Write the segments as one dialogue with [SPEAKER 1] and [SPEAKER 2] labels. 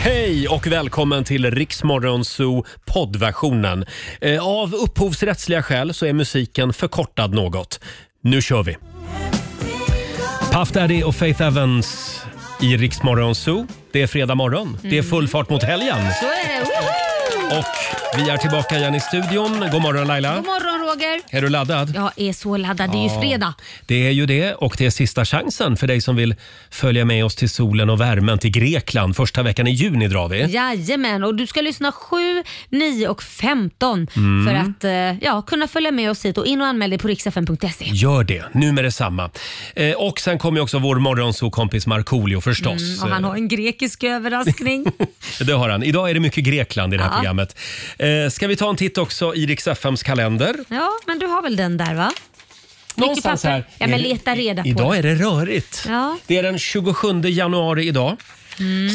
[SPEAKER 1] Hej och välkommen till Riksmorgonzoo poddversionen. Eh, Av upphovsrättsliga skäl så är musiken förkortad något. Nu kör vi! Puff Daddy och Faith Evans i Riksmorgonzoo. Det är fredag morgon. Det är full fart mot helgen.
[SPEAKER 2] Så är det. Woho!
[SPEAKER 1] Och vi är tillbaka igen i studion. God morgon Laila.
[SPEAKER 2] God morgon Roger.
[SPEAKER 1] Är du laddad?
[SPEAKER 2] Jag är så laddad. Det är ju fredag.
[SPEAKER 1] Det är ju det och det är sista chansen för dig som vill följa med oss till solen och värmen till Grekland. Första veckan i juni drar vi.
[SPEAKER 2] Jajamän. Och du ska lyssna 7, 9 och 15
[SPEAKER 1] Mm.
[SPEAKER 2] för att eh, ja, kunna följa med oss hit. Och in och anmäl dig på riksfn.se.
[SPEAKER 1] Gör det, nu med detsamma. Eh, och sen kommer ju också vår morgonsokompis Markoolio förstås.
[SPEAKER 2] Mm, Och han har en grekisk överraskning.
[SPEAKER 1] Eh, Det har han. Idag är det mycket Grekland i det här
[SPEAKER 2] Ja.
[SPEAKER 1] programmet. Eh, ska vi ta en titt också i Rix FMs kalender?
[SPEAKER 2] ja, men du har väl den där va? papper. Ja, men
[SPEAKER 1] Är det-
[SPEAKER 2] leta reda på
[SPEAKER 1] Idag
[SPEAKER 2] det.
[SPEAKER 1] är det rörigt.
[SPEAKER 2] Ja. Mm.
[SPEAKER 1] Det är den 27 januari idag.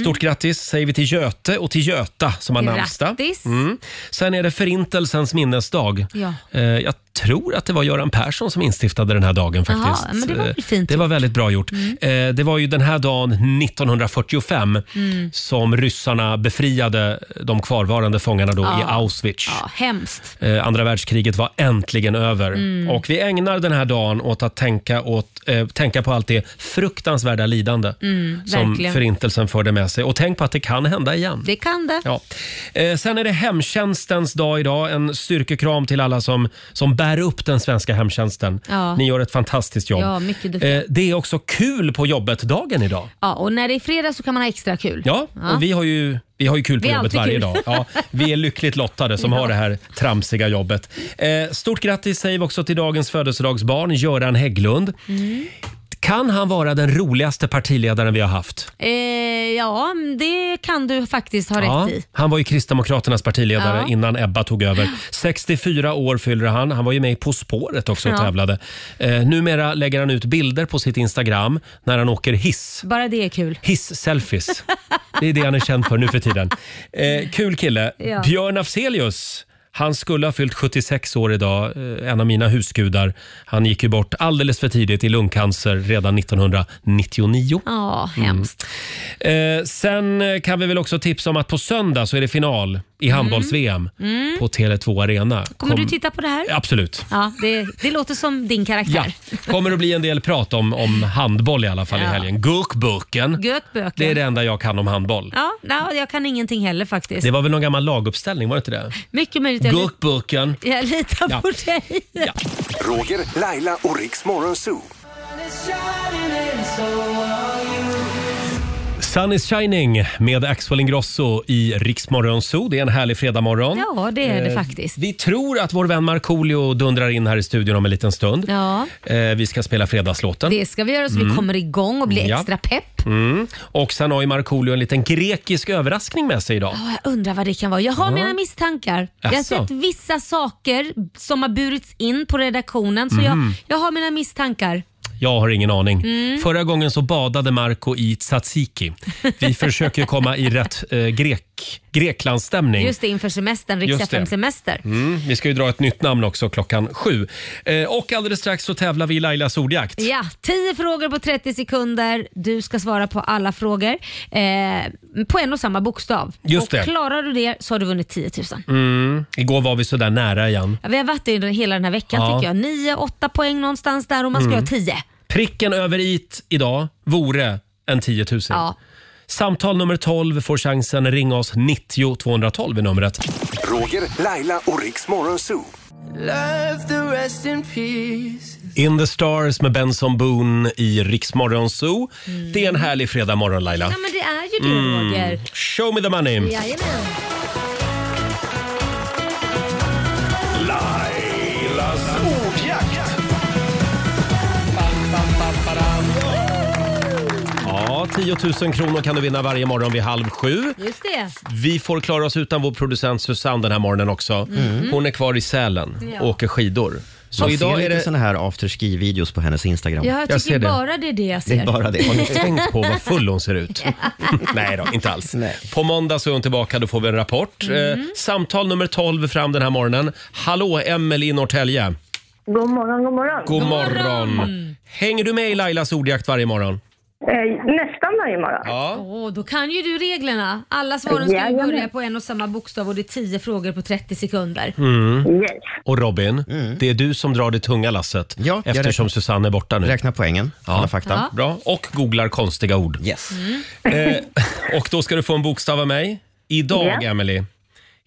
[SPEAKER 1] Stort grattis säger vi till Göte och till Göta som har namnsdag.
[SPEAKER 2] Grattis.
[SPEAKER 1] Mm. Sen är det förintelsens minnesdag.
[SPEAKER 2] Ja.
[SPEAKER 1] Eh, Jag tror att det var Göran Persson som instiftade den här dagen
[SPEAKER 2] Jaha,
[SPEAKER 1] faktiskt.
[SPEAKER 2] men det var väl
[SPEAKER 1] Eh,
[SPEAKER 2] fint Mm.
[SPEAKER 1] Det var väldigt bra gjort. Eh, Det var ju den här dagen 1945
[SPEAKER 2] Mm.
[SPEAKER 1] som ryssarna befriade de kvarvarande fångarna då i
[SPEAKER 2] Ah.
[SPEAKER 1] Auschwitz.
[SPEAKER 2] Ja, hemskt.
[SPEAKER 1] Eh, Andra världskriget var äntligen över.
[SPEAKER 2] Mm.
[SPEAKER 1] Och vi ägnar den här dagen åt att tänka, åt, eh, tänka på allt det fruktansvärda lidande som
[SPEAKER 2] Mm, verkligen.
[SPEAKER 1] förintelsen förde med sig. Och tänk på att det kan hända igen.
[SPEAKER 2] Det kan det.
[SPEAKER 1] Ja. Eh, sen är det hemtjänstens dag idag. En styrkekram till alla som, som bär upp den svenska hemtjänsten.
[SPEAKER 2] Ja.
[SPEAKER 1] Ni gör ett fantastiskt jobb.
[SPEAKER 2] Ja, mycket duktiga.
[SPEAKER 1] Eh, det är också kul på jobbet-dagen idag.
[SPEAKER 2] Ja, och när det är fredag så kan man ha extra kul.
[SPEAKER 1] Ja, och vi har ju, vi har ju kul på
[SPEAKER 2] Vi har
[SPEAKER 1] jobbet
[SPEAKER 2] alltid
[SPEAKER 1] varje
[SPEAKER 2] kul.
[SPEAKER 1] dag. Ja, vi är lyckligt lottade som har det här tramsiga jobbet. Eh, stort grattis säger vi också till dagens födelsedagsbarn, Göran Hägglund.
[SPEAKER 2] Mm.
[SPEAKER 1] Kan han vara den roligaste partiledaren vi har haft?
[SPEAKER 2] Eh, ja, det kan du faktiskt ha
[SPEAKER 1] Ja,
[SPEAKER 2] rätt i.
[SPEAKER 1] han var ju Kristdemokraternas partiledare
[SPEAKER 2] Ja.
[SPEAKER 1] innan Ebba tog över. 64 år fyller han. Han var ju med i På spåret också och
[SPEAKER 2] Ja.
[SPEAKER 1] tävlade. Eh, numera lägger han ut bilder på sitt Instagram när han åker hiss.
[SPEAKER 2] Bara det är kul.
[SPEAKER 1] Hiss-selfies. Det är det han är känd för nu för tiden. Eh, kul kille.
[SPEAKER 2] Ja.
[SPEAKER 1] Björn Afzelius. Han skulle ha fyllt 76 år idag, eh, en av mina husgudar. Han gick ju bort alldeles för tidigt i lungcancer redan 1999.
[SPEAKER 2] Ja, hemskt.
[SPEAKER 1] Eh, sen eh, kan vi väl också tipsa om att på söndag så är det final i handbolls-VM på Tele2 Arena.
[SPEAKER 2] Mm. Kommer
[SPEAKER 1] Kom-
[SPEAKER 2] du titta på det här?
[SPEAKER 1] Absolut.
[SPEAKER 2] Ja, det, det låter som din
[SPEAKER 1] Ja.
[SPEAKER 2] karaktär.
[SPEAKER 1] Kommer att bli en del prat om, om handboll i alla fall i
[SPEAKER 2] Ja.
[SPEAKER 1] helgen. Gurkburken.
[SPEAKER 2] Gökböken.
[SPEAKER 1] Det är det enda jag kan om handboll.
[SPEAKER 2] Ja, nej, jag kan ingenting heller faktiskt.
[SPEAKER 1] Det var väl någon gammal laguppställning, var det inte det?
[SPEAKER 2] Mycket möjligt. Jag, lit,
[SPEAKER 1] Gurkburken.
[SPEAKER 2] jag litar
[SPEAKER 1] Ja.
[SPEAKER 2] på dig.
[SPEAKER 3] Roger, Laila och Riks Morgonzoo.
[SPEAKER 1] Sun is shining med Axel Ingrosso i Riksmorgon Zoo. Det är en härlig fredagmorgon.
[SPEAKER 2] Ja, det är det
[SPEAKER 1] Eh,
[SPEAKER 2] faktiskt.
[SPEAKER 1] Vi tror att vår vän Markoolio dundrar in här i studion om en liten stund.
[SPEAKER 2] Ja.
[SPEAKER 1] Eh, Vi ska spela fredagslåten.
[SPEAKER 2] Det ska vi göra så vi kommer igång och blir
[SPEAKER 1] Mm. Ja.
[SPEAKER 2] extra pepp.
[SPEAKER 1] Mm. Och sen har ju Markoolio en liten grekisk överraskning med sig idag.
[SPEAKER 2] Ja, jag undrar vad det kan vara. Jag har mina misstankar. Jag har
[SPEAKER 1] Jaså?
[SPEAKER 2] sett vissa saker som har burits in på redaktionen så
[SPEAKER 1] Mhm.
[SPEAKER 2] jag, jag har mina misstankar.
[SPEAKER 1] Jag har ingen aning.
[SPEAKER 2] Mm.
[SPEAKER 1] Förra gången så badade Marco i tzatziki. Vi försöker ju komma i rätt eh, grek, Greklandsstämning.
[SPEAKER 2] Just det, inför semestern,
[SPEAKER 1] Just det.
[SPEAKER 2] riks semester
[SPEAKER 1] Mm, vi ska ju dra ett nytt namn också klockan sju. Eh, och alldeles strax så tävlar vi i Lailas ordjakt.
[SPEAKER 2] Ja, 10 frågor på 30 sekunder. Du ska svara på alla frågor eh, på en och samma bokstav.
[SPEAKER 1] Just
[SPEAKER 2] och
[SPEAKER 1] det.
[SPEAKER 2] Klarar du det så har du vunnit 10 000.
[SPEAKER 1] Mm. Igår var vi sådär nära igen.
[SPEAKER 2] Ja, vi har varit det under hela den här veckan
[SPEAKER 1] Ja. Mm.
[SPEAKER 2] tycker jag. 9, 8 poäng någonstans där och man ska ha 10.
[SPEAKER 1] Pricken över it idag vore en 10 000.
[SPEAKER 2] Ja.
[SPEAKER 1] Samtal nummer 12 får chansen. Ring oss 90 212 är numret.
[SPEAKER 3] Roger, Laila och Riks Morgonzoo.
[SPEAKER 1] In the stars med Benson Boone i Riksmorgon Zoo. Det är en härlig fredag morgon Laila.
[SPEAKER 2] Mm. Ja men det är ju det
[SPEAKER 1] Mm.
[SPEAKER 2] Roger.
[SPEAKER 1] Show me the money!
[SPEAKER 2] Jajamän.
[SPEAKER 1] Ja, 10 000 kronor kan du vinna varje morgon vid halv sju.
[SPEAKER 2] Just det.
[SPEAKER 1] Vi får klara oss utan vår producent Susanne den här morgonen också. Hon är kvar i Sälen och
[SPEAKER 2] Ja.
[SPEAKER 1] åker skidor. Så
[SPEAKER 4] Mm. Man
[SPEAKER 1] idag
[SPEAKER 4] ser
[SPEAKER 1] är
[SPEAKER 4] lite
[SPEAKER 1] det...
[SPEAKER 4] såna här afterski-videos på hennes Instagram.
[SPEAKER 2] Ja, jag
[SPEAKER 1] Jag
[SPEAKER 2] tycker
[SPEAKER 1] ser det.
[SPEAKER 2] bara det är det jag
[SPEAKER 4] Det är
[SPEAKER 2] ser.
[SPEAKER 4] bara det.
[SPEAKER 1] Har ni tänkt på vad full hon ser ut? Nej då, inte alls.
[SPEAKER 4] Nej.
[SPEAKER 1] På måndag så är hon tillbaka, då får vi en rapport.
[SPEAKER 2] Mm.
[SPEAKER 1] Eh, samtal nummer 12 fram den här morgonen. Hallå, Emelie i Norrtälje.
[SPEAKER 5] God morgon, god morgon.
[SPEAKER 1] God morgon. Hänger du med i Lailas ordjakt varje morgon?
[SPEAKER 5] Eh, nästan varje morgon.
[SPEAKER 1] Ja.
[SPEAKER 2] Åh, då kan ju du reglerna. Alla svaren ska ju
[SPEAKER 5] Jajamän.
[SPEAKER 2] börja på en och samma bokstav och det är 10 frågor på 30 sekunder.
[SPEAKER 1] Mm.
[SPEAKER 5] Yes.
[SPEAKER 1] Och Robin, det är du som drar det tunga lasset
[SPEAKER 4] Mm. Ja, jag
[SPEAKER 1] eftersom
[SPEAKER 4] räknar-
[SPEAKER 1] Susanne är borta nu.
[SPEAKER 4] Räkna poängen, alla fakta.
[SPEAKER 2] Ja.
[SPEAKER 1] Bra. Och googlar konstiga ord.
[SPEAKER 4] Yes.
[SPEAKER 1] Eh, och då ska du få en bokstav av mig. Idag,
[SPEAKER 5] Ja.
[SPEAKER 1] Emily.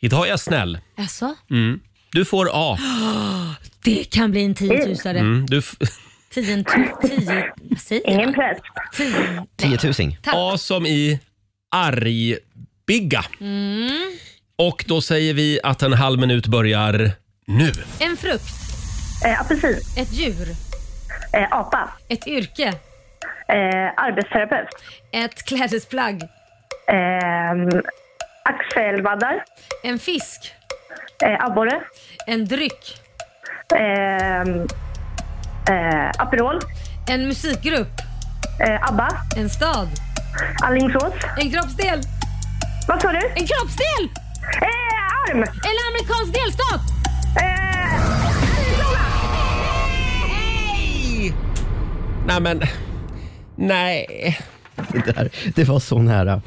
[SPEAKER 1] Idag är jag snäll. Mm.
[SPEAKER 2] Alltså,
[SPEAKER 1] Du får A.
[SPEAKER 2] det kan bli en tiotusare.
[SPEAKER 1] Mm, du f-
[SPEAKER 2] Tio, tio, vad säger
[SPEAKER 5] Ingen
[SPEAKER 2] man?
[SPEAKER 5] press.
[SPEAKER 2] Tio,
[SPEAKER 4] 10 000.
[SPEAKER 1] A som i argbigga.
[SPEAKER 2] Mm.
[SPEAKER 1] Och då säger vi att en halv minut börjar nu.
[SPEAKER 2] en frukt,
[SPEAKER 5] Eh, apelsin.
[SPEAKER 2] ett djur,
[SPEAKER 5] Eh, apa.
[SPEAKER 2] ett yrke,
[SPEAKER 5] Eh, arbetsterapeut.
[SPEAKER 2] ett klädesplagg,
[SPEAKER 5] Eh, axelvaddar.
[SPEAKER 2] en fisk,
[SPEAKER 5] Eh, abborre.
[SPEAKER 2] en dryck,
[SPEAKER 5] Eh, eh, Aperol.
[SPEAKER 2] en musikgrupp,
[SPEAKER 5] Eh, Abba.
[SPEAKER 2] en stad,
[SPEAKER 5] Alingsås.
[SPEAKER 2] en kroppsdel,
[SPEAKER 5] Vad sa du?
[SPEAKER 2] en kroppsdel,
[SPEAKER 5] Eh, arm!
[SPEAKER 2] en amerikansk delstat.
[SPEAKER 5] Eh,
[SPEAKER 1] Nej, men... Nej.
[SPEAKER 4] Det, där, det var så nära.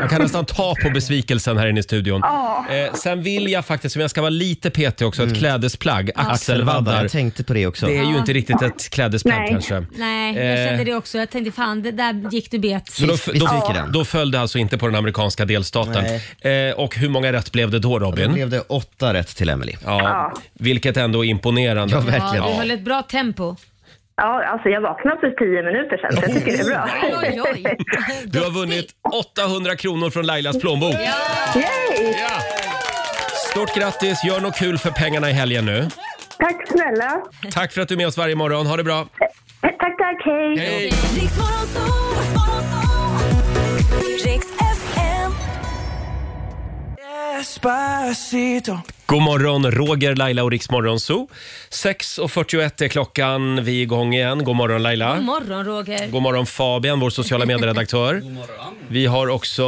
[SPEAKER 1] Jag kan nästan ta på besvikelsen här inne i studion. Eh, sen vill jag faktiskt, om jag ska vara lite petig också,
[SPEAKER 4] Mm.
[SPEAKER 1] ett klädesplagg. Axelvaddar.
[SPEAKER 4] Jag tänkte på det också.
[SPEAKER 1] Det är ju
[SPEAKER 2] Ja.
[SPEAKER 1] inte riktigt ett klädesplagg
[SPEAKER 5] Nej.
[SPEAKER 1] kanske.
[SPEAKER 2] Nej, jag
[SPEAKER 1] Eh.
[SPEAKER 2] kände det också. Jag tänkte fan, det där gick du bet.
[SPEAKER 1] Så då,
[SPEAKER 4] Vi- vi stryker
[SPEAKER 1] då,
[SPEAKER 4] den.
[SPEAKER 1] då föll det alltså inte på den amerikanska delstaten. Eh, och hur många rätt blev det då
[SPEAKER 4] Då
[SPEAKER 1] Robin?
[SPEAKER 4] blev det åtta rätt till Emily.
[SPEAKER 1] Ja, vilket ändå är imponerande.
[SPEAKER 4] Ja,
[SPEAKER 2] Ja,
[SPEAKER 4] verkligen.
[SPEAKER 2] du höll ett bra tempo.
[SPEAKER 5] ja, alltså jag vaknade för tio minuter sedan så jag tycker det är bra.
[SPEAKER 2] Oj, oj, oj.
[SPEAKER 1] Du har vunnit 800 kronor från Lailas plånbok.
[SPEAKER 5] Yay!
[SPEAKER 1] Ja. Stort grattis, gör något kul för pengarna i helgen nu.
[SPEAKER 5] Tack snälla.
[SPEAKER 1] Tack för att du är med oss varje morgon, ha det bra.
[SPEAKER 5] Eh, Tack, tack. Hej.
[SPEAKER 1] Hej. God morgon, Roger, Laila och Riksmorgon Zoo. 6.41 är klockan, vi är igång igen. God morgon Laila.
[SPEAKER 2] God morgon Roger.
[SPEAKER 1] God morgon Fabian, vår sociala medieredaktör. Vi har också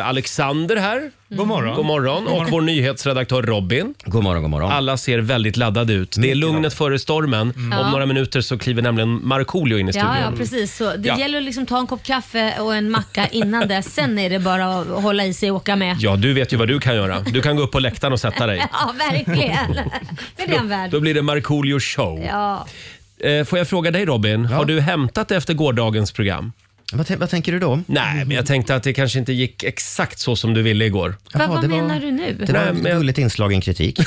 [SPEAKER 1] eh, Alexander här. Mm. God morgon. God morgon. Och vår nyhetsredaktör Robin.
[SPEAKER 4] God morgon, god morgon.
[SPEAKER 1] Alla ser väldigt laddade ut. Det är lugnet före stormen. Om några minuter så kliver nämligen Markoolio in i studion.
[SPEAKER 2] Mm. Ja, ja, precis. Så det
[SPEAKER 1] Ja.
[SPEAKER 2] gäller att liksom ta en kopp kaffe och en macka innan det. Sen är det bara att hålla i sig och åka med.
[SPEAKER 1] Ja, du vet ju vad du kan göra. Du kan gå upp på läktaren och sätta dig.
[SPEAKER 2] Ja, verkligen. Det är den värld.
[SPEAKER 1] Då blir det Markoolio show.
[SPEAKER 2] Ja.
[SPEAKER 1] Eh, Får jag fråga dig Robin, har du hämtat efter gårdagens program?
[SPEAKER 4] Vad, tän- vad tänker du då?
[SPEAKER 1] Nej, men jag tänkte att det kanske inte gick exakt så som du ville igår.
[SPEAKER 2] Va,
[SPEAKER 4] Jaha,
[SPEAKER 2] vad
[SPEAKER 4] det var-
[SPEAKER 2] menar du nu?
[SPEAKER 4] Det var
[SPEAKER 1] Nej,
[SPEAKER 4] ett
[SPEAKER 1] men-
[SPEAKER 4] gulligt inslag i en kritik.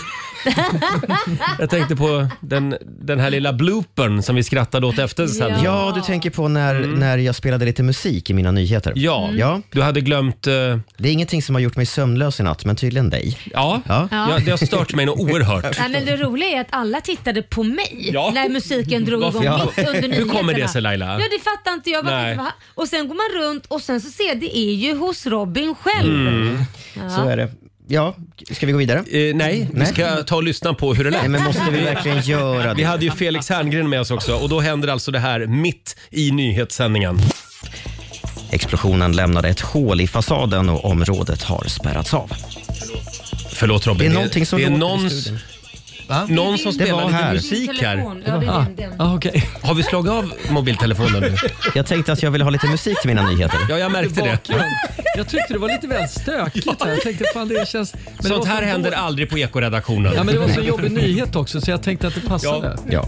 [SPEAKER 1] Jag tänkte på den, den här lilla bloopern som vi skrattade åt efter sändningen.
[SPEAKER 4] Ja, du tänker på när, när jag spelade lite musik i mina nyheter.
[SPEAKER 1] Mm. Ja,
[SPEAKER 2] Mm.
[SPEAKER 4] ja.
[SPEAKER 1] du hade glömt... eh,
[SPEAKER 4] Det är ingenting som har gjort mig sömnlös i natt, men tydligen dig.
[SPEAKER 1] ja, ja.
[SPEAKER 4] Ja.
[SPEAKER 1] det har stört mig något oerhört.
[SPEAKER 2] Nej, men det roliga är att alla tittade på mig
[SPEAKER 1] Ja.
[SPEAKER 2] när musiken drog
[SPEAKER 1] Varför?
[SPEAKER 2] igång
[SPEAKER 1] Ja.
[SPEAKER 2] mitt under
[SPEAKER 1] Hur
[SPEAKER 2] nyheterna.
[SPEAKER 1] kommer det sig, Laila?
[SPEAKER 2] Ja, det fattar inte jag. Bara,
[SPEAKER 1] Nej.
[SPEAKER 2] tänkte, va? Och sen går man runt och sen så ser jag, det är ju hos Robin själv.
[SPEAKER 1] Mm.
[SPEAKER 4] Så är det. Ja, ska vi gå vidare?
[SPEAKER 1] Eh, nej, vi
[SPEAKER 4] Nej.
[SPEAKER 1] ska ta och lyssna på hur det
[SPEAKER 4] Nej,
[SPEAKER 1] lät.
[SPEAKER 4] men måste vi verkligen göra
[SPEAKER 1] Vi
[SPEAKER 4] det?
[SPEAKER 1] hade ju Felix Herngren med oss också och då händer alltså det här mitt i nyhetssändningen.
[SPEAKER 4] Explosionen lämnade ett hål i fasaden och området har spärrats av.
[SPEAKER 1] Förlåt Robin,
[SPEAKER 4] Det är någonting som
[SPEAKER 1] det är
[SPEAKER 4] låter i
[SPEAKER 1] någons,
[SPEAKER 4] studion. Va?
[SPEAKER 1] någon som
[SPEAKER 4] Det var
[SPEAKER 1] spelar lite
[SPEAKER 4] här.
[SPEAKER 1] musik här.
[SPEAKER 2] Telefon. Ja, det är den.
[SPEAKER 1] Ah, okay. Har vi slagit av mobiltelefonen nu?
[SPEAKER 4] Jag tänkte att jag ville ha lite musik till mina nyheter.
[SPEAKER 1] Ja, jag märkte det.
[SPEAKER 6] Jag tyckte det var lite väl stökigt. Här. Jag tänkte fan det känns... Men det var
[SPEAKER 1] Sånt
[SPEAKER 6] så
[SPEAKER 1] här händer
[SPEAKER 6] då-
[SPEAKER 1] aldrig på ekoredaktionen.
[SPEAKER 6] Ja men det var så jobbig nyhet också så jag tänkte att det passade.
[SPEAKER 4] Ja.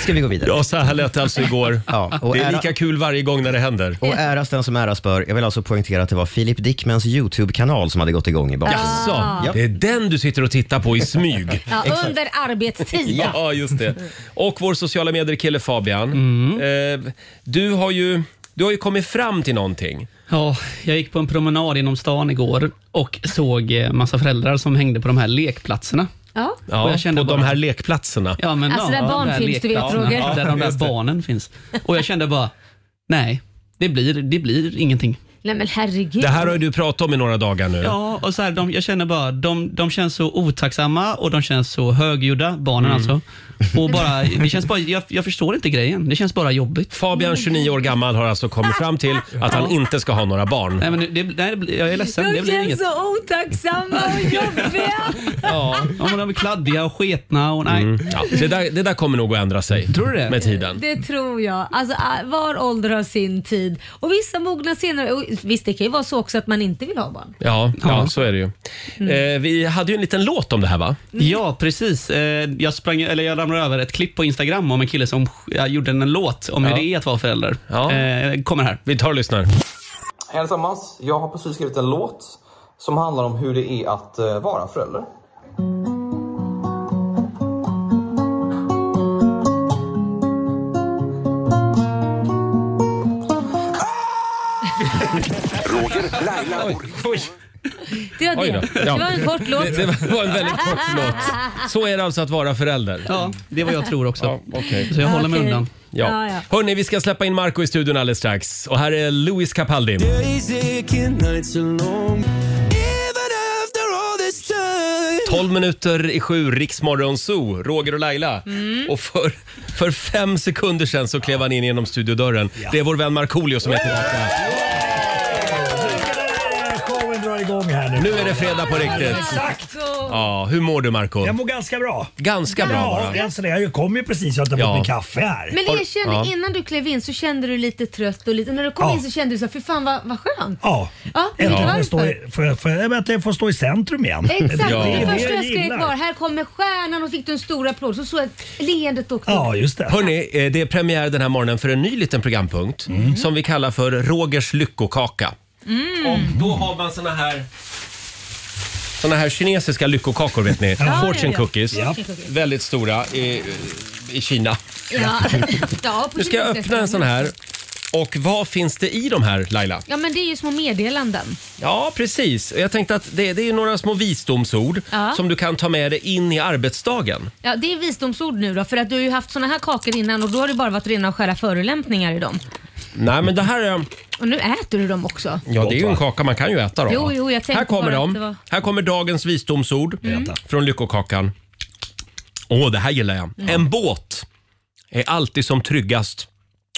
[SPEAKER 4] Ska vi gå vidare?
[SPEAKER 1] Ja, så här lät det alltså igår.
[SPEAKER 4] Ja, och
[SPEAKER 1] det är
[SPEAKER 4] ära-
[SPEAKER 1] lika kul varje gång när det händer.
[SPEAKER 4] Och äras den som äras bör. Jag vill alltså poängtera att det var Filip Dickmans YouTube-kanal som hade gått igång i bakgrunden.
[SPEAKER 1] Jaså, det är den du sitter och tittar på i smyg.
[SPEAKER 2] Ja, under arbetstid.
[SPEAKER 1] Ja, just det. Och vår sociala medier-kille Fabian.
[SPEAKER 7] Mm.
[SPEAKER 1] Eh, du, har ju, du har ju kommit fram till någonting.
[SPEAKER 7] Ja, jag gick på en promenad inom stan igår och såg eh, massa föräldrar som hängde på de här lekplatserna.
[SPEAKER 2] Ja.
[SPEAKER 1] Ja,
[SPEAKER 7] Och jag kände
[SPEAKER 1] på de
[SPEAKER 7] bara-
[SPEAKER 1] här lekplatserna.
[SPEAKER 7] Ja, men,
[SPEAKER 2] Alltså,
[SPEAKER 7] ja,
[SPEAKER 2] där
[SPEAKER 7] de
[SPEAKER 2] barn finns, du vet,
[SPEAKER 7] lekplatserna,
[SPEAKER 2] Roger.
[SPEAKER 7] ja, Där de där barnen finns. Och jag kände bara, nej, det blir, det blir ingenting.
[SPEAKER 2] Nej men herregud.
[SPEAKER 1] Det här har ju du pratat om i några dagar nu.
[SPEAKER 7] Ja, och så här, de, jag känner bara, de, de känns så otacksamma och de känns så högljudda, barnen
[SPEAKER 1] Mm.
[SPEAKER 7] alltså. Och bara, det känns bara, jag, jag förstår inte grejen. Det känns bara jobbigt.
[SPEAKER 1] Fabian, 29 år gammal, har alltså kommit fram till att han inte ska ha några barn.
[SPEAKER 7] Nej, men det, nej, det blir- jag är ledsen. Det
[SPEAKER 2] De
[SPEAKER 7] blir
[SPEAKER 2] känns
[SPEAKER 7] inget.
[SPEAKER 2] så otacksamma och jobbiga.
[SPEAKER 7] Ja, ja, men de är kladdiga och sketna och nej.
[SPEAKER 1] Mm. Ja, det, där, det där kommer nog att ändra sig.
[SPEAKER 7] Tror du det?
[SPEAKER 1] Med tiden.
[SPEAKER 2] Det tror jag. Alltså, ah, var ålder har sin tid. Och vissa mognar senare. Och visst, det kan ju vara så också att man inte vill ha barn.
[SPEAKER 1] Ja, ja, så är det ju.
[SPEAKER 2] Mm.
[SPEAKER 1] Eh, vi hade ju en liten låt om det här va?
[SPEAKER 7] Ja, precis. Eh, Jag, sprang, eller jag ramlade över ett klipp på Instagram om en kille som ja, gjorde en låt om hur det är att vara förälder.
[SPEAKER 1] Ja.
[SPEAKER 7] Eh, Kommer här.
[SPEAKER 1] Vi tar och lyssnar.
[SPEAKER 8] Hej allesammans! Jag har precis skrivit en låt som handlar om hur det är att eh, vara förälder.
[SPEAKER 3] Roger, Laila och Riks-
[SPEAKER 2] Det var
[SPEAKER 1] Oj
[SPEAKER 2] det.
[SPEAKER 1] då. Ja.
[SPEAKER 2] Det var en kort låt.
[SPEAKER 1] Det var en väldigt kort låt. Så är det alltså att vara förälder.
[SPEAKER 7] Ja, det är vad jag tror också.
[SPEAKER 1] Ja, okej.
[SPEAKER 7] Så jag håller mig
[SPEAKER 2] Okej.
[SPEAKER 7] undan.
[SPEAKER 1] Ja.
[SPEAKER 2] Ja, ja.
[SPEAKER 1] Hörni, vi ska släppa in Marco i studion alldeles strax. Och här är Louis Capaldi. Tolv minuter i sju, Riksmorgon Zoo, Roger och Laila.
[SPEAKER 2] Mm.
[SPEAKER 1] Och för, för fem sekunder sedan så klev han in genom studiodörren. Det är vår vän Markoolio som är tillbaka.
[SPEAKER 9] Showen drar igång här nu.
[SPEAKER 1] Nu är det fredag på riktigt.
[SPEAKER 9] Exakt!
[SPEAKER 1] Ja, hur mår du Marco?
[SPEAKER 9] Jag mår ganska bra.
[SPEAKER 1] Ganska bra
[SPEAKER 9] Ja,
[SPEAKER 1] bara.
[SPEAKER 9] jag ser det. jag kom ju precis, jag har inte
[SPEAKER 1] Ja.
[SPEAKER 9] fått min kaffe här.
[SPEAKER 2] Men erkänn,
[SPEAKER 1] Ja.
[SPEAKER 2] innan du klev in så kände du lite trött och lite... När du kom
[SPEAKER 9] Ja.
[SPEAKER 2] in så kände du så här, fy fan vad, vad skönt.
[SPEAKER 9] Ja,
[SPEAKER 2] Ja, vet du
[SPEAKER 9] äntligen får jag stå
[SPEAKER 2] varför?
[SPEAKER 9] i- får jag- får jag- att jag får stå i centrum igen.
[SPEAKER 2] Exakt,
[SPEAKER 1] Ja.
[SPEAKER 2] det
[SPEAKER 1] Det
[SPEAKER 2] första jag skrek
[SPEAKER 9] gillar.
[SPEAKER 2] var här kommer stjärnan och fick du en stor applåd. Så såg jag att leendet åkte upp.
[SPEAKER 9] Ja, just det.
[SPEAKER 1] Hörni, eh, det är premiär den här morgonen för en ny liten programpunkt som vi kallar för Rogers lyckokaka.
[SPEAKER 2] Mm.
[SPEAKER 1] Och då har man såna här såna här kinesiska lyckokakor vet ni. Fortune
[SPEAKER 2] ja.
[SPEAKER 1] cookies.
[SPEAKER 9] Ja.
[SPEAKER 1] Väldigt stora i, i Kina.
[SPEAKER 2] Ja. ja, på
[SPEAKER 1] Nu ska jag
[SPEAKER 2] kinesiska
[SPEAKER 1] öppna en sån här. Och vad finns det i de här Laila?
[SPEAKER 2] Ja men det är ju små meddelanden.
[SPEAKER 1] Ja, precis. Jag tänkte att det, det är ju några små visdomsord
[SPEAKER 2] Ja.
[SPEAKER 1] som du kan ta med dig in i arbetsdagen.
[SPEAKER 2] Ja, det är visdomsord nu då för att du har ju haft såna här kakor innan och då har det bara varit rena skära förolämpningar i dem.
[SPEAKER 1] Nej, men det här är...
[SPEAKER 2] Och nu äter du dem också.
[SPEAKER 1] Ja, det är ju en kaka man kan ju äta då.
[SPEAKER 2] Jo, jo, jag tänkte
[SPEAKER 1] Här kommer
[SPEAKER 2] bara
[SPEAKER 1] de.
[SPEAKER 2] att det var- Mm.
[SPEAKER 1] Här kommer dagens visdomsord från Lyckokakan. Åh, det här gillar jag. En båt är alltid som tryggast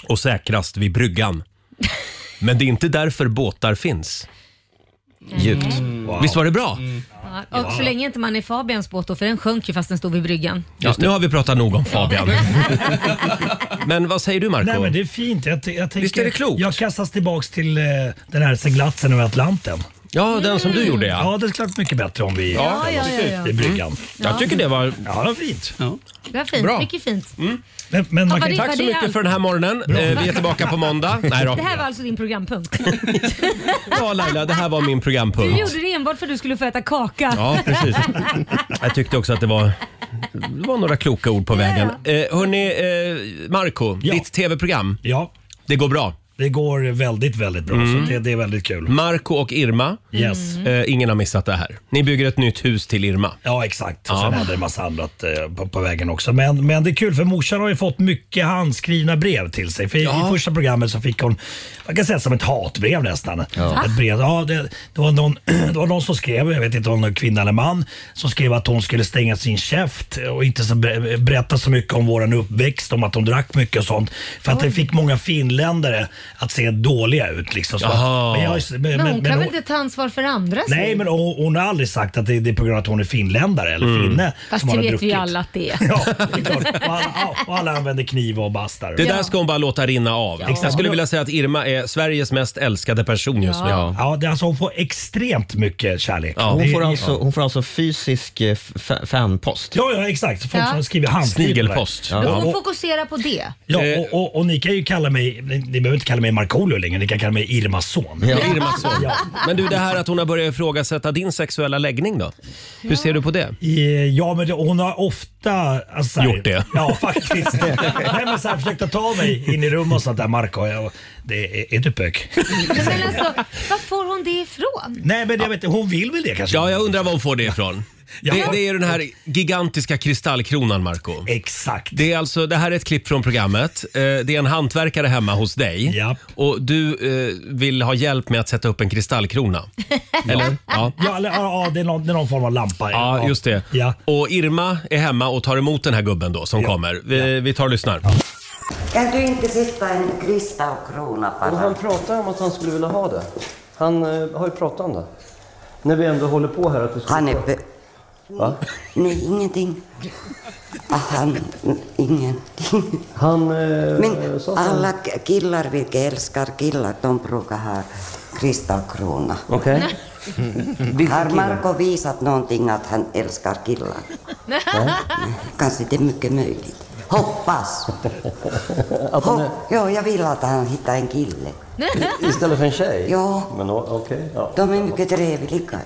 [SPEAKER 1] och säkrast vid bryggan. Men det är inte därför båtar finns.
[SPEAKER 2] Mm.
[SPEAKER 4] Djupt.
[SPEAKER 1] Visst var det bra?
[SPEAKER 2] Ja, och så länge inte man är i Fabians båt då för den sjönk ju fast den stod vid bryggan.
[SPEAKER 1] Ja, nu har vi pratat nog om Fabian. men vad säger du Marco?
[SPEAKER 9] Nej men det är fint. Jag, t- jag tänker,
[SPEAKER 1] Visst är det klokt?
[SPEAKER 9] Jag kastas tillbaks till eh, den här seglatsen över Atlanten.
[SPEAKER 1] Ja, den som du gjorde ja.
[SPEAKER 9] Ja, det är klart mycket bättre om vi
[SPEAKER 1] Ja,
[SPEAKER 9] ja,
[SPEAKER 2] Mm. ja, ja, ja.
[SPEAKER 9] i bryggan.
[SPEAKER 1] Jag tycker det var...
[SPEAKER 9] Ja, det var fint.
[SPEAKER 7] Ja.
[SPEAKER 2] Det var fint,
[SPEAKER 1] Bra. Mm.
[SPEAKER 2] mycket fint.
[SPEAKER 9] Men, men man
[SPEAKER 2] vad
[SPEAKER 9] kan,
[SPEAKER 2] det-
[SPEAKER 1] Tack så
[SPEAKER 2] är
[SPEAKER 1] mycket
[SPEAKER 2] allt.
[SPEAKER 1] för den här morgonen. Eh, Vi är tillbaka på måndag. Nej då.
[SPEAKER 2] Det här var alltså din programpunkt.
[SPEAKER 1] Ja Laila, det här var min
[SPEAKER 2] Du
[SPEAKER 1] programpunkt.
[SPEAKER 2] gjorde det enbart för att du skulle få äta kaka.
[SPEAKER 1] Ja, precis. Jag tyckte också att det var, det var några kloka ord på vägen. Eh, hörni, eh, Marco,
[SPEAKER 9] Ja.
[SPEAKER 1] ditt tv-program,
[SPEAKER 9] ja,
[SPEAKER 1] det går bra.
[SPEAKER 9] det går väldigt, väldigt bra.
[SPEAKER 1] Mm.
[SPEAKER 9] Så det, det är väldigt kul.
[SPEAKER 1] Marco och Irma,
[SPEAKER 9] Yes.
[SPEAKER 1] eh, ingen har missat det här. Ni bygger ett nytt hus till Irma.
[SPEAKER 9] Ja, exakt. Och Sen hade det en massa annat eh, på, på vägen också. Men, men det är kul för morsan har ju fått mycket handskrivna brev till sig. För i- I första programmet så fick hon, man kan säga som ett hatbrev nästan. Ett brev, ja, det, det, var någon, det var någon som skrev, jag vet inte om det var en kvinna eller man, som skrev att hon skulle stänga sin käft och inte så, ber- berätta så mycket om våran uppväxt, om att hon drack mycket och sånt. För att det fick många finländare att se dåliga ut. Liksom. Så,
[SPEAKER 1] Jaha.
[SPEAKER 9] jag- Eh, men-
[SPEAKER 2] Men hon
[SPEAKER 9] men
[SPEAKER 2] kan
[SPEAKER 9] hon-
[SPEAKER 2] väl inte ta ansvar för andra?
[SPEAKER 9] Nej,
[SPEAKER 2] så?
[SPEAKER 9] men hon, hon har aldrig sagt att det, det är på grund av att hon är finländare eller
[SPEAKER 4] Mm.
[SPEAKER 9] finne
[SPEAKER 2] Fast
[SPEAKER 9] som
[SPEAKER 2] det
[SPEAKER 9] hon har
[SPEAKER 2] vet
[SPEAKER 9] druckit.
[SPEAKER 2] vi ju alla att det är.
[SPEAKER 9] Ja, det är klart. Och alla, ja, och alla använder kniv och bastar.
[SPEAKER 1] Det
[SPEAKER 9] ja.
[SPEAKER 1] där ska hon bara låta rinna av. Jag skulle vilja säga att Irma är Sveriges mest älskade person just nu.
[SPEAKER 4] Ja.
[SPEAKER 9] det, alltså, hon får extremt mycket kärlek.
[SPEAKER 1] Ja,
[SPEAKER 4] Hon
[SPEAKER 9] Det-
[SPEAKER 4] får alltså, hon får alltså fysisk eh, f- fanpost.
[SPEAKER 9] Ja, ja, exakt. Folk
[SPEAKER 2] Ja.
[SPEAKER 9] som skriver handskrivna.
[SPEAKER 1] Snigelpost.
[SPEAKER 4] Ja.
[SPEAKER 2] Hon
[SPEAKER 9] Och,
[SPEAKER 2] fokuserar på det.
[SPEAKER 9] ja, och, och, och ni kan ju kalla mig, ni, ni behöver inte kalla mig Markoolio längre, ni kan kalla mig Irmas son.
[SPEAKER 4] Ja.
[SPEAKER 1] Irmas son. Men du, det här att hon har börjat ifrågasätta din sexuella läggning då? Hur ser du på det?
[SPEAKER 9] Eh, Ja, men det, hon har ofta... Alltså, så här-
[SPEAKER 1] Gjort det.
[SPEAKER 9] Ja, faktiskt. Nej, men så här, försökt att ta mig in i rum och sånt där, Marko. Jag, det, är, är du pög?
[SPEAKER 2] Nej, Men alltså, var får hon det ifrån?
[SPEAKER 9] Nej, men jag vet inte. Hon vill väl det kanske?
[SPEAKER 1] Ja, jag undrar var hon får det ifrån. Det, det är den här gigantiska kristallkronan, Marco.
[SPEAKER 9] Exakt.
[SPEAKER 1] Det, är alltså, det här är ett klipp från programmet. Eh, Det är en hantverkare hemma hos dig.
[SPEAKER 9] Japp.
[SPEAKER 1] Och du eh, vill ha hjälp med att sätta upp en kristallkrona. Eller? Ja.
[SPEAKER 9] Ja, eller, ja, ja, det, är någon, det är någon form av lampa.
[SPEAKER 1] Ja, just det.
[SPEAKER 9] Ja.
[SPEAKER 1] Och Irma är hemma och tar emot den här gubben då som
[SPEAKER 9] Ja.
[SPEAKER 1] kommer. Vi, vi tar och lyssnar.
[SPEAKER 10] Kan du inte sätta en kristallkrona
[SPEAKER 8] Och
[SPEAKER 10] bara?
[SPEAKER 8] han pratar om att han skulle vilja ha det. Han eh, har ju pratat om det. När vi ändå håller på här att du skulle...
[SPEAKER 10] Han är... Be-
[SPEAKER 8] Va?
[SPEAKER 10] Nej, ingenting. Ah, Han... Ingenting.
[SPEAKER 8] Han eh,
[SPEAKER 10] Men
[SPEAKER 8] sa...
[SPEAKER 10] alla k- killar, vilka älskar killar, de brukar ha kristallkrona.
[SPEAKER 8] Okej.
[SPEAKER 10] Har Marco visat någonting att han älskar killar? Nej, Kanske det är mycket möjligt. Hoppas! Hopp, ja, jag vill att han hittar en kille.
[SPEAKER 8] Istället för en tjej?
[SPEAKER 10] Ja.
[SPEAKER 8] Men o- okej, ja.
[SPEAKER 10] De är mycket trevliga.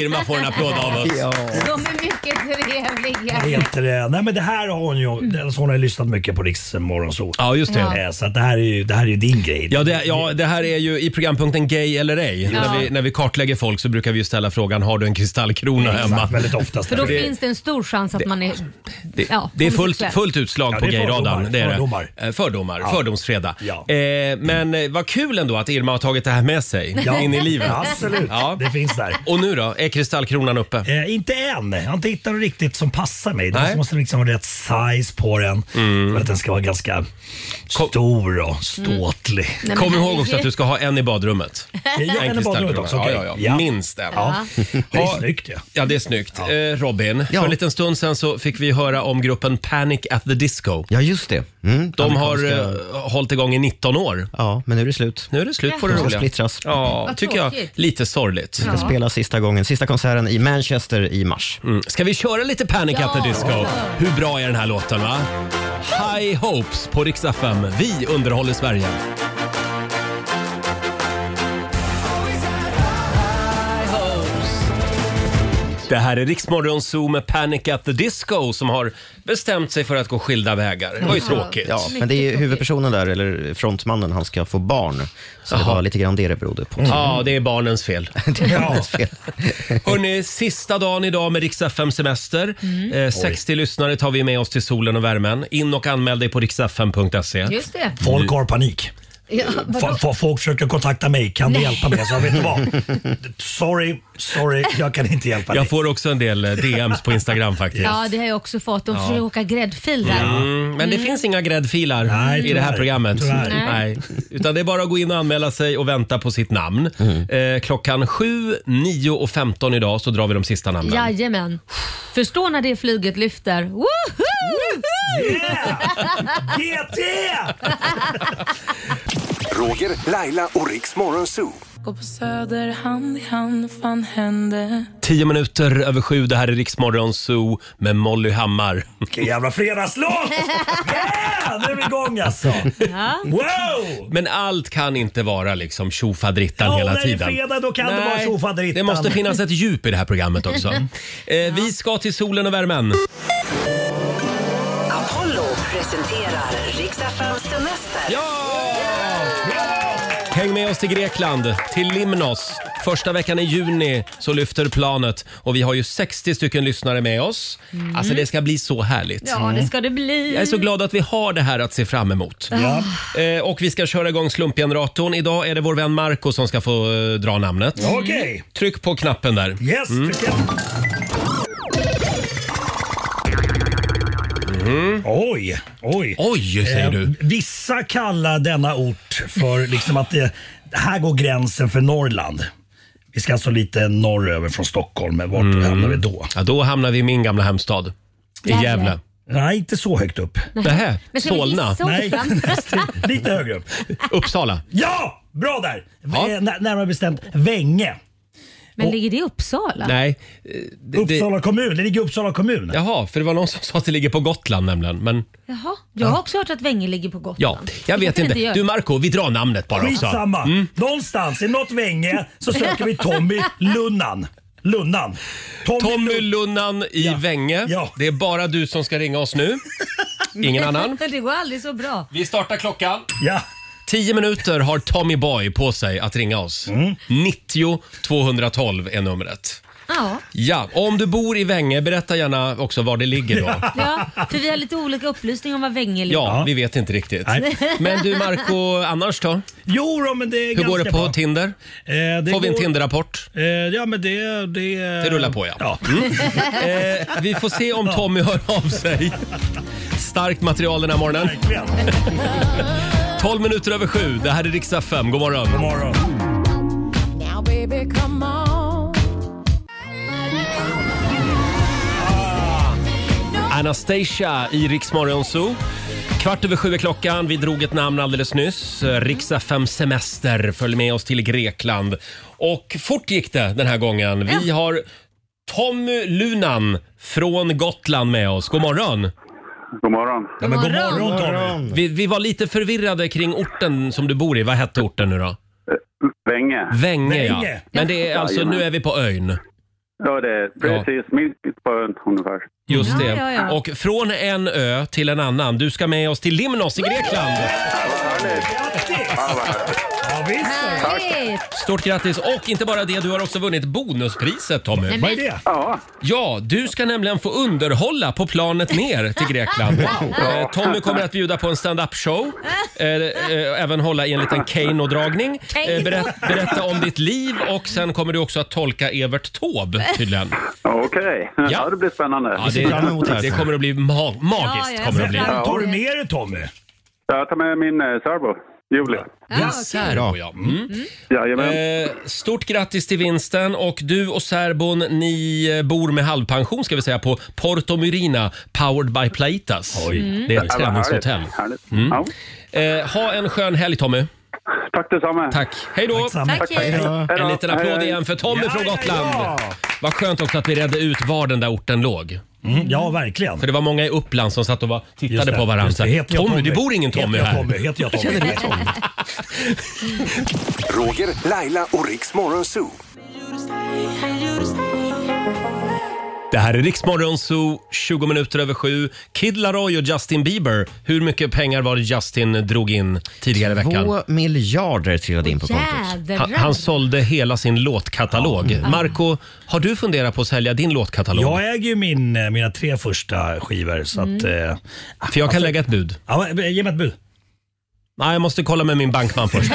[SPEAKER 1] Irma får en applåd av oss.
[SPEAKER 2] De är mycket trevliga.
[SPEAKER 9] Heter det. Nej, men det här har hon ju, det- så hon har ju lyssnat mycket på Riks morgonsol.
[SPEAKER 1] Ja, just det.
[SPEAKER 9] Eh, Så att det här är ju, det här är ju din grej.
[SPEAKER 1] Ja det, ja, det här är ju i programpunkten Gay eller ej. När, vi, när vi kartlägger folk så brukar vi ju ställa frågan Har du en kristallkrona
[SPEAKER 9] Exakt,
[SPEAKER 1] hemma?
[SPEAKER 9] väldigt oftast.
[SPEAKER 2] För då
[SPEAKER 9] Det-
[SPEAKER 2] finns det en stor chans att man är...
[SPEAKER 1] Det,
[SPEAKER 2] Ja,
[SPEAKER 1] det är fullt,
[SPEAKER 2] homosexuell.
[SPEAKER 1] fullt utslag
[SPEAKER 9] Ja,
[SPEAKER 1] på
[SPEAKER 9] det är
[SPEAKER 1] gayradarn.
[SPEAKER 9] fördomar,
[SPEAKER 1] Det är det.
[SPEAKER 9] fördomar.
[SPEAKER 1] Eh, Fördomar, fördomsfredag.
[SPEAKER 9] Ja.
[SPEAKER 1] Eh, men eh, vad kul ändå att Irma har tagit det här med sig in i livet.
[SPEAKER 9] Ja, absolut,
[SPEAKER 1] Ja.
[SPEAKER 9] det finns där.
[SPEAKER 1] Och nu då? Är kristallkronan uppe?
[SPEAKER 9] Eh, inte än. Jag har inte hittat något riktigt som passar mig.
[SPEAKER 1] Nej. Mm.
[SPEAKER 9] Det måste liksom vara rätt size på den. För att den ska vara ganska stor och ståtlig.
[SPEAKER 1] Kom
[SPEAKER 2] Mm. men
[SPEAKER 1] ihåg
[SPEAKER 2] herregud.
[SPEAKER 1] också att du ska ha en i badrummet.
[SPEAKER 9] Jag gör den i badrummet också. okej.
[SPEAKER 1] Ja, ja, ja. Minst en.
[SPEAKER 9] Ja. Det
[SPEAKER 1] Ja.
[SPEAKER 9] är snyggt ju.
[SPEAKER 1] Ja, det är snyggt. Eh, Robin, för en liten stund sen så fick vi höra om gruppen Panic at the Disco.
[SPEAKER 4] Ja, just det. Mm,
[SPEAKER 1] De har
[SPEAKER 4] amerikanska-
[SPEAKER 1] eh, hållit igång i 19 år.
[SPEAKER 4] Ja, men nu är det slut.
[SPEAKER 1] Nu är det slut på det
[SPEAKER 4] De ska
[SPEAKER 1] roliga.
[SPEAKER 4] splittras.
[SPEAKER 1] Ja,
[SPEAKER 2] Vad
[SPEAKER 1] tycker jag.
[SPEAKER 2] tråkigt.
[SPEAKER 1] Lite sorgligt.
[SPEAKER 4] Ska
[SPEAKER 2] Ja.
[SPEAKER 4] spela sista gången, sista konserten i Manchester i mars.
[SPEAKER 1] Mm. Ska vi köra lite Panic at the Disco? Hur bra är den här låten va? High Hopes på Rix FM. Vi underhåller Sverige. Det här är Riksmorgon Zoo med Panic at the Disco som har bestämt sig för att gå skilda vägar. Det var ju tråkigt.
[SPEAKER 4] Ja, men det är ju
[SPEAKER 2] tråkigt.
[SPEAKER 4] huvudpersonen där, eller frontmannen, han ska få barn. Så det var lite grann det det berodde på. Mm.
[SPEAKER 1] Ja, det är barnens fel.
[SPEAKER 9] Ja.
[SPEAKER 1] Hörni, sista dagen idag med Rix FM semester.
[SPEAKER 4] Mm.
[SPEAKER 1] Eh, 60 lyssnare tar vi med oss till solen och värmen. In och anmäl dig på riksfm.se.
[SPEAKER 2] Just det.
[SPEAKER 9] Folk har panik.
[SPEAKER 2] Ja, vadå?
[SPEAKER 9] F- f- folk försöker kontakta mig. Kan du
[SPEAKER 2] Nej.
[SPEAKER 9] hjälpa mig? Så jag vet du vad? Sorry, sorry, jag kan inte hjälpa dig.
[SPEAKER 1] Jag får också en del eh, DMs på Instagram faktiskt.
[SPEAKER 2] Ja, det har jag också fått. De försöker åka gräddfil där.
[SPEAKER 1] Mm, men det finns inga gräddfilar
[SPEAKER 9] Nej,
[SPEAKER 1] i det här
[SPEAKER 9] tyvärr.
[SPEAKER 1] programmet.
[SPEAKER 9] Tyvärr.
[SPEAKER 1] Nej.
[SPEAKER 9] Nej.
[SPEAKER 1] Utan det är bara att gå in och anmäla sig och vänta på sitt namn.
[SPEAKER 9] Mm.
[SPEAKER 1] Eh, klockan 7, 9 och 15 idag så drar vi de sista namnen.
[SPEAKER 2] Jajamän. Förstå när det flyget lyfter. Woho!
[SPEAKER 9] GT!
[SPEAKER 3] Roger, Laila och Riks Morgonzoo.
[SPEAKER 11] Gå på Söder hand i hand, fan hände?
[SPEAKER 1] 10 minuter över 7, det här är Riksmorgon Zoo med Molly Hammar.
[SPEAKER 9] Vilken jävla fredagslåt! Yeah! Nu är vi igång alltså. Wow!
[SPEAKER 1] Men allt kan inte vara liksom tjofaderittan
[SPEAKER 9] Ja,
[SPEAKER 1] hela
[SPEAKER 9] när det är
[SPEAKER 1] tiden.
[SPEAKER 9] fredag, då kan det vara tjofaderittan.
[SPEAKER 1] Det måste finnas ett djup i det här programmet också. eh, Vi ska till solen och värmen.
[SPEAKER 11] Apollo presenterar Riks-FMs semester.
[SPEAKER 1] Ja! Häng med oss till Grekland, till Limnos. Första veckan i juni så lyfter planet och vi har ju 60 stycken lyssnare med oss. Alltså det ska bli så härligt.
[SPEAKER 2] Mm.
[SPEAKER 1] Mm.
[SPEAKER 2] Ja, det ska det bli. Ah.
[SPEAKER 1] Jag är så glad att vi har det här att se fram emot.
[SPEAKER 9] Ja.
[SPEAKER 1] Eh, och vi ska köra igång slumpgeneratorn. Idag är det vår vän Marco som ska få eh, dra namnet. Mm.
[SPEAKER 9] Okej.
[SPEAKER 1] Tryck på knappen där. Mm.
[SPEAKER 9] Yes, tycker
[SPEAKER 1] Mm.
[SPEAKER 9] jag. Oj, oj.
[SPEAKER 1] Oj, säger
[SPEAKER 9] Eh,
[SPEAKER 1] du.
[SPEAKER 9] Vissa kallar denna ort för liksom att det, här går gränsen för Norrland. Vi ska alltså lite norröver från Stockholm, men vart
[SPEAKER 1] Mm.
[SPEAKER 9] hamnar vi då?
[SPEAKER 1] Ja, då hamnar vi i min gamla hemstad. I
[SPEAKER 2] Gävle.
[SPEAKER 1] Gävle.
[SPEAKER 9] Nej, inte så högt upp.
[SPEAKER 1] Nähä,
[SPEAKER 2] Men ska vi
[SPEAKER 1] Solna.
[SPEAKER 2] gissa oss
[SPEAKER 9] Nej,
[SPEAKER 2] fram?
[SPEAKER 9] lite högre upp.
[SPEAKER 1] Uppsala.
[SPEAKER 9] Ja, bra där!
[SPEAKER 1] Ja.
[SPEAKER 9] Eh, nä- Närmare bestämt Vänge.
[SPEAKER 2] Men ligger det i Uppsala?
[SPEAKER 1] Nej. eh, det- det-
[SPEAKER 9] Uppsala kommun. Det ligger i Uppsala kommun.
[SPEAKER 1] Jaha, för det var någon som sa att det ligger på Gotland nämligen. Men
[SPEAKER 2] Jaha. Jag har också hört att Vänge ligger på
[SPEAKER 1] ja,
[SPEAKER 2] Gotland.
[SPEAKER 1] jag
[SPEAKER 2] Det
[SPEAKER 1] vet
[SPEAKER 2] kanske
[SPEAKER 1] inte.
[SPEAKER 2] gör.
[SPEAKER 1] Du Marco, vi drar namnet bara också. Mm.
[SPEAKER 9] Skitsamma. Någonstans i något Vänge så söker vi Tommy Lunnan. Lunnan. Tommy,
[SPEAKER 1] Tommy
[SPEAKER 9] Lun-
[SPEAKER 1] Lunnan i Vänge.
[SPEAKER 9] Ja.
[SPEAKER 1] Det är bara du som ska ringa oss nu. Ingen annan.
[SPEAKER 2] det går aldrig så bra.
[SPEAKER 1] Vi startar klockan.
[SPEAKER 9] Ja.
[SPEAKER 1] 10 minuter
[SPEAKER 9] Mm.
[SPEAKER 1] har Tommy Boy på sig att ringa oss. 90 212 är numret.
[SPEAKER 2] Ja.
[SPEAKER 1] Ja, och om du bor i Vänge, berätta gärna också var det ligger då.
[SPEAKER 2] ja, för vi har lite olika upplysningar om vad Vänge ligger.
[SPEAKER 1] Ja, vi vet inte riktigt.
[SPEAKER 2] Nej.
[SPEAKER 1] Men du Marco, annars då?
[SPEAKER 9] Jo då, men det är
[SPEAKER 1] Hur går
[SPEAKER 9] ganska
[SPEAKER 1] det på
[SPEAKER 9] bra. Eh,
[SPEAKER 1] Tinder? Får vi en
[SPEAKER 9] går-
[SPEAKER 1] Tinder-rapport?
[SPEAKER 9] Eh, ja, men det... Det,
[SPEAKER 1] Det rullar på ja. Mm. Eh, vi får se om
[SPEAKER 9] Ja.
[SPEAKER 1] Tommy hör av sig. Starkt material den här morgonen. 12 minuter över sju. Det här är riksdag 5. God morgon. God morgon.
[SPEAKER 12] Now baby come on
[SPEAKER 1] Anastasia i Rix Morgon Zoo. Kvart över sju är klockan. Vi drog ett namn alldeles nyss. Riksa 5 Semester. Följ med oss till Grekland. Och fort gick det den här gången. Vi har Tommy Lunan från Gotland med oss. God morgon!
[SPEAKER 13] God morgon.
[SPEAKER 1] Ja, men god morgon Tommy! Vi, vi var lite förvirrade kring orten som du bor i. Vad hette orten nu då?
[SPEAKER 13] Vänge.
[SPEAKER 1] Vänge ja. Men det är alltså,
[SPEAKER 13] Jajamän.
[SPEAKER 1] nu är vi på ön.
[SPEAKER 13] Ja, det är precis mitt på ön ungefär.
[SPEAKER 1] Just det.
[SPEAKER 13] ja, ja.
[SPEAKER 1] Och från en ö till en annan. Du ska med oss till Limnos i Grekland.
[SPEAKER 2] Härligt!
[SPEAKER 1] Stort grattis! Och inte bara det, du har också vunnit bonuspriset Tommy.
[SPEAKER 2] Nej, men- Vad är det?
[SPEAKER 13] Ja.
[SPEAKER 1] ja, du ska nämligen få underhålla på planet ner till Grekland. Eh, Tommy kommer att bjuda på en stand-up show. Eh, eh, Även hålla i en liten Keno-dragning.
[SPEAKER 12] Keno.
[SPEAKER 1] Eh, Berätt, berätta om ditt liv och sen kommer du också att tolka Evert Taube tydligen.
[SPEAKER 13] Okej, ja. det blir spännande.
[SPEAKER 1] Ja, det, det kommer att bli ma- magiskt. kommer det att bli.
[SPEAKER 9] Tar du med dig Tommy?
[SPEAKER 13] Jag tar med min eh, särbo, Julia.
[SPEAKER 1] Ja, särbo ja. Mm. Eh, stort grattis till vinsten och du och särbon ni eh, bor med halvpension ska vi säga på Porto Myrina Powered by Plaitas.
[SPEAKER 13] Mm.
[SPEAKER 1] Det är
[SPEAKER 13] Ja,
[SPEAKER 1] ett
[SPEAKER 13] vad
[SPEAKER 1] träningshotell.
[SPEAKER 13] härligt, härligt.
[SPEAKER 1] Mm. Eh, ha en skön helg Tommy.
[SPEAKER 13] Tack detsamma.
[SPEAKER 1] Tack. Hej då.
[SPEAKER 13] Tack, Tack, hej. hej då.
[SPEAKER 1] En liten
[SPEAKER 13] Hej,
[SPEAKER 1] applåd
[SPEAKER 13] hej.
[SPEAKER 1] igen för Tommy
[SPEAKER 13] Ja,
[SPEAKER 1] från
[SPEAKER 13] ja,
[SPEAKER 1] Gotland.
[SPEAKER 13] ja.
[SPEAKER 1] Vad skönt också att vi redde ut var den där orten låg.
[SPEAKER 9] Mm, ja, verkligen.
[SPEAKER 1] För det var många i Uppland som satt och var,
[SPEAKER 9] Just
[SPEAKER 1] tittade
[SPEAKER 9] det,
[SPEAKER 1] på varandra.
[SPEAKER 9] just det.
[SPEAKER 1] Tommy,
[SPEAKER 9] Heter jag
[SPEAKER 1] Tommy,
[SPEAKER 9] Tommy?
[SPEAKER 1] det bor ingen Tommy
[SPEAKER 9] Heter jag
[SPEAKER 1] här.
[SPEAKER 9] Tommy? Heter jag Tommy?
[SPEAKER 1] Känner du-
[SPEAKER 3] Roger, Laila och Riks Morgonzoo.
[SPEAKER 1] Det här är Riksmorgon Zoo, 20 minuter över sju. Kid Laroi och Justin Bieber. Hur mycket pengar var det Justin drog in tidigare i veckan?
[SPEAKER 4] Två miljarder trillade in på kontot.
[SPEAKER 2] jädrar.
[SPEAKER 1] Han, han sålde hela sin låtkatalog.
[SPEAKER 9] Ja.
[SPEAKER 1] Marco, har du funderat på att sälja din låtkatalog?
[SPEAKER 9] Jag äger ju min, eh, mina tre första skivor. Så att, eh,
[SPEAKER 1] För jag kan lägga ett bud.
[SPEAKER 9] Ja, men, eh, ge mig ett bud.
[SPEAKER 1] Nej, jag måste kolla med min bankman först.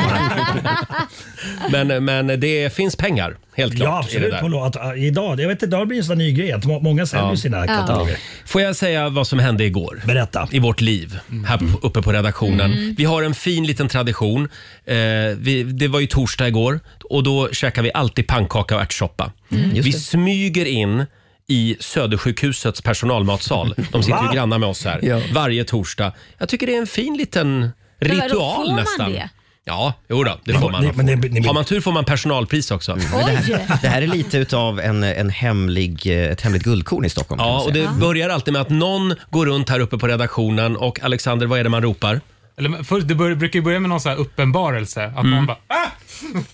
[SPEAKER 1] men, men det finns pengar, helt klart.
[SPEAKER 9] Ja,
[SPEAKER 1] i
[SPEAKER 9] absolut.
[SPEAKER 1] det där.
[SPEAKER 9] På låt. Ja, Idag, jag vet inte, idag blir det en sån här ny grej att må- många säljer
[SPEAKER 1] Ja.
[SPEAKER 9] sina kataloger.
[SPEAKER 1] Får jag säga vad som hände igår? Berätta. I vårt liv, här
[SPEAKER 9] Mm.
[SPEAKER 1] på- uppe på redaktionen.
[SPEAKER 2] Mm.
[SPEAKER 1] Vi har en fin liten tradition. Eh, vi, det var ju torsdag igår och då käkar vi alltid pannkaka och ärtsoppa.
[SPEAKER 2] Mm.
[SPEAKER 1] Vi smyger in i Södersjukhusets personalmatsal. De sitter
[SPEAKER 9] Va?
[SPEAKER 1] ju grannar med oss här varje torsdag. Jag tycker det är en fin liten
[SPEAKER 2] Men vadå,
[SPEAKER 1] ritual
[SPEAKER 2] får man
[SPEAKER 1] nästan.
[SPEAKER 2] det?
[SPEAKER 1] Ja, jo då, det får man. Har man tur får man personalpris också.
[SPEAKER 4] Mm. Men Det, här, det här är lite utav en, en hemlig, eh, ett hemligt guldkorn i Stockholm. kan man
[SPEAKER 1] Ja, och
[SPEAKER 4] säga.
[SPEAKER 1] det börjar alltid med att någon går runt här uppe på redaktionen och Alexander, vad är det man ropar?
[SPEAKER 14] Eller, först, det bör, brukar ju börja med någon så här uppenbarelse. Att
[SPEAKER 1] Mm.
[SPEAKER 14] man bara ah!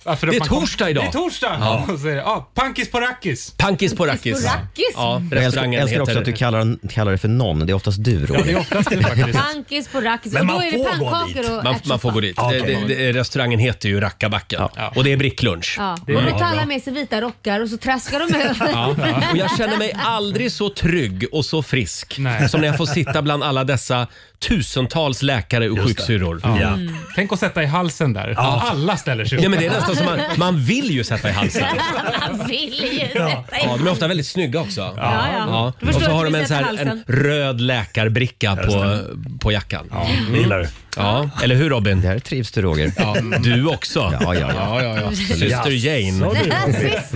[SPEAKER 14] Ja, för att
[SPEAKER 1] Det är
[SPEAKER 14] man kom-
[SPEAKER 1] torsdag idag.
[SPEAKER 14] Det är torsdag!
[SPEAKER 1] Ja.
[SPEAKER 14] Ja. Och så är det, ah, pankis på rackis.
[SPEAKER 1] Pankis på rackis.
[SPEAKER 2] Rackis?
[SPEAKER 1] Ja,
[SPEAKER 4] jag älskar,
[SPEAKER 1] restaurangen
[SPEAKER 4] jag älskar också
[SPEAKER 1] heter-
[SPEAKER 4] att du kallar, kallar det för någon. Det är oftast du, Roger.
[SPEAKER 2] Pankis på rackis. Och då är det pannkakor och
[SPEAKER 1] Man, man får
[SPEAKER 2] ärtsoppa.
[SPEAKER 1] gå dit.
[SPEAKER 4] Ja, okej.
[SPEAKER 1] Det, det, det, restaurangen heter ju Rackabacken och det är bricklunch.
[SPEAKER 2] Ja. Och då tar alla med sig vita rockar och så traskar de över.
[SPEAKER 1] Ja. Och jag känner mig aldrig så trygg och så frisk som när jag får sitta bland alla dessa tusentals läkare och sjuksyrror.
[SPEAKER 14] Ja. Tänk att sätta i halsen där.
[SPEAKER 1] Ja.
[SPEAKER 14] Alla ställer sig upp.
[SPEAKER 1] Ja, men det är nästan som man, man vill ju sätta i halsen.
[SPEAKER 2] Man vill ju
[SPEAKER 1] Ja.
[SPEAKER 2] sätta
[SPEAKER 1] ja,
[SPEAKER 2] in.
[SPEAKER 1] de är ofta väldigt snygga också. Ja,
[SPEAKER 2] ja. Du förstår
[SPEAKER 1] Och så
[SPEAKER 2] att
[SPEAKER 1] har
[SPEAKER 2] vi
[SPEAKER 1] de en, så
[SPEAKER 2] sätter
[SPEAKER 1] här, en
[SPEAKER 2] halsen.
[SPEAKER 1] röd läkarbricka på, på jackan. Ja,
[SPEAKER 9] det gillar du.
[SPEAKER 1] Ja, eller hur Robin?
[SPEAKER 4] Där trivs du Roger.
[SPEAKER 1] Ja, du också.
[SPEAKER 4] Ja, ja, ja. Absolut.
[SPEAKER 1] Syster
[SPEAKER 4] Ja,
[SPEAKER 1] Jane.
[SPEAKER 4] så du.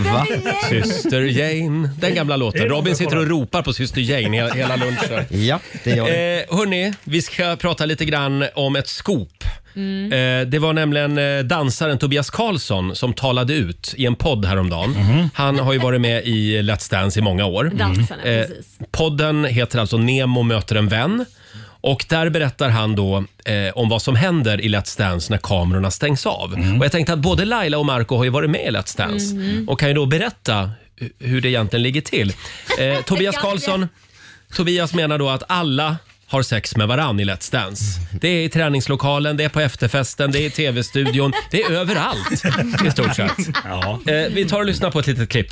[SPEAKER 1] Va?
[SPEAKER 4] Jane.
[SPEAKER 1] Syster Jane. Den gamla
[SPEAKER 4] Är
[SPEAKER 1] låten.
[SPEAKER 4] det
[SPEAKER 1] Robin
[SPEAKER 4] någon
[SPEAKER 1] sitter
[SPEAKER 4] som
[SPEAKER 1] och ropar på Syster Jane hela, hela lunchen.
[SPEAKER 4] Ja, det gör det.
[SPEAKER 1] Eh, hörni, vi ska prata lite grann om ett scoop.
[SPEAKER 12] Mm.
[SPEAKER 1] Eh, det var nämligen eh, dansaren Tobias Karlsson som talade ut i en podd häromdagen.
[SPEAKER 12] Mhm.
[SPEAKER 1] Han har ju varit med i Let's Dance i många år. Eh,
[SPEAKER 12] Dansarna, Mm. precis.
[SPEAKER 1] podden heter alltså Nemo möter en vän. Och där berättar han då eh, om vad som händer i Let's Dance när kamerorna stängs av.
[SPEAKER 12] Mm.
[SPEAKER 1] Och jag tänkte att både Laila och Marco har ju varit med i Let's Dance
[SPEAKER 12] Mhm.
[SPEAKER 1] och kan ju då berätta hu- hur det egentligen ligger till. Eh, Tobias Karlsson, Tobias menar då att alla har sex med varann i Let's Dance. Det är i träningslokalen, det är på efterfesten, det är i tv-studion, det är överallt i stort sett. Eh, vi tar och lyssnar på ett litet klipp.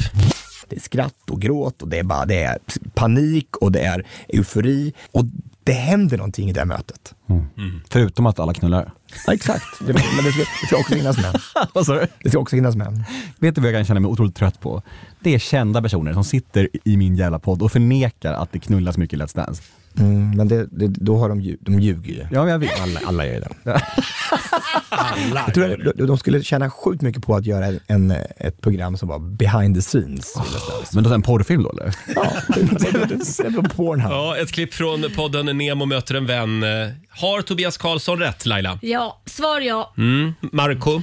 [SPEAKER 15] Det är skratt och gråt och det är, bara, det är panik och det är eufori. Och det händer någonting i det här mötet.
[SPEAKER 1] Mm.
[SPEAKER 16] Förutom att alla knullar.
[SPEAKER 15] Ja, exakt. Det, men det ska, det ska också finnas män.
[SPEAKER 16] Vad sa du?
[SPEAKER 15] Det ska också finnas män.
[SPEAKER 16] Vet du vad jag kan känna mig otroligt trött på? Det är kända personer som sitter i min jävla podd och förnekar att det knullas mycket i Let's Dance.
[SPEAKER 15] Mm, men det, det, då har de, ljug, de ljuger ju.
[SPEAKER 16] Ja, men jag vet.
[SPEAKER 15] Alla, alla gör ju det. Jag tror att de, de skulle tjäna sjukt mycket på att göra en, ett program som var behind the scenes.
[SPEAKER 16] Men då är det en porrfilm då eller?
[SPEAKER 15] på Pornhub.
[SPEAKER 1] Ja, ett klipp från podden Nemo möter en vän. Eh, Har Tobias Karlsson rätt Laila?
[SPEAKER 2] Ja, svar ja.
[SPEAKER 1] Mm. Marco?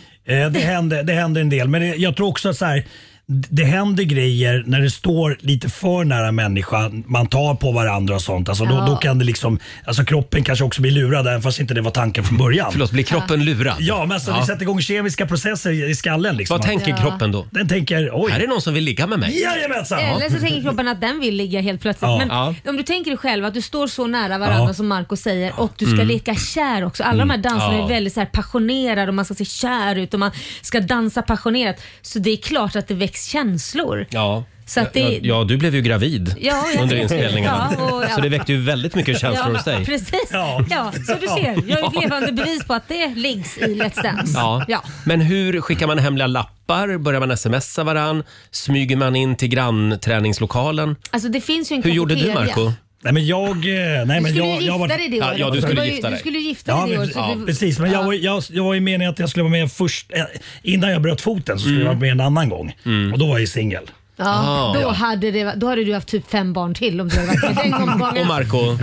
[SPEAKER 9] Eh, det, händer, det händer en del, men det, jag tror också att så här, d- det händer grejer när det står lite för nära människan. Man tar på varandra och sånt. Alltså,
[SPEAKER 1] Ja.
[SPEAKER 9] då, då kan det liksom, alltså, kroppen kanske också blir lurad, även fast inte det var tanken från början.
[SPEAKER 1] Förlåt, blir kroppen lurad?
[SPEAKER 9] Ja, men alltså,
[SPEAKER 1] Ja.
[SPEAKER 9] det sätter igång kemiska processer i i skallen. Liksom.
[SPEAKER 1] Vad tänker Ja. kroppen då?
[SPEAKER 9] Den tänker oj. Här är
[SPEAKER 1] någon som vill ligga med mig.
[SPEAKER 9] Jajamensan!
[SPEAKER 2] Eller så tänker kroppen att den vill ligga helt plötsligt.
[SPEAKER 9] Alltså, Ja.
[SPEAKER 2] Men
[SPEAKER 9] Ja.
[SPEAKER 2] om du tänker dig själv att du står så nära varandra
[SPEAKER 9] Ja.
[SPEAKER 2] som Marco säger och du ska
[SPEAKER 9] Mm.
[SPEAKER 2] leka kär också. Alla
[SPEAKER 9] Mm.
[SPEAKER 2] de här danserna
[SPEAKER 9] Ja.
[SPEAKER 2] är väldigt så här passionerade och man ska se kär ut och man ska dansa passionerat. Så det är klart att det väcks känslor.
[SPEAKER 1] Ja.
[SPEAKER 2] Så att det-
[SPEAKER 1] ja, ja, du blev ju gravid
[SPEAKER 2] Ja, jag-
[SPEAKER 1] under inspelningarna.
[SPEAKER 2] Ja, och- ja.
[SPEAKER 1] Så det väckte ju väldigt mycket känslor
[SPEAKER 2] ja,
[SPEAKER 1] hos dig.
[SPEAKER 2] Precis. Ja.
[SPEAKER 1] Ja.
[SPEAKER 2] så du ser. Jag är ett levande bevis på att det liggs i Let's Dance.
[SPEAKER 1] Ja.
[SPEAKER 2] Ja.
[SPEAKER 1] Men hur skickar man hemliga lappar? Börjar man smsa varann? Smyger man in till grannträningslokalen?
[SPEAKER 2] Alltså det finns ju en
[SPEAKER 1] Hur gjorde du
[SPEAKER 2] cafeteria.
[SPEAKER 1] Marco?
[SPEAKER 9] Nej men jag... eh, Nej,
[SPEAKER 2] Du
[SPEAKER 9] men
[SPEAKER 2] skulle
[SPEAKER 9] jag,
[SPEAKER 2] ju
[SPEAKER 9] jag
[SPEAKER 2] gifta
[SPEAKER 9] var-
[SPEAKER 2] dig det året.
[SPEAKER 1] Ja, du skulle
[SPEAKER 2] var ju-
[SPEAKER 1] gifta dig.
[SPEAKER 2] Du skulle gifta dig
[SPEAKER 9] Ja,
[SPEAKER 2] det
[SPEAKER 9] men-
[SPEAKER 2] året. så
[SPEAKER 9] ja,
[SPEAKER 2] du-
[SPEAKER 9] precis, men jag, var- jag, jag var ju meningen att jag skulle vara med först. eh, Innan jag bröt foten så skulle
[SPEAKER 1] Mm.
[SPEAKER 9] jag vara med en annan gång. Och då var jag ju singel.
[SPEAKER 2] Ja,
[SPEAKER 1] Ah.
[SPEAKER 2] då,
[SPEAKER 1] Ja.
[SPEAKER 2] hade det, då hade du haft typ fem barn till om du hade varit med den omgången.
[SPEAKER 1] Och Marco,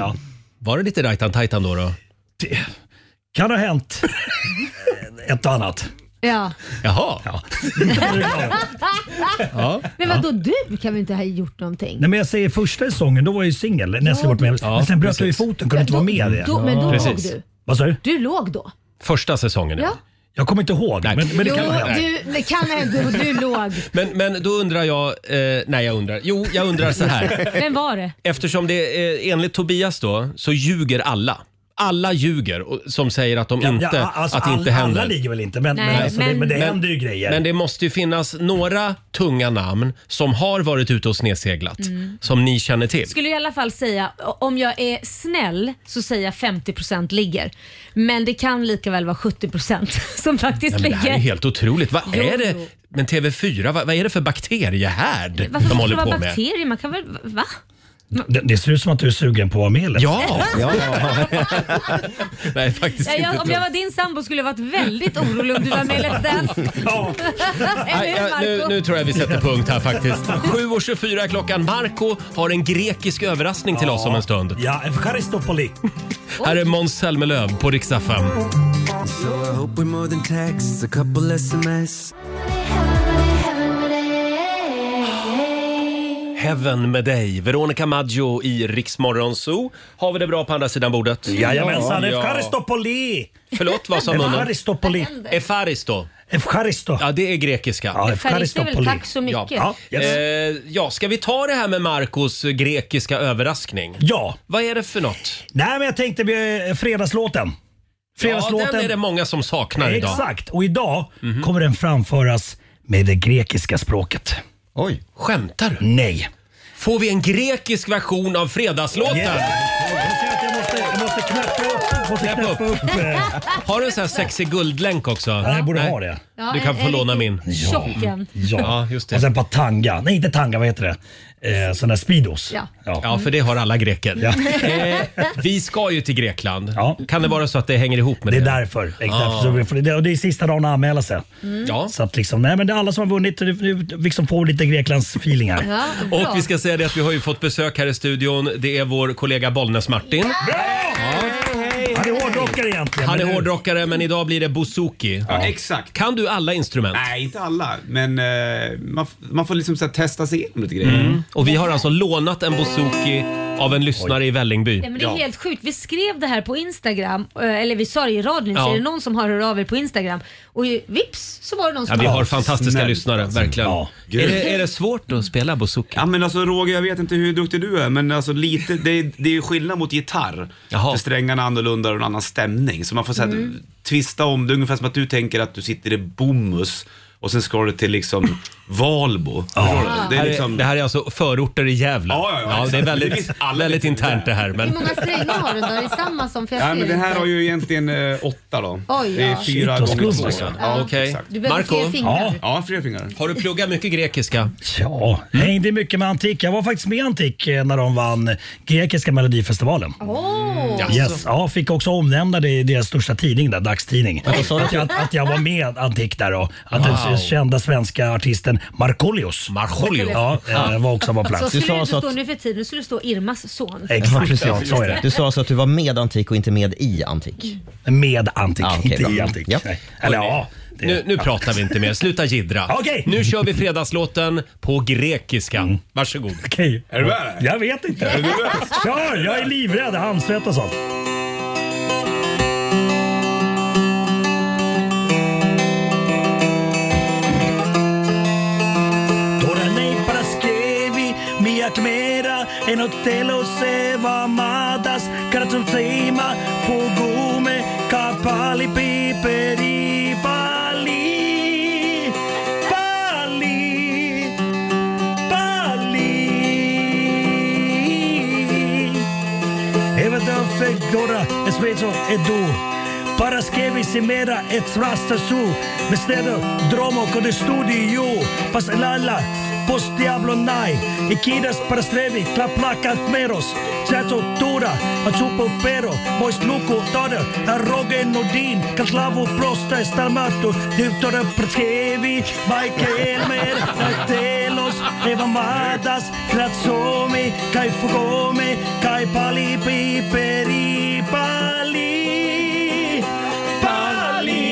[SPEAKER 1] var det lite rajtan tajtan då? då?
[SPEAKER 9] Kan ha hänt ett och annat.
[SPEAKER 2] Ja.
[SPEAKER 1] Jaha.
[SPEAKER 9] Ja.
[SPEAKER 2] Men vadå du kan väl inte ha gjort någonting?
[SPEAKER 9] Nej, men jag säger första säsongen, då var jag ju singel. Näst jag varit med. men sen bröt jag ju foten, kunde inte vara med i det.
[SPEAKER 2] då- men då låg Precis. du.
[SPEAKER 9] Vad sa du?
[SPEAKER 2] Du låg då?
[SPEAKER 1] Första säsongen?
[SPEAKER 2] Ja.
[SPEAKER 9] Jag kommer inte ihåg, men, men det
[SPEAKER 2] jo,
[SPEAKER 9] kan ha hänt.
[SPEAKER 2] du, det kan ha hänt. Du, du låg.
[SPEAKER 1] Men, men då undrar jag... Eh, nej, jag undrar. Jo, jag undrar så här.
[SPEAKER 2] Vem var det?
[SPEAKER 1] Eftersom det eh, enligt Tobias då, så ljuger alla. Alla ljuger och, som säger att de inte,
[SPEAKER 9] ja, alltså,
[SPEAKER 1] att det inte
[SPEAKER 9] alla-
[SPEAKER 1] händer.
[SPEAKER 9] alla ligger väl inte, men- men Nej, alltså, det- men- men det händer ju grejer.
[SPEAKER 1] Men det måste ju finnas några tunga namn som har varit ute och snedseglat,
[SPEAKER 2] Mm.
[SPEAKER 1] som ni känner till.
[SPEAKER 2] Skulle i alla fall säga, om jag är snäll så säger jag 50% ligger. Men det kan lika väl vara 70% som faktiskt
[SPEAKER 1] Nej, men det här är
[SPEAKER 2] ligger.
[SPEAKER 1] helt otroligt. Vad
[SPEAKER 2] Jo,
[SPEAKER 1] är det?
[SPEAKER 2] jo.
[SPEAKER 1] Men TV4, vad, vad är det för bakteriehärd
[SPEAKER 2] Varför
[SPEAKER 1] de
[SPEAKER 2] ska
[SPEAKER 1] håller
[SPEAKER 2] det
[SPEAKER 1] på
[SPEAKER 2] vara
[SPEAKER 1] med?
[SPEAKER 2] bakterier? Man kan väl, va?
[SPEAKER 9] Det, det ser ut som att du är sugen på att vara med eller?
[SPEAKER 1] Ja! ja, Nej, faktiskt
[SPEAKER 2] Nej, jag,
[SPEAKER 1] inte.
[SPEAKER 2] om jag var din sambo skulle jag varit väldigt orolig om du var med i Let's Dance.
[SPEAKER 1] Nej,
[SPEAKER 2] Eller hur,
[SPEAKER 1] jag, nu,
[SPEAKER 2] Marco?
[SPEAKER 1] nu tror jag vi sätter punkt här faktiskt. 7.24 är klockan. Marco har en grekisk överraskning till oss om en stund.
[SPEAKER 9] Ja, Charistopoli.
[SPEAKER 1] Här är Måns Zelmerlöw på riksdag Heaven med dig, Veronica Maggio i Riksmorgon Zoo. Har vi det bra på andra sidan bordet?
[SPEAKER 9] Jajamensan,
[SPEAKER 1] Ja.
[SPEAKER 9] Efkaristopoli!
[SPEAKER 1] Förlåt, vad sa munnen?
[SPEAKER 9] Efkaristopoli.
[SPEAKER 1] Efaristo.
[SPEAKER 9] Efkaristo.
[SPEAKER 1] Ja, det är grekiska.
[SPEAKER 9] Ja,
[SPEAKER 2] Efkaristo är väl Efkaristopoli. tack så mycket.
[SPEAKER 1] Ja.
[SPEAKER 2] Ja, yes.
[SPEAKER 1] Eh, ja, ska vi ta det här med Marcos grekiska överraskning?
[SPEAKER 9] Ja.
[SPEAKER 1] Vad är det för något?
[SPEAKER 9] Nej, men jag tänkte eh, fredagslåten. Fredagslåten.
[SPEAKER 1] Ja, den är det många som saknar idag.
[SPEAKER 9] Exakt, och idag kommer den framföras med det grekiska språket.
[SPEAKER 1] Oj. Skämtar du?
[SPEAKER 9] Nej.
[SPEAKER 1] Får vi en grekisk version av Fredagslåten?
[SPEAKER 9] Jag måste knäppa upp. Måste
[SPEAKER 1] knäppa upp. Har du en sån här sexig guldlänk också? Nej,
[SPEAKER 9] jag borde ha det.
[SPEAKER 2] Ja,
[SPEAKER 1] Du kan
[SPEAKER 2] en-
[SPEAKER 1] få
[SPEAKER 2] en
[SPEAKER 1] låna
[SPEAKER 2] riktig
[SPEAKER 1] min.
[SPEAKER 2] Tjock en.
[SPEAKER 9] Ja.
[SPEAKER 1] just
[SPEAKER 9] det. Och sen på tanga. Nej, inte tanga, vad heter det? Eh, sån där Speedos.
[SPEAKER 2] Ja.
[SPEAKER 9] Ja.
[SPEAKER 1] för det har alla greker. Eh, vi ska ju till Grekland. Kan det vara så att det hänger ihop med
[SPEAKER 9] Det
[SPEAKER 1] det?
[SPEAKER 9] är därför. Det är, därför
[SPEAKER 1] Ah.
[SPEAKER 9] så vi får- det, och det är sista dagen att anmäla sig.
[SPEAKER 1] Mm. Ja.
[SPEAKER 9] Så att liksom, nej, men det är alla som har vunnit du- du liksom får lite Greklands feeling här.
[SPEAKER 2] Ja, bra.
[SPEAKER 1] Och vi ska säga det att vi har ju fått besök här i studion. Det är vår kollega Bollnäs-Martin.
[SPEAKER 9] Han är hårdrockare egentligen.
[SPEAKER 1] Han är
[SPEAKER 9] men nu-
[SPEAKER 1] hårdrockare men idag blir det bouzouki.
[SPEAKER 17] Ja, exakt.
[SPEAKER 1] Kan du alla instrument?
[SPEAKER 17] Nej, inte alla, men eh, man, f- man får liksom så här, testa sig igenom lite grejer.
[SPEAKER 1] Mm. Och vi har alltså lånat en bouzouki av en lyssnare i Vällingby.
[SPEAKER 2] Ja, men det är helt sjukt. Vi skrev det här på Instagram, eh, eller vi sa det i radion, så
[SPEAKER 1] Ja.
[SPEAKER 2] är det någon som har hört av er på Instagram. Och ju- vips så var det någon
[SPEAKER 1] Ja,
[SPEAKER 2] som
[SPEAKER 1] vi
[SPEAKER 2] hörde
[SPEAKER 1] har
[SPEAKER 2] av sig.
[SPEAKER 1] fantastiska lyssnare, verkligen. Är, det, är det svårt att spela bouzouki?
[SPEAKER 17] Ja men alltså Roger, jag vet inte hur duktig du är, men alltså lite, det, är- det är ju skillnad mot gitarr. För strängarna är annorlunda och en annan stämning. Så man får så här,
[SPEAKER 2] Mm.
[SPEAKER 17] tvista om det, ungefär som att du tänker att du sitter i Bomhus och sen ska du till liksom Valbo. Förstår du? liksom-
[SPEAKER 1] Det, här är, det här är alltså förorter i Gävle. Ja,
[SPEAKER 17] ja, ja,
[SPEAKER 1] det är
[SPEAKER 17] exakt. Det
[SPEAKER 1] väldigt,
[SPEAKER 17] finns
[SPEAKER 1] väldigt internt det här.
[SPEAKER 2] Hur
[SPEAKER 1] Men...
[SPEAKER 2] många strängar har du då? Är det samma som? För jag
[SPEAKER 17] Ja, men
[SPEAKER 2] skrev
[SPEAKER 17] den här
[SPEAKER 2] inte.
[SPEAKER 17] har ju egentligen eh, åtta då.
[SPEAKER 2] Oj,
[SPEAKER 17] det är
[SPEAKER 2] ja.
[SPEAKER 17] fyra
[SPEAKER 1] Shit, vad
[SPEAKER 17] gånger
[SPEAKER 1] skumt,
[SPEAKER 17] två.
[SPEAKER 1] alltså.
[SPEAKER 2] Ja.
[SPEAKER 1] Okej.
[SPEAKER 2] Du behöver fler fingrar.
[SPEAKER 17] Ja, fler fingrar.
[SPEAKER 1] Har du pluggat mycket grekiska?
[SPEAKER 9] Ja, jag hängde mycket med antik. Jag var faktiskt med i antik eh, när de vann grekiska melodifestivalen.
[SPEAKER 2] Åh.
[SPEAKER 9] Yes. Ja, fick också omnämna det i deras största tidning, där, dagstidning.
[SPEAKER 1] Men vad sa du
[SPEAKER 9] Att,
[SPEAKER 1] till-
[SPEAKER 9] jag, att jag var med antik där och att
[SPEAKER 1] Wow.
[SPEAKER 9] den kända svenska artisten Markoolios
[SPEAKER 1] Markoolio.
[SPEAKER 9] ja, eh, var också på
[SPEAKER 2] Så
[SPEAKER 9] plats.
[SPEAKER 2] skulle det inte stå nu för tiden, nu skulle det stå Irmas son.
[SPEAKER 4] Ja, precis. Du sa alltså att du var med antik och inte med i antik?
[SPEAKER 1] Mm.
[SPEAKER 9] Med antik,
[SPEAKER 4] ja, okej,
[SPEAKER 9] inte
[SPEAKER 4] bra.
[SPEAKER 9] i antik.
[SPEAKER 4] Ja.
[SPEAKER 9] Eller ja. det-
[SPEAKER 1] Nu, nu
[SPEAKER 9] ja.
[SPEAKER 1] pratar vi inte mer. Sluta jiddra.
[SPEAKER 9] Okej. Mm.
[SPEAKER 1] Nu kör vi fredagslåten på grekiska. Varsågod.
[SPEAKER 9] Okej.
[SPEAKER 17] Är du med?
[SPEAKER 9] Jag vet inte.
[SPEAKER 17] Är du nervös?
[SPEAKER 9] Kör! Jag är livrädd. Handsvett och sånt. Τώρα είναι η Παρασκευή, μια κμέρα ενώ τέλος εβδομάδας κράτσουν τσίμα, φουγούμε καπάλι πιπερί πάλι, πάλι, πάλι. Έβατα φεγγόρα, εσπέτσο, εντού. Παρασκευή σήμερα, ετσράστα σου. Με στέλνω δρόμο κοντέ στούντιου. Πας λάλα, πως διάβλο νάει. Η κίνας παραστρέφει, κλαπλά καθ' μέρος. Τσάτσο τούρα, ατσούπο πέρο. Μόις λούκο τώρα, αρρώγε νοντίν. Κατλάβω πρόστα, σταρμάτω. Δεύτερα Παρασκευή, Μάικελ Μέρ, τέλος εβδομάδας. Κρατσόμαι, καηφωγόμαι, καί πάλι πιπερί. Πάλι, πάλι,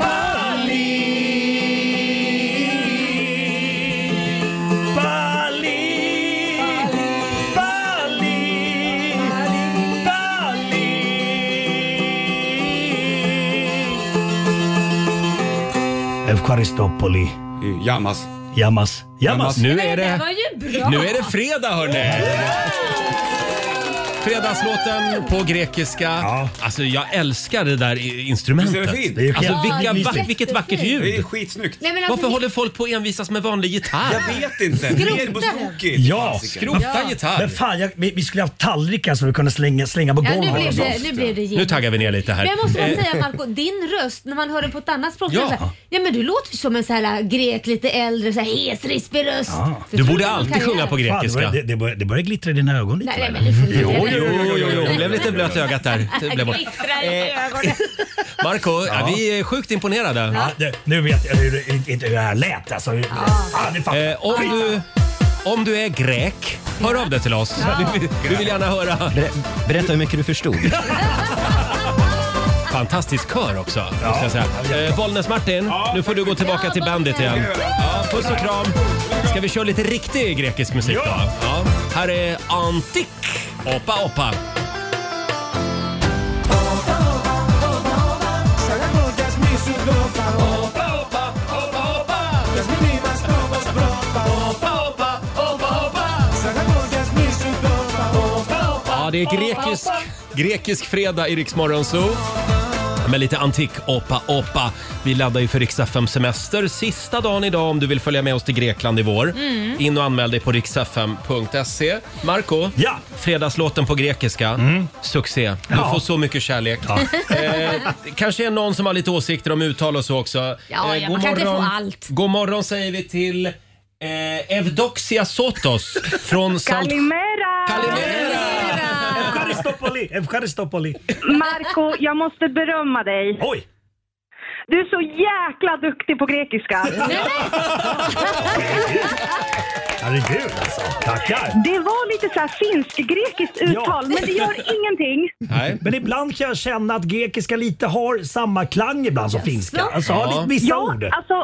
[SPEAKER 9] πάλι, πάλι, πάλι, πάλι. Ευχαριστώ πολύ.
[SPEAKER 17] Γεια μας.
[SPEAKER 9] Γεια μας. Γεια μας.
[SPEAKER 1] Nu är
[SPEAKER 2] Det
[SPEAKER 1] det,
[SPEAKER 2] var ju bra!
[SPEAKER 1] nu är det fredag hörni! Fredagslåten på grekiska. Alltså jag älskar det där i- instrumentet.
[SPEAKER 17] Visst är det fint?
[SPEAKER 9] Det är ju
[SPEAKER 1] alltså,
[SPEAKER 9] fint.
[SPEAKER 1] vilka,
[SPEAKER 9] Ja,
[SPEAKER 1] va,
[SPEAKER 2] visst.
[SPEAKER 1] vilket vackert
[SPEAKER 17] Det är
[SPEAKER 1] ljud!
[SPEAKER 17] skitsnyggt.
[SPEAKER 2] Nej, men alltså,
[SPEAKER 1] Varför håller folk på att envisas med vanlig gitarr?
[SPEAKER 17] Jag vet inte.
[SPEAKER 2] Skrota
[SPEAKER 17] Mer Buzzuki.
[SPEAKER 9] Ja,
[SPEAKER 17] Fasiken.
[SPEAKER 1] Skrota
[SPEAKER 2] Ja.
[SPEAKER 9] Men
[SPEAKER 1] gitarr!
[SPEAKER 9] fan, jag, vi, vi skulle haft tallrikar som vi kunde slänga, slänga på
[SPEAKER 2] Ja, nu
[SPEAKER 9] golvet.
[SPEAKER 2] blev
[SPEAKER 9] och
[SPEAKER 2] det,
[SPEAKER 9] sånt.
[SPEAKER 2] nu blev det
[SPEAKER 1] Nu
[SPEAKER 2] Jimmy.
[SPEAKER 1] taggar vi ner lite här.
[SPEAKER 2] Men jag måste bara
[SPEAKER 1] Eh,
[SPEAKER 2] säga Marco, din röst när man hör den på ett annat språk.
[SPEAKER 1] Ja.
[SPEAKER 2] Ja. Så här, ja men du låter ju som en så här äh, grek, lite äldre, så här hes, rispig röst.
[SPEAKER 9] Ja.
[SPEAKER 1] du borde alltid sjunga på
[SPEAKER 9] Fan, det,
[SPEAKER 1] grekiska.
[SPEAKER 9] börjar, det, det, börjar, det börjar glittra i dina ögon lite.
[SPEAKER 2] Nej, nej,
[SPEAKER 9] va?
[SPEAKER 2] men nu får du
[SPEAKER 9] Jo,
[SPEAKER 2] inte-
[SPEAKER 1] Jo, jo, jo, jo. Det blev lite blött i ögat där. Det blev bort.
[SPEAKER 2] Glittrar
[SPEAKER 17] Eh,
[SPEAKER 2] i ögonen.
[SPEAKER 1] Marco, ja, vi är sjukt imponerade.
[SPEAKER 9] Ja, det, nu vet jag hur, det- inte hur det här lät alltså. Ah, nu fattar jag.
[SPEAKER 1] Eh, om, du, om du är grek, hör av dig till oss. Vi, vill- vi vill gärna höra.
[SPEAKER 4] Ber- berätta hur mycket du förstod.
[SPEAKER 1] Fantastisk kör också, måste jag säga. Eh, Bollnäs-Martin, nu får du gå tillbaka till bandet igen. Ja, puss och kram. Ska vi köra lite riktig grekisk musik då?
[SPEAKER 9] Ja.
[SPEAKER 1] Ja. Här är Antik. Oppa, oppa. Ja, det är grekisk, grekisk fredag i Rix Morgon Zoo. Med lite antik oppa oppa. Vi laddar ju för Rix FM semester. Sista dagen idag om du vill följa med oss till Grekland i vår.
[SPEAKER 2] Mm.
[SPEAKER 1] In och anmäl dig på riksfm.se. Marco,
[SPEAKER 9] Ja. Mm.
[SPEAKER 1] fredagslåten på grekiska. Succé. Du
[SPEAKER 9] Ja.
[SPEAKER 1] får så mycket kärlek. Eh, det kanske är någon som har lite åsikter om uttal och så också.
[SPEAKER 2] ja,
[SPEAKER 1] Eh,
[SPEAKER 2] man kan inte få allt.
[SPEAKER 1] God morgon säger vi till eh, Evdoxia Sotos från Salt...
[SPEAKER 5] Kalimera!
[SPEAKER 1] Kalimera!
[SPEAKER 9] Evkaristopoli, Evkaristopoli.
[SPEAKER 5] Marco, jag måste berömma dig.
[SPEAKER 9] Oj!
[SPEAKER 5] Du är så jäkla duktig på grekiska.
[SPEAKER 9] Herregud alltså. Tackar.
[SPEAKER 5] Det var lite så här finsk-grekiskt uttal, men det gör ingenting.
[SPEAKER 1] Nej.
[SPEAKER 9] Men ibland kan jag känna att grekiska lite har samma klang ibland som finska. Alltså har
[SPEAKER 1] Ja.
[SPEAKER 9] lite vissa
[SPEAKER 5] Ja,
[SPEAKER 9] ord.
[SPEAKER 5] alltså,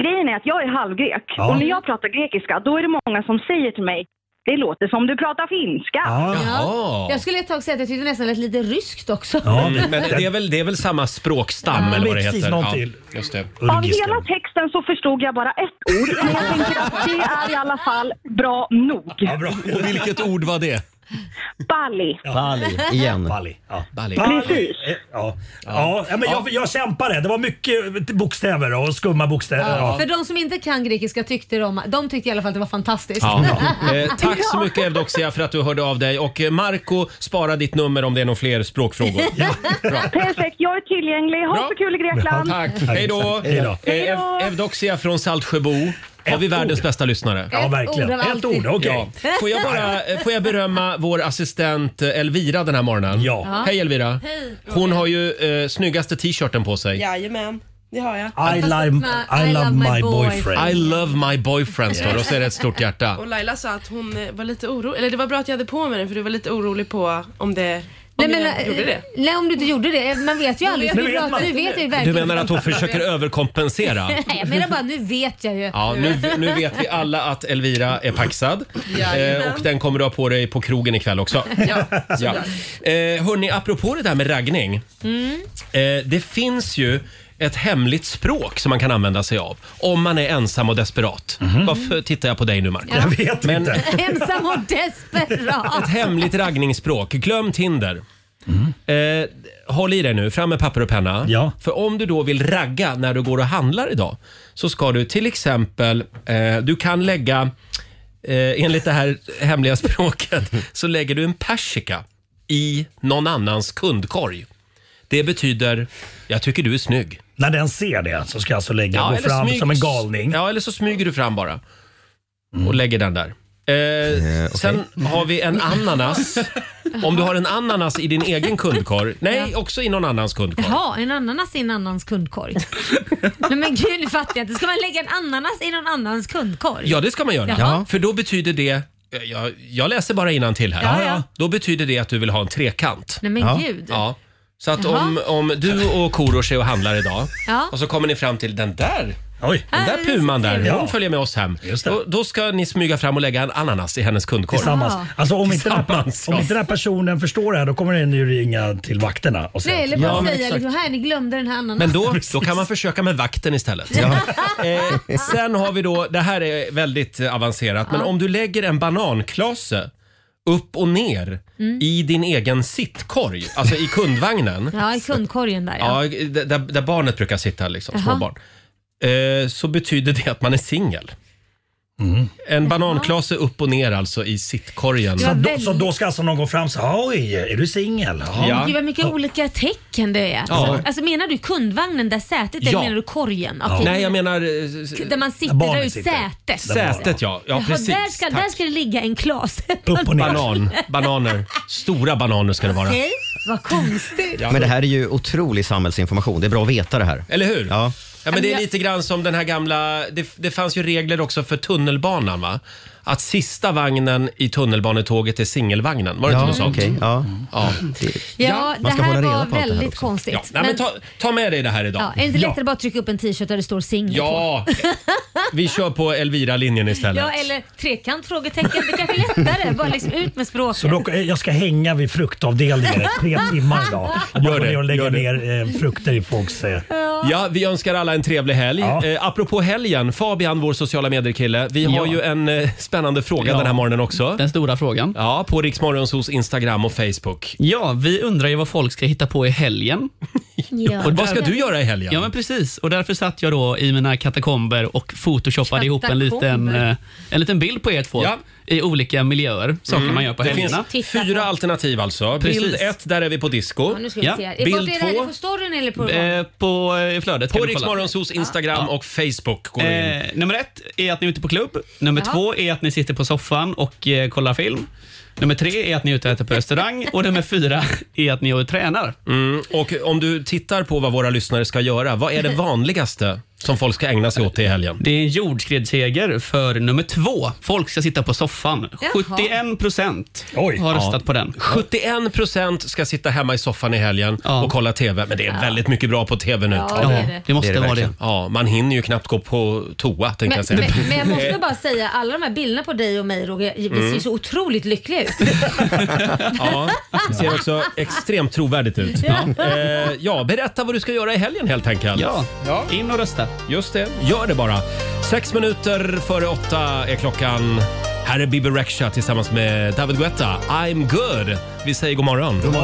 [SPEAKER 5] grejen är att jag är halvgrek.
[SPEAKER 9] Ja.
[SPEAKER 5] Och när jag pratar grekiska, då är det många som säger till mig det låter som du pratar finska.
[SPEAKER 9] Ja.
[SPEAKER 1] Jaha.
[SPEAKER 2] Jag skulle ett tag säga att jag tyckte nästan lät lite ryskt också.
[SPEAKER 9] Ja,
[SPEAKER 1] Men det är väl, det är väl samma språkstam eller vad det
[SPEAKER 9] Precis,
[SPEAKER 1] heter?
[SPEAKER 9] någon
[SPEAKER 1] Ja,
[SPEAKER 9] till.
[SPEAKER 1] just det.
[SPEAKER 5] Av
[SPEAKER 9] Urgiska.
[SPEAKER 5] hela texten så förstod jag bara ett ord, men jag tänker att det är i alla fall bra nog.
[SPEAKER 9] Ja, bra.
[SPEAKER 1] Och vilket ord var det?
[SPEAKER 5] Bali.
[SPEAKER 9] Bali.
[SPEAKER 5] Igen.
[SPEAKER 9] Bali. Ja.
[SPEAKER 5] Bali.
[SPEAKER 9] Bali. Ja. Ja. Ja. men jag, jag kämpade. Det var mycket bokstäver och skumma bokstäver. Ja.
[SPEAKER 2] För de som inte kan grekiska tyckte de, de tyckte i alla fall att det var fantastiskt.
[SPEAKER 1] Ja. Eh, tack så mycket Evdoxia för att du hörde av dig och eh, Marco spara ditt nummer om det är några fler språkfrågor.
[SPEAKER 5] Perfekt, jag är tillgänglig. Ha så kul i Grekland.
[SPEAKER 1] Tack, hej då!
[SPEAKER 5] Hej
[SPEAKER 1] Eh,
[SPEAKER 5] då.
[SPEAKER 1] Ev- Evdoxia från Saltsjöbo. Har vi
[SPEAKER 9] Ett
[SPEAKER 1] världens
[SPEAKER 9] ord.
[SPEAKER 1] bästa lyssnare?
[SPEAKER 9] Ja, Ett verkligen. ord av Ett alltid. ord, okej.
[SPEAKER 1] Får jag bara eh, får jag berömma vår assistent eh, Elvira den här morgonen?
[SPEAKER 18] Ja.
[SPEAKER 1] Hej Elvira!
[SPEAKER 18] Hej.
[SPEAKER 1] Hon har ju eh, snyggaste t-shirten på sig.
[SPEAKER 18] Jajamän, det har jag.
[SPEAKER 1] I love, I love my boyfriend. I love my boyfriend står det och så är det ett stort hjärta.
[SPEAKER 18] Och Laila sa att hon eh, var lite orolig, eller det var bra att jag hade på mig den för du var lite orolig på om det, om
[SPEAKER 2] Nej, men, eh,
[SPEAKER 18] jag gjorde det.
[SPEAKER 2] nej, om du inte gjorde det. eh, Man vet ju
[SPEAKER 18] Nu
[SPEAKER 2] aldrig.
[SPEAKER 18] vet
[SPEAKER 2] Nu vet,
[SPEAKER 18] man.
[SPEAKER 2] nu vet jag ju
[SPEAKER 1] Du
[SPEAKER 2] verkligen.
[SPEAKER 1] menar att hon försöker överkompensera?
[SPEAKER 2] Nej, jag menar bara nu vet jag ju.
[SPEAKER 1] Ja, nu, nu vet vi alla att Elvira är paxad.
[SPEAKER 2] Jajamän.
[SPEAKER 1] Eh, och den kommer du ha på dig på krogen ikväll också.
[SPEAKER 18] Ja,
[SPEAKER 1] ja. Eh, hörni, apropå det där med raggning.
[SPEAKER 18] Mm.
[SPEAKER 1] Eh, det finns ju ett hemligt språk som man kan använda sig av om man är ensam och desperat. Varför tittar jag på dig nu Marco?
[SPEAKER 2] Ja. Jag vet
[SPEAKER 1] Men
[SPEAKER 2] Ensam och desperat.
[SPEAKER 1] ett hemligt raggningsspråk. Glöm Tinder. Eh, håll i dig nu, fram med papper och penna. För om du då vill ragga när du går och handlar idag så ska du till exempel, eh, du kan lägga, eh, enligt det här hemliga språket, så lägger du en persika i någon annans kundkorg. Det betyder, jag tycker du är snygg.
[SPEAKER 9] När den ser det så ska jag alltså lägga och gå
[SPEAKER 1] eller
[SPEAKER 9] fram
[SPEAKER 1] smyg-
[SPEAKER 9] som en galning.
[SPEAKER 1] Ja, eller så smyger du fram bara
[SPEAKER 9] Mm.
[SPEAKER 1] och lägger den där. Eh, Sen har vi en ananas. Om du har en ananas i din egen kundkorg. Nej, också i någon annans kundkorg.
[SPEAKER 2] Jaha, en ananas i en annans kundkorg. Nej men gud, nu fattar jag inte. Ska man lägga en ananas i någon annans kundkorg?
[SPEAKER 1] Ja, det ska man göra.
[SPEAKER 2] Jaha.
[SPEAKER 1] För då betyder det... eh, Jag, jag läser bara innan till här.
[SPEAKER 2] Ja, ja.
[SPEAKER 1] Då betyder det att du vill ha en trekant.
[SPEAKER 2] Nej, men
[SPEAKER 1] ja.
[SPEAKER 2] gud.
[SPEAKER 1] Ja. Så att
[SPEAKER 2] Jaha.
[SPEAKER 1] om, om du och Korosh är och handlar idag
[SPEAKER 2] Ja.
[SPEAKER 1] och så kommer ni fram till den där Oj. Den
[SPEAKER 2] Här
[SPEAKER 1] där
[SPEAKER 2] är det
[SPEAKER 1] puman
[SPEAKER 2] så
[SPEAKER 1] där,
[SPEAKER 2] trevligt.
[SPEAKER 1] hon
[SPEAKER 2] Ja.
[SPEAKER 1] följer med oss hem. Då, då ska ni smyga fram och lägga en ananas i hennes kundkorg.
[SPEAKER 9] Tillsammans.
[SPEAKER 2] Ja.
[SPEAKER 9] Alltså om inte, den här,
[SPEAKER 1] Tillsammans,
[SPEAKER 9] om
[SPEAKER 1] ja.
[SPEAKER 9] inte den här personen förstår det här då kommer den ju ringa till vakterna och säga
[SPEAKER 2] Nej, eller
[SPEAKER 9] att-
[SPEAKER 2] bara säga liksom, här ni glömde den här ananasen.
[SPEAKER 1] Men då, då kan man försöka med vakten istället. Eh, sen har vi då, det här är väldigt eh, avancerat, men
[SPEAKER 2] Ja.
[SPEAKER 1] om du lägger en bananklase upp och ner
[SPEAKER 2] Mm.
[SPEAKER 1] i din egen sittkorg, alltså i kundvagnen.
[SPEAKER 2] Ja, i kundkorgen där ja.
[SPEAKER 1] Ja, d- där, där barnet brukar sitta, liksom,
[SPEAKER 2] Jaha.
[SPEAKER 1] småbarn. Eh, så betyder det att man är singel. En bananklase upp och ner alltså i sittkorgen.
[SPEAKER 9] Så, då, så då ska alltså någon gå fram och säga oj, är du singel?
[SPEAKER 1] Ja.
[SPEAKER 2] Gud vad mycket olika tecken det är.
[SPEAKER 1] Ja.
[SPEAKER 2] Alltså menar du kundvagnen där sätet eller
[SPEAKER 1] Ja.
[SPEAKER 2] menar du korgen?
[SPEAKER 1] Ja.
[SPEAKER 2] Okej.
[SPEAKER 1] Nej, jag menar... eh,
[SPEAKER 2] Där man sitter,
[SPEAKER 1] barnet
[SPEAKER 2] där är ju
[SPEAKER 1] sitter.
[SPEAKER 2] sätet.
[SPEAKER 1] Sätet, ja. Ja,
[SPEAKER 2] Jaha,
[SPEAKER 1] precis.
[SPEAKER 2] Där ska,
[SPEAKER 1] Tack.
[SPEAKER 2] där ska det ligga en klase.
[SPEAKER 1] Banan, bananer. Stora bananer ska det vara.
[SPEAKER 2] Okej, vad konstigt.
[SPEAKER 4] Men det här är ju otrolig samhällsinformation. Det är bra att veta det här.
[SPEAKER 1] Eller hur?
[SPEAKER 4] Ja.
[SPEAKER 1] Ja, men det är lite grann som den här gamla... Det, det fanns ju regler också för tunnelbanan, va? Att sista vagnen i tunnelbanetåget är singelvagnen. Var det
[SPEAKER 4] Ja,
[SPEAKER 1] inte något sånt?
[SPEAKER 4] okej,
[SPEAKER 1] ja. ja.
[SPEAKER 2] Ja, det
[SPEAKER 1] Man ska hålla
[SPEAKER 2] här var
[SPEAKER 1] reda på allt det här
[SPEAKER 2] väldigt
[SPEAKER 1] också.
[SPEAKER 2] konstigt.
[SPEAKER 1] Nej, men ta, ta med dig det här idag.
[SPEAKER 2] ja, är det inte lättare att bara trycka upp en t-shirt där det står singel på?
[SPEAKER 1] Ja, vi kör på Elvira-linjen istället.
[SPEAKER 2] Ja, eller trekant? Frågetecken. Det kanske är lättare. Bara liksom ut med språket.
[SPEAKER 9] Så då, eh, jag ska hänga vid fruktavdelningen i tre timmar idag. Och bara
[SPEAKER 1] Gör
[SPEAKER 9] gå
[SPEAKER 1] det,
[SPEAKER 9] ner och lägga
[SPEAKER 1] gör det.
[SPEAKER 9] ner eh, frukter i folks... Eh.
[SPEAKER 1] Ja, vi önskar alla en trevlig helg. Eh, apropå helgen, Fabian, vår sociala medier-kille. Vi
[SPEAKER 7] Ja.
[SPEAKER 1] har ju en eh, spännande fråga
[SPEAKER 7] Ja.
[SPEAKER 1] den här morgonen också.
[SPEAKER 7] Den stora frågan.
[SPEAKER 1] Ja, på Riksmorgonsos Instagram och Facebook.
[SPEAKER 7] Ja, vi undrar ju vad folk ska hitta på i helgen.
[SPEAKER 1] Och vad ska du göra i helgen?
[SPEAKER 7] Ja, men precis. Och därför satt jag då i mina katakomber och photoshoppade ihop en liten,
[SPEAKER 1] Katakomber.
[SPEAKER 7] eh, en liten bild på er två
[SPEAKER 1] Ja.
[SPEAKER 7] i olika miljöer, saker
[SPEAKER 1] Mm.
[SPEAKER 7] man gör på
[SPEAKER 1] det
[SPEAKER 7] helgerna.
[SPEAKER 1] finns fyra alternativ alltså. Bild
[SPEAKER 7] Precis.
[SPEAKER 1] ett, där är vi på disco.
[SPEAKER 2] Ja, nu ska vi se. Är
[SPEAKER 1] Bild
[SPEAKER 2] Bild det här
[SPEAKER 1] två,
[SPEAKER 2] på storyn eller på...
[SPEAKER 7] Eh, på eh, flödet.
[SPEAKER 1] på Riksmorgonsos Instagram och Facebook går du in.
[SPEAKER 7] Eh, nummer ett är att ni är ute på klubb. Nummer
[SPEAKER 2] Jaha.
[SPEAKER 7] två är att ni sitter på soffan och eh, kollar film. Nummer tre är att ni är ute och äter på restaurang. Och nummer fyra är att ni är och tränar.
[SPEAKER 1] Mm, och om du tittar på vad våra lyssnare ska göra, vad är det vanligaste som folk ska ägna sig åt i helgen?
[SPEAKER 7] Det är en jordskredsseger för nummer två. Folk ska sitta på soffan.
[SPEAKER 1] Jaha.
[SPEAKER 7] 71 procent har röstat på den.
[SPEAKER 1] 71 procent ska sitta hemma i soffan i helgen och kolla TV. Men det är väldigt mycket bra på TV nu.
[SPEAKER 2] Ja, det är det. Ja,
[SPEAKER 7] det måste vara
[SPEAKER 1] verkligen. Ja, man hinner ju knappt gå på toa tänkte
[SPEAKER 2] Men,
[SPEAKER 1] jag säga.
[SPEAKER 2] men, men jag måste
[SPEAKER 1] Eh,
[SPEAKER 2] bara säga, alla de här bilderna på dig och mig Roger, vi ser
[SPEAKER 1] Mm.
[SPEAKER 2] ju så otroligt lyckliga ut.
[SPEAKER 1] Ja, det ser också extremt trovärdigt ut.
[SPEAKER 2] Ja.
[SPEAKER 1] Ja. Eh, ja, berätta vad du ska göra i helgen helt enkelt.
[SPEAKER 7] Ja, in och rösta.
[SPEAKER 1] Just det, gör det bara. Sex minuter före åtta är klockan. Här är Bibi Rexha tillsammans med David Guetta. I'm good. Vi säger god morgon. God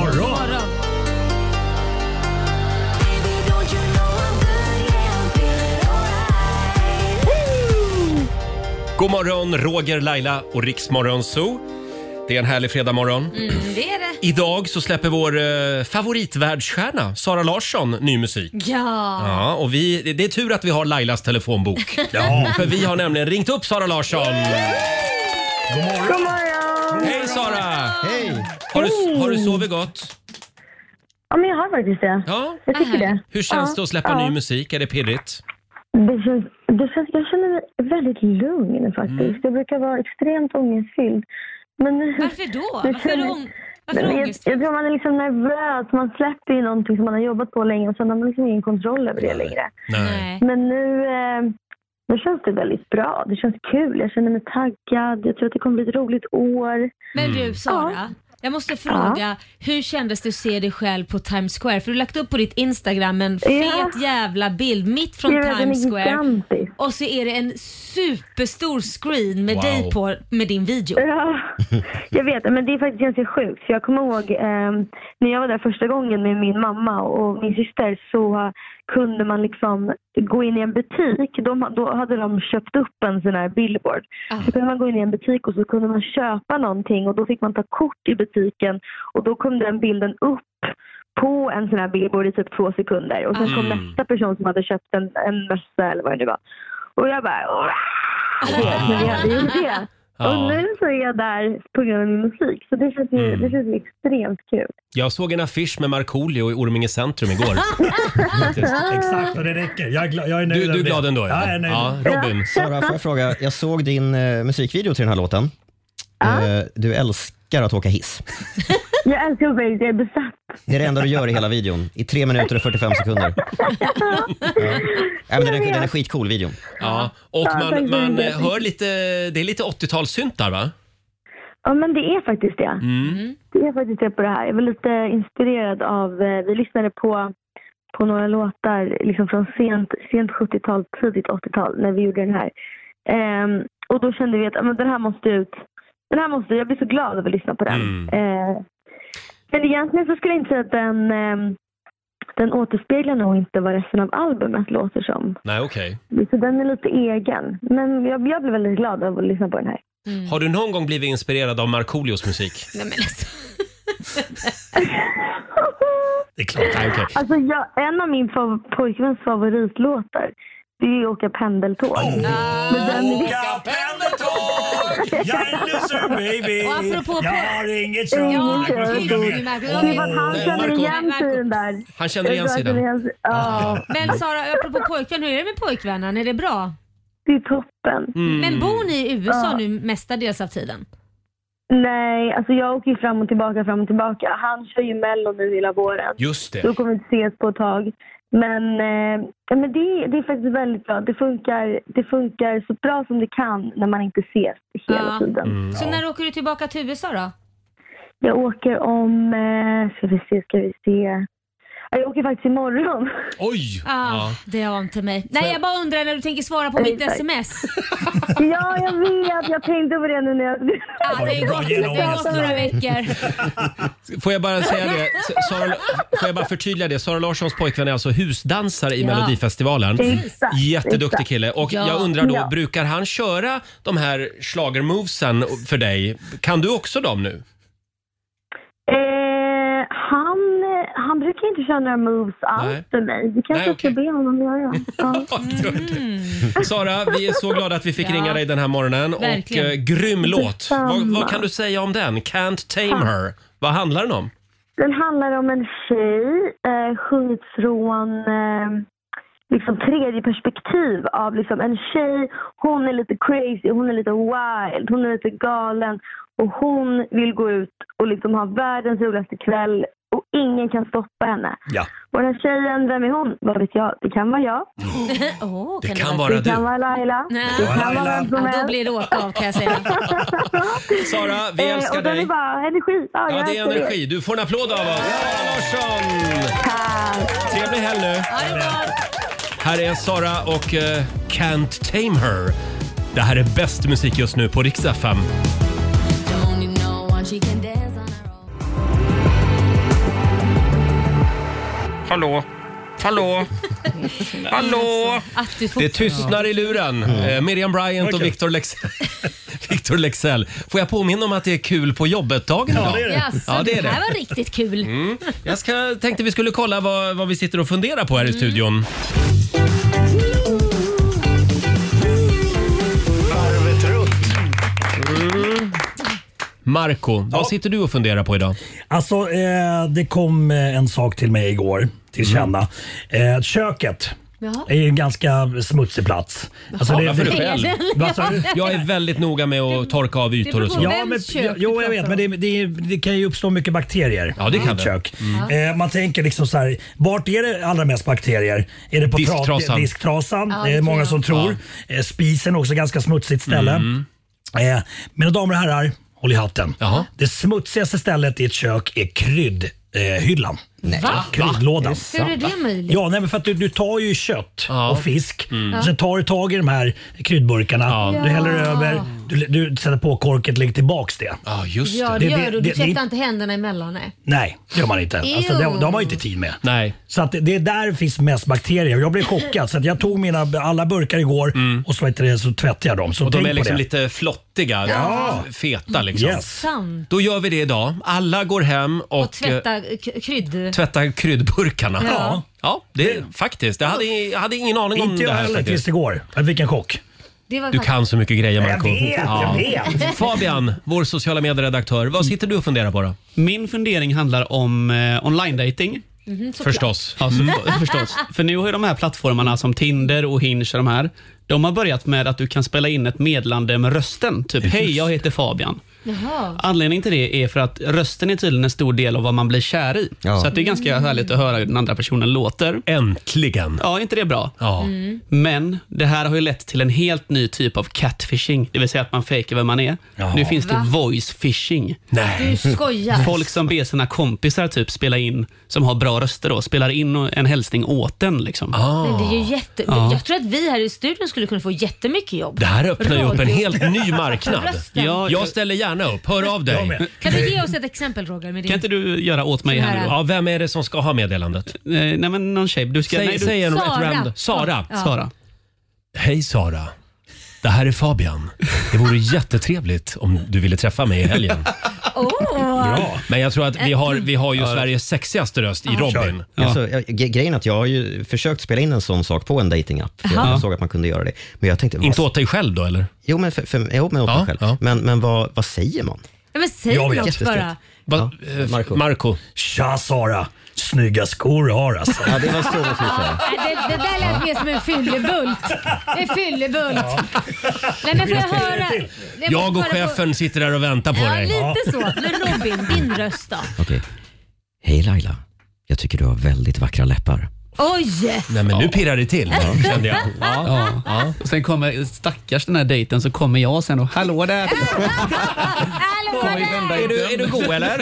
[SPEAKER 1] God morgon, Roger, Laila och Riksmorgon Zoo. Det är en härlig fredagmorgon.
[SPEAKER 2] Mm, det är det.
[SPEAKER 1] Idag så släpper vår eh, favoritvärldsstjärna Sara Larsson ny musik.
[SPEAKER 2] Ja.
[SPEAKER 1] Ja, och vi, det är tur att vi har Lailas telefonbok.
[SPEAKER 2] Ja.
[SPEAKER 1] För vi har nämligen ringt upp Sara Larsson. God
[SPEAKER 5] God morgon!
[SPEAKER 1] Hej Sara! Hej! Har du, har du sovit gott?
[SPEAKER 5] Ja, men jag har faktiskt det.
[SPEAKER 1] Ja.
[SPEAKER 5] Jag tycker det.
[SPEAKER 1] Hur känns
[SPEAKER 5] ja.
[SPEAKER 1] det att släppa ny musik? Är det pirrigt?
[SPEAKER 5] Det känns, det känns, jag känner mig väldigt lugn faktiskt.
[SPEAKER 1] Mm.
[SPEAKER 5] Jag brukar vara extremt ångestfylld. Men nu,
[SPEAKER 2] Varför då?
[SPEAKER 5] nu
[SPEAKER 2] Varför är
[SPEAKER 5] känner-
[SPEAKER 2] du ång- varför
[SPEAKER 5] Men
[SPEAKER 2] är du
[SPEAKER 5] jag,
[SPEAKER 2] ångestfylld?
[SPEAKER 5] jag tror man är liksom nervös. Man släpper ju någonting som man har jobbat på länge och sen har man liksom ingen kontroll över det längre.
[SPEAKER 1] Nej.
[SPEAKER 5] Men nu, eh, nu känns det väldigt bra. Det känns kul. Jag känner mig taggad. Jag tror att det kommer bli ett roligt år.
[SPEAKER 2] Men
[SPEAKER 1] Mm.
[SPEAKER 2] du Sara, jag måste fråga, hur kändes det att se dig själv på Times Square? För du har lagt upp på ditt Instagram en fet jävla bild mitt från
[SPEAKER 5] Ja, den är
[SPEAKER 2] Times Square.
[SPEAKER 5] gigantisk.
[SPEAKER 2] Och så är det en superstor screen med
[SPEAKER 5] Wow.
[SPEAKER 2] dig på, med din video.
[SPEAKER 5] Ja, jag vet. Men det är faktiskt ganska sjukt. För jag kommer ihåg eh, när jag var där första gången med min mamma och min syster så eh, kunde man liksom gå in i en butik. De, då hade de köpt upp en sån här billboard. Så kunde man gå in i en butik och så kunde man köpa någonting och då fick man ta kort i butiken och då kom den bilden upp på en sån här billboard i typ två sekunder och sen kom
[SPEAKER 12] Mm.
[SPEAKER 5] nästa person som hade köpt en, en mössa eller vad det nu var. Och jag bara... Men jag hade ju det. Och nu så är jag där på grund av min musik. Så det känns ju, det känns ju extremt kul.
[SPEAKER 1] Jag såg en affisch med Markoolio i Orminge centrum igår.
[SPEAKER 9] Exakt, och det räcker. Jag är, gla- jag är nöjd
[SPEAKER 4] Du- du är
[SPEAKER 9] med det.
[SPEAKER 4] glad ändå, ja.
[SPEAKER 9] Ja, jag är nöjd.
[SPEAKER 4] Ja,
[SPEAKER 1] Robin.
[SPEAKER 4] Sara, får jag fråga? Jag såg din eh, musikvideo till den här låten. Eh, du älskar att åka hiss.
[SPEAKER 5] Jag älskar att vara- jag är besatt.
[SPEAKER 4] Det är det enda du gör i hela videon. I 3 minuter och 45 sekunder. Ja, men den, är, den är skitcool, videon.
[SPEAKER 1] Ja, och
[SPEAKER 5] Ja, tack så
[SPEAKER 1] man, man
[SPEAKER 5] mycket.
[SPEAKER 1] eh, hör lite, det är lite 80-talssynt där va?
[SPEAKER 5] Ja, men det är faktiskt det. Det är faktiskt det på det här. Jag var lite inspirerad av, eh, vi lyssnade på, på några låtar liksom från sent, sent 70-tal, tidigt 80-tal när vi gjorde den här. Ehm, och då kände vi att ah, men den här måste ut. Den här måste, jag blir så glad över att lyssna på den.
[SPEAKER 12] Mm.
[SPEAKER 5] Eh, men egentligen så skulle jag inte säga att den, ehm, den återspeglar nog inte vad resten av albumet låter som.
[SPEAKER 1] Nej, okej.
[SPEAKER 5] Så den är lite egen. Men jag, jag blev väldigt glad av att lyssna på den här.
[SPEAKER 1] Har du någon gång blivit inspirerad av Markoolios musik?
[SPEAKER 2] Nej, men alltså.
[SPEAKER 1] Det är klart. Nej, okej.
[SPEAKER 5] Alltså jag, en av min fav- pojkväns favoritlåtar det är Åka pendeltåg. Men den är-
[SPEAKER 12] Jag är loser baby.
[SPEAKER 5] Och apropå
[SPEAKER 12] jag
[SPEAKER 5] på-
[SPEAKER 12] har inget
[SPEAKER 5] Ja,
[SPEAKER 12] körkort.
[SPEAKER 5] det är ju
[SPEAKER 12] Jag kan
[SPEAKER 2] märkligt.
[SPEAKER 12] sjunga
[SPEAKER 5] Det
[SPEAKER 12] med.
[SPEAKER 5] var att han
[SPEAKER 1] Åh.
[SPEAKER 5] känner
[SPEAKER 1] Marco.
[SPEAKER 5] igen sidan där.
[SPEAKER 1] Han känner igen
[SPEAKER 5] Jag tror att
[SPEAKER 1] sidan.
[SPEAKER 5] han känner igen-
[SPEAKER 1] Ah.
[SPEAKER 5] Ja.
[SPEAKER 2] Men Sara, apropå pojkvän, hur är det med pojkvännen? Är det bra?
[SPEAKER 5] Det är toppen.
[SPEAKER 1] Mm.
[SPEAKER 2] Men bor ni i USA
[SPEAKER 5] Mm. Ja.
[SPEAKER 2] nu mestadels av tiden?
[SPEAKER 5] Nej, alltså jag åker ju fram och tillbaka, fram och tillbaka. Han kör ju mello nu hela våren.
[SPEAKER 1] Just det.
[SPEAKER 5] Då kommer vi inte ses på ett tag. Men, eh, ja, men det, det är faktiskt väldigt bra. Det funkar, det funkar så bra som det kan när man inte ses hela
[SPEAKER 2] Ja.
[SPEAKER 5] tiden.
[SPEAKER 2] Så när åker du tillbaka till USA då?
[SPEAKER 5] Jag åker om... eh, Ska vi se, ska vi se. Ja, Jag åker faktiskt imorgon.
[SPEAKER 1] Oj!
[SPEAKER 2] Ah, Det har inte mig. Nej, jag bara undrar när du tänker svara på mitt
[SPEAKER 5] Exakt.
[SPEAKER 2] sms.
[SPEAKER 5] Ja, jag vet. Jag tänkte på det nu när jag...
[SPEAKER 2] Ja, det är
[SPEAKER 5] Bra
[SPEAKER 2] gott. Det har gått
[SPEAKER 5] genomläsning.
[SPEAKER 2] några veckor.
[SPEAKER 1] Får jag bara säga det? S- Sara, får jag bara förtydliga det? Sara Larssons pojkvän är alltså husdansare i
[SPEAKER 2] Ja.
[SPEAKER 1] Melodifestivalen.
[SPEAKER 2] Exakt,
[SPEAKER 1] Jätteduktig
[SPEAKER 2] exakt.
[SPEAKER 1] kille. Och
[SPEAKER 2] Ja.
[SPEAKER 1] jag undrar då,
[SPEAKER 2] Ja.
[SPEAKER 1] brukar han köra de här schlagermovesen för dig? Kan du också dem nu?
[SPEAKER 5] Eh, han, han brukar inte köra några moves alls för mig. Vi kanske ska be honom göra. Ja.
[SPEAKER 1] Sara, vi är så glada att vi fick
[SPEAKER 5] Ja.
[SPEAKER 1] ringa dig den här morgonen. Och
[SPEAKER 5] Verkligen.
[SPEAKER 1] eh, grym låt.
[SPEAKER 5] Detsamma.
[SPEAKER 1] Vad, vad kan du säga om den? Can't tame her. Vad handlar den om?
[SPEAKER 5] Den handlar om en tjej, eh, sjunget från eh, liksom tredje perspektiv av liksom en tjej. Hon är lite crazy, hon är lite wild, hon är lite galen och hon vill gå ut och liksom ha världens roligaste kväll och ingen kan stoppa henne.
[SPEAKER 1] Ja.
[SPEAKER 5] Och den här tjejen, vem är hon? Vad vet jag? Det kan vara jag.
[SPEAKER 2] Åh,
[SPEAKER 1] Det kan vara
[SPEAKER 5] Det
[SPEAKER 1] du.
[SPEAKER 5] kan vara Laila. Det kan vara vem som
[SPEAKER 2] Ja,
[SPEAKER 5] helst.
[SPEAKER 2] då blir det åka av kan jag säga.
[SPEAKER 1] Sara, vi
[SPEAKER 5] Eh,
[SPEAKER 1] älskar
[SPEAKER 5] och den
[SPEAKER 1] dig.
[SPEAKER 5] är bara energi. Ja,
[SPEAKER 1] Ja,
[SPEAKER 5] jag
[SPEAKER 1] det är
[SPEAKER 5] älskar er.
[SPEAKER 1] energi. Du får en applåd av oss. Sara Larsson! Trevlig helg nu. Här är Sara och eh, Can't Tame Her. Det här är bäst musik just nu på Rix FM.
[SPEAKER 12] Don't you know one she can dance on?
[SPEAKER 1] Hallå? Hallå? Hallå?
[SPEAKER 2] Alltså, Att du får-
[SPEAKER 1] Det tystnar i luren. Eh, Miriam Bryant och Victor, Lex Victor Lexell. Får jag påminna om att det är kul på jobbet-dagen idag?
[SPEAKER 2] Jaså,
[SPEAKER 1] Ja, det är
[SPEAKER 2] det här
[SPEAKER 1] det.
[SPEAKER 2] var riktigt kul.
[SPEAKER 1] Mm. Jag ska, tänkte vi skulle kolla vad, vad vi sitter och funderar på här
[SPEAKER 2] Mm.
[SPEAKER 1] i studion.
[SPEAKER 9] Varvet runt.
[SPEAKER 1] Mm. Marco, vad sitter du och funderar på idag?
[SPEAKER 9] Alltså, eh, det kom eh, en sak till mig igår, till
[SPEAKER 1] Mm.
[SPEAKER 9] känna. Eh, köket.
[SPEAKER 12] Jaha.
[SPEAKER 9] är ju en ganska smutsig plats. Alltså,
[SPEAKER 1] Jaha, varför du själv?
[SPEAKER 9] Vad sa du?
[SPEAKER 1] Jag är väldigt noga med att torka av ytor och så.
[SPEAKER 9] Ja, men, ja, jo, jag vet, men det, det, det kan ju uppstå mycket bakterier
[SPEAKER 1] Ja, det
[SPEAKER 9] i
[SPEAKER 1] kan
[SPEAKER 9] ett
[SPEAKER 1] det.
[SPEAKER 9] kök.
[SPEAKER 1] Mm.
[SPEAKER 9] Eh, man tänker liksom så här, vart är det allra mest bakterier? Är det på prat-
[SPEAKER 1] Disktrasan.
[SPEAKER 9] disktrasan?
[SPEAKER 1] Ja,
[SPEAKER 9] det
[SPEAKER 1] det
[SPEAKER 9] är
[SPEAKER 1] tror
[SPEAKER 9] många
[SPEAKER 1] jag.
[SPEAKER 9] som tror. Eh, spisen är också ganska smutsigt ställe.
[SPEAKER 1] Mm.
[SPEAKER 9] Eh, mina damer och herrar, håll i hatten. Det smutsigaste stället i ett kök är kryddhyllan.
[SPEAKER 2] Nej. Va?
[SPEAKER 9] Kryddlådan.
[SPEAKER 2] Hur är det möjligt?
[SPEAKER 9] Ja, nej, men för att du, du tar ju kött och fisk.
[SPEAKER 2] Mm.
[SPEAKER 9] Sen tar du tag i de här kryddburkarna. Du häller
[SPEAKER 2] Ja.
[SPEAKER 9] över, du, du sätter på korket och lägger tillbaks det.
[SPEAKER 1] Ja,
[SPEAKER 2] Ja, det gör du. Du tvättar inte händerna emellan. Nej.
[SPEAKER 9] Nej, det gör man inte. Alltså, det,
[SPEAKER 2] Ew.
[SPEAKER 9] det har man ju inte tid med.
[SPEAKER 1] Nej.
[SPEAKER 9] Så att det- det är där det finns mest bakterier. Jag blev chockad så att jag tog mina alla burkar igår och så, vet du, det, så tvättade jag dem. Så
[SPEAKER 1] Mm. Och de
[SPEAKER 9] tänk
[SPEAKER 1] är liksom
[SPEAKER 9] på det.
[SPEAKER 1] lite flottiga,
[SPEAKER 9] Ja.
[SPEAKER 1] feta liksom.
[SPEAKER 9] Yes.
[SPEAKER 2] Sant.
[SPEAKER 1] Då gör vi det idag. Alla går hem och,
[SPEAKER 2] Och tvätta k- krydd...
[SPEAKER 1] eh, tvättar kryddburkarna.
[SPEAKER 2] Ja.
[SPEAKER 1] Ja, det, faktiskt. Jag hade, jag hade ingen aning om
[SPEAKER 9] Inte
[SPEAKER 1] det
[SPEAKER 9] jag
[SPEAKER 1] här
[SPEAKER 9] heller
[SPEAKER 1] faktiskt.
[SPEAKER 9] tills igår. Jag fick en chock.
[SPEAKER 2] Det var
[SPEAKER 1] Du kan så mycket grejer
[SPEAKER 9] Jag
[SPEAKER 1] Marco.
[SPEAKER 9] vet, jag vet. Mm.
[SPEAKER 1] Fabian, vår sociala medieredaktör. Vad sitter du och funderar på då?
[SPEAKER 7] Min fundering handlar om eh, online dating.
[SPEAKER 2] Mhm, såklart.
[SPEAKER 1] Förstås.
[SPEAKER 7] Ja, så,
[SPEAKER 1] Mm.
[SPEAKER 7] förstås. För nu har ju de här plattformarna som Tinder och Hinge och de här, de har börjat med att du kan spela in ett meddelande med rösten. Typ, hej, jag heter Fabian.
[SPEAKER 2] Jaha.
[SPEAKER 7] Anledningen till det är för att rösten är tydligen en stor del av vad man blir kär i.
[SPEAKER 1] Ja.
[SPEAKER 7] Så att det är ganska härligt att höra hur den andra personen låter.
[SPEAKER 1] Äntligen!
[SPEAKER 7] Ja, inte det bra?
[SPEAKER 1] Ja.
[SPEAKER 2] Mm.
[SPEAKER 7] Men det här har ju lett till en helt ny typ av catfishing, det vill säga att man fejkar vem man är. Nu finns det
[SPEAKER 2] Va?
[SPEAKER 7] voice phishing.
[SPEAKER 2] Du skojar.
[SPEAKER 7] Folk som ber sina kompisar typ spela in, som har bra röster då, spelar in en hälsning åt en. Liksom.
[SPEAKER 1] Ah.
[SPEAKER 2] Men det är ju jätte...
[SPEAKER 7] Ja.
[SPEAKER 2] Jag tror att vi här i studion skulle kunna få jättemycket jobb.
[SPEAKER 7] Det här öppnar ju upp en
[SPEAKER 2] Radio.
[SPEAKER 7] helt ny
[SPEAKER 1] marknad.
[SPEAKER 2] Rösten.
[SPEAKER 1] Ja, jag ställer gärna upp. Hör av
[SPEAKER 7] Jag
[SPEAKER 1] dig.
[SPEAKER 7] med.
[SPEAKER 2] Kan du ge oss ett exempel Roger? Med din...
[SPEAKER 7] Kan inte du göra åt mig här nu då? Eh,
[SPEAKER 1] Ja, vem är det som ska ha meddelandet?
[SPEAKER 7] Nej, men någon tjej. Du ska,
[SPEAKER 1] säg,
[SPEAKER 7] nej, du,
[SPEAKER 1] säg en ett random. Sara. Hej Sara. Det här är Fabian. Det vore jättetrevligt om du ville träffa mig i helgen.
[SPEAKER 2] Oh.
[SPEAKER 1] Bra. Men jag tror att vi har, vi har ju Sveriges sexigaste röst i Robin.
[SPEAKER 4] Alltså, jag, ge- grejen är att jag har ju försökt spela in en sån sak på en datingapp. Jag
[SPEAKER 1] Jaha.
[SPEAKER 4] såg att man kunde göra det. Men jag tänkte,
[SPEAKER 1] Inte åt dig själv då eller?
[SPEAKER 4] Jo, men, för, för, jo, men åt mig själv. Men, men vad, vad säger man?
[SPEAKER 2] Ja, men säg
[SPEAKER 4] Jag vet.
[SPEAKER 2] något
[SPEAKER 4] Jättestort.
[SPEAKER 2] bara.
[SPEAKER 1] Va, eh, Marco. Marco.
[SPEAKER 9] Tja Sara, snygga skor du har alltså.
[SPEAKER 4] Ja, det var så det skulle säga.
[SPEAKER 2] Nej, Det, det där lät mer som en fyllebult. En fyllebult. Nej, men får jag höra? måste
[SPEAKER 1] Jag
[SPEAKER 2] höra
[SPEAKER 1] och
[SPEAKER 2] på-
[SPEAKER 1] chefen sitter där och väntar på
[SPEAKER 2] ja,
[SPEAKER 1] dig.
[SPEAKER 2] lite så. Men Robin, din röst då?
[SPEAKER 4] Okej. Hej Laila. Jag tycker du har väldigt vackra läppar.
[SPEAKER 2] Oj!
[SPEAKER 1] Nej men nu pirrar det till kände jag.
[SPEAKER 7] Ja. Och sen kommer stackars den här dejten så kommer jag sen och hallå där.
[SPEAKER 1] Är du, är du god eller?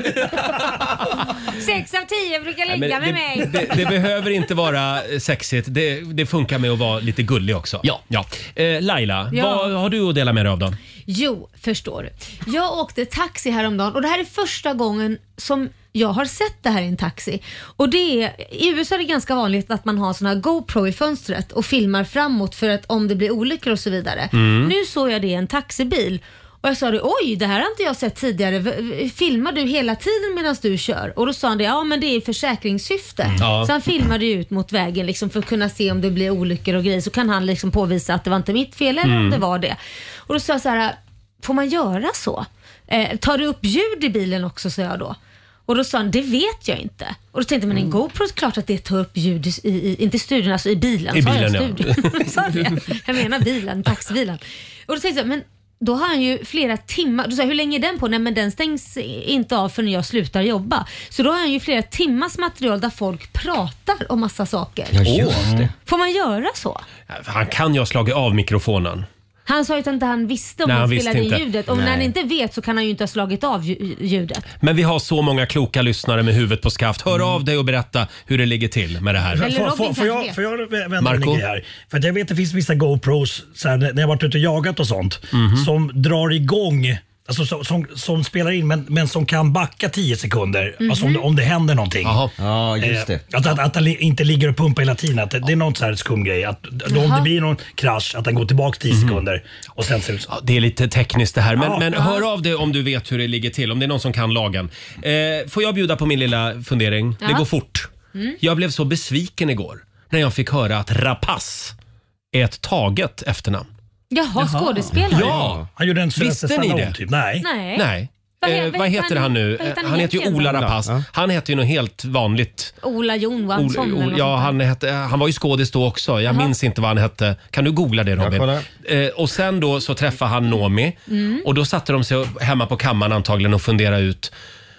[SPEAKER 2] Sex av tio brukar
[SPEAKER 1] Nej,
[SPEAKER 2] ligga
[SPEAKER 1] men
[SPEAKER 2] med
[SPEAKER 1] det,
[SPEAKER 2] mig.
[SPEAKER 1] det, det behöver inte vara eh, sexigt. Det, det funkar med att vara lite gullig också. Ja. Eh, Laila,
[SPEAKER 2] Ja.
[SPEAKER 1] vad har du att dela med dig av då?
[SPEAKER 2] Jo, förstår du. Jag åkte taxi häromdagen och det här är första gången som jag har sett det här i en taxi. Och det är, I USA är det ganska vanligt att man har såna här GoPro i fönstret och filmar framåt för att om det blir olyckor och så vidare.
[SPEAKER 12] Mm.
[SPEAKER 2] Nu såg jag det i en taxibil och jag sa det, oj det här har inte jag sett tidigare. V- v- Filmar du hela tiden medan du kör? Och då sa han det, ja men det är i försäkringssyfte.
[SPEAKER 12] Mm. Ja.
[SPEAKER 2] Så han filmade ju ut mot vägen liksom, för att kunna se om det blir olyckor och grejer. Så kan han liksom påvisa att det var inte mitt fel eller om
[SPEAKER 12] Mm.
[SPEAKER 2] det var det. Och då sa jag så här, får man göra så? Eh, tar du upp ljud i bilen också, sa jag då. Och då sa han, det vet jag inte. Och då tänkte jag,
[SPEAKER 12] Mm.
[SPEAKER 2] men en GoPro är klart att det tar upp ljud i, i inte i studion, alltså i bilen.
[SPEAKER 12] I
[SPEAKER 2] Sa jag
[SPEAKER 12] bilen, ja.
[SPEAKER 2] studion? Sa jag? jag menar bilen, taxibilen. Och då tänkte jag, men då har han ju flera timmar, då sa jag, hur länge är den på? Nej men den stängs inte av förrän jag slutar jobba. Så då har han ju flera timmars material där folk pratar om massa saker.
[SPEAKER 1] Ja, just det.
[SPEAKER 2] Får man göra så?
[SPEAKER 1] Han kan ju ha slagit av mikrofonen.
[SPEAKER 2] Han sa ju att inte han visste om
[SPEAKER 1] Nej,
[SPEAKER 2] han
[SPEAKER 1] han visste
[SPEAKER 2] spelade in
[SPEAKER 1] inte.
[SPEAKER 2] ljudet. Och när han
[SPEAKER 1] Nej.
[SPEAKER 2] inte vet så kan han ju inte ha slagit av lju- ljudet.
[SPEAKER 1] Men vi har så många kloka lyssnare med huvudet på skaft. Hör
[SPEAKER 2] Mm.
[SPEAKER 1] av dig och berätta hur det ligger till med det här.
[SPEAKER 9] Får, får, får,
[SPEAKER 2] kanske
[SPEAKER 9] jag,
[SPEAKER 2] vet.
[SPEAKER 9] får jag vända
[SPEAKER 1] Marco?
[SPEAKER 9] Marco? grej här? För att jag vet att det finns vissa GoPros, så här, när jag har varit ute och jagat och sånt,
[SPEAKER 1] Mhm.
[SPEAKER 9] som drar igång Alltså som, som, som spelar in men, men som kan backa 10 sekunder alltså om, det- om det händer någonting.
[SPEAKER 19] Ja, just det.
[SPEAKER 9] Eh, Att, att, att den li- inte ligger och pumpar hela tiden. Att det, det är någon så här skum grej. Att, då, om
[SPEAKER 1] Jaha.
[SPEAKER 9] det blir någon krasch, att den går tillbaka 10 sekunder och sen ser det ut så.
[SPEAKER 1] Mhm. Det är lite tekniskt det här, men,
[SPEAKER 9] Ja.
[SPEAKER 1] men
[SPEAKER 9] Ja.
[SPEAKER 1] hör av dig om du vet hur det ligger till, om det är någon som kan lagen. Eh, får jag bjuda på min lilla fundering? Det
[SPEAKER 20] Ja.
[SPEAKER 1] går fort.
[SPEAKER 20] Mm.
[SPEAKER 1] Jag blev så besviken igår när jag fick höra att Rapace är ett taget efternamn.
[SPEAKER 2] Jaha, skådespelare?
[SPEAKER 1] Ja!
[SPEAKER 9] Han gjorde en
[SPEAKER 1] Visste ni
[SPEAKER 9] Sylvester
[SPEAKER 1] det?
[SPEAKER 9] Stallone typ. Nej.
[SPEAKER 2] Nej.
[SPEAKER 1] Nej.
[SPEAKER 2] Vad he-
[SPEAKER 1] eh, vad heter han nu?
[SPEAKER 2] vad
[SPEAKER 1] Eh, han heter ju Ola
[SPEAKER 2] egentligen?
[SPEAKER 1] Rapace. Han heter ju något helt vanligt.
[SPEAKER 2] Ola Johansson
[SPEAKER 1] Ol-
[SPEAKER 2] eller
[SPEAKER 1] Ol-
[SPEAKER 2] något
[SPEAKER 1] ja,
[SPEAKER 2] sånt där.
[SPEAKER 1] han, hette, han var ju skådis då också. Jag
[SPEAKER 2] Jaha.
[SPEAKER 1] minns inte vad han hette. Kan du googla det Robin? Eh, och sen då så träffade han Nomi
[SPEAKER 20] Mm.
[SPEAKER 1] och då satte de sig hemma på kammaren antagligen och funderade ut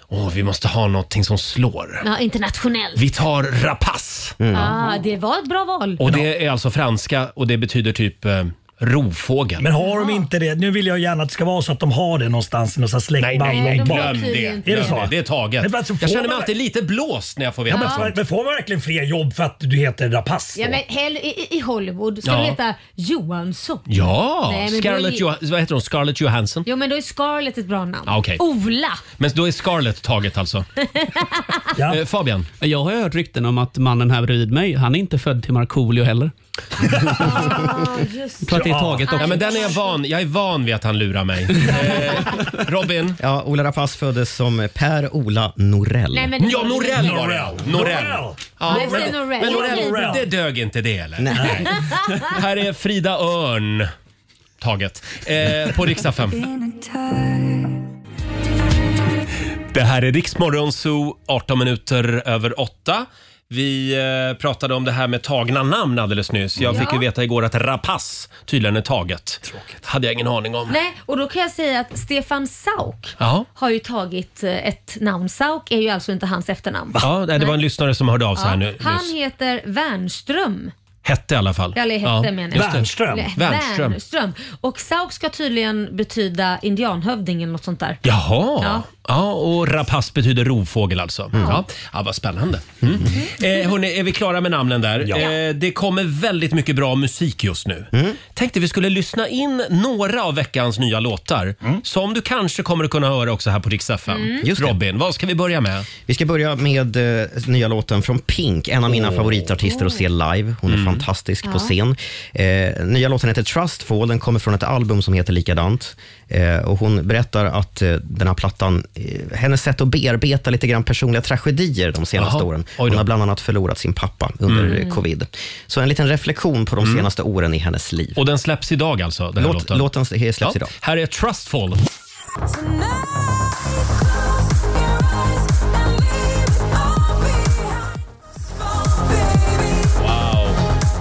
[SPEAKER 1] Åh, vi måste ha någonting som slår.
[SPEAKER 2] Ja, internationellt.
[SPEAKER 1] Vi tar rapace.
[SPEAKER 9] Mm.
[SPEAKER 2] Ah, det var ett bra val.
[SPEAKER 1] Och det är alltså franska och det betyder typ eh, rovfågel.
[SPEAKER 9] Men har de inte det? Nu vill jag gärna att det ska vara så att de har det någonstans i något sånt här släktband
[SPEAKER 1] Nej, nej,
[SPEAKER 9] långt bak.
[SPEAKER 1] glöm det.
[SPEAKER 9] Är det
[SPEAKER 1] Glöm
[SPEAKER 9] så?
[SPEAKER 1] Det är taget.
[SPEAKER 9] Men alltså, får
[SPEAKER 1] jag känner mig
[SPEAKER 9] man-
[SPEAKER 1] alltid lite blåst när jag får veta
[SPEAKER 9] Ja, men,
[SPEAKER 1] sånt.
[SPEAKER 9] får, men får man verkligen fler jobb för att du heter Rapace?
[SPEAKER 2] Ja, men hell, i, i- I Hollywood ska
[SPEAKER 1] Ja.
[SPEAKER 2] du heta Johansson.
[SPEAKER 1] Ja,
[SPEAKER 2] Nej, men då är
[SPEAKER 1] Scarlett
[SPEAKER 2] det-
[SPEAKER 1] Joh- vad heter hon? Scarlett Johansson?
[SPEAKER 2] Jo, men då är Scarlett ett bra namn.
[SPEAKER 1] Ja, Ah, okej.
[SPEAKER 2] Ola!
[SPEAKER 1] Men då är Scarlett taget alltså? Eh, Fabian?
[SPEAKER 7] Jag har ju hört rykten om att mannen här bredvid mig, han är inte född till Markoolio heller.
[SPEAKER 2] Just
[SPEAKER 7] Jag tror att det är taget också.
[SPEAKER 1] Ah, Ja, men den är jag van. Jag är van vid att han lurar mig. Robin?
[SPEAKER 4] Ja, Ola Rapace föddes som Per-Ola Norell.
[SPEAKER 2] Nej, men-
[SPEAKER 1] Ja, Norell var det.
[SPEAKER 4] Norell.
[SPEAKER 1] Norell.
[SPEAKER 4] Norell.
[SPEAKER 1] Ja,
[SPEAKER 2] Jag
[SPEAKER 1] men,
[SPEAKER 2] säger
[SPEAKER 1] men
[SPEAKER 2] Norell.
[SPEAKER 1] Norell,
[SPEAKER 2] Norell.
[SPEAKER 1] det dög inte det eller? Här är Frida Örn. Taget. Eh, på riksdag 5. Det här är Riksmorgon Zoo, 18 minuter över 8. Vi eh, pratade om det här med tagna namn alldeles nyss. Jag
[SPEAKER 2] Ja.
[SPEAKER 1] fick ju veta igår att Rapace tydligen är taget. Tråkigt. hade jag ingen aning om.
[SPEAKER 2] Nej, och då kan jag säga att Stefan Sauk
[SPEAKER 1] Ja.
[SPEAKER 2] har ju tagit eh, ett namn. Sauk är ju alltså inte hans efternamn.
[SPEAKER 1] Ja, nej, det var en lyssnare som hörde av sig
[SPEAKER 2] Ja.
[SPEAKER 1] här nu.
[SPEAKER 2] Han
[SPEAKER 1] nyss.
[SPEAKER 2] heter Wernström.
[SPEAKER 1] Hette i alla fall.
[SPEAKER 2] Eller hette menar jag.
[SPEAKER 1] Wernström.
[SPEAKER 2] Eller-
[SPEAKER 1] Wernström.
[SPEAKER 2] Wernström. Och Sauk ska tydligen betyda indianhövding eller något sånt där.
[SPEAKER 1] Jaha. Ja.
[SPEAKER 2] Ja.
[SPEAKER 1] och rapace betyder rovfågel alltså. Ja. Ja, vad spännande. Mm. Eh, hörni, är vi klara med namnen där? Eh, det kommer väldigt mycket bra musik just nu. Tänkte vi skulle lyssna in några av veckans nya låtar som du kanske kommer att kunna höra också här på Rix FM.
[SPEAKER 4] Mm. Just det.
[SPEAKER 1] Robin, vad ska vi börja med?
[SPEAKER 4] Vi ska börja med eh, nya låten från Pink, en av mina
[SPEAKER 1] Åh.
[SPEAKER 4] favoritartister att se live. Hon är
[SPEAKER 1] Mm.
[SPEAKER 4] fantastisk
[SPEAKER 1] Ja.
[SPEAKER 4] på scen. Eh, nya låten heter Trustfall, den kommer från ett album som heter likadant. Eh, och hon berättar att eh, den här plattan, eh, hennes sätt att bearbeta lite grann personliga tragedier de senaste
[SPEAKER 1] Jaha.
[SPEAKER 4] åren.
[SPEAKER 1] Oj då.
[SPEAKER 4] Hon har bland annat förlorat sin pappa under
[SPEAKER 1] Mm.
[SPEAKER 4] eh, covid. Så en liten reflektion på de senaste åren i hennes liv.
[SPEAKER 1] Och den släpps idag alltså? Den
[SPEAKER 4] Låt,
[SPEAKER 1] här låten.
[SPEAKER 4] Låten släpps
[SPEAKER 1] Ja.
[SPEAKER 4] idag.
[SPEAKER 1] Här är Trustfall. Wow,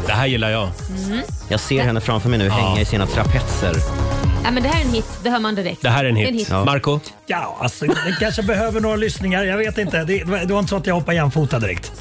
[SPEAKER 1] det här gillar jag.
[SPEAKER 2] Mm.
[SPEAKER 4] Jag ser henne framför mig nu hänga i sina trapetser.
[SPEAKER 2] Ja, men det här är en hit, det hör man direkt.
[SPEAKER 4] Ja.
[SPEAKER 1] Marco?
[SPEAKER 9] Ja, alltså den kanske behöver några lyssningar. Jag vet inte. Det, det var inte så att jag hoppade jämfota direkt.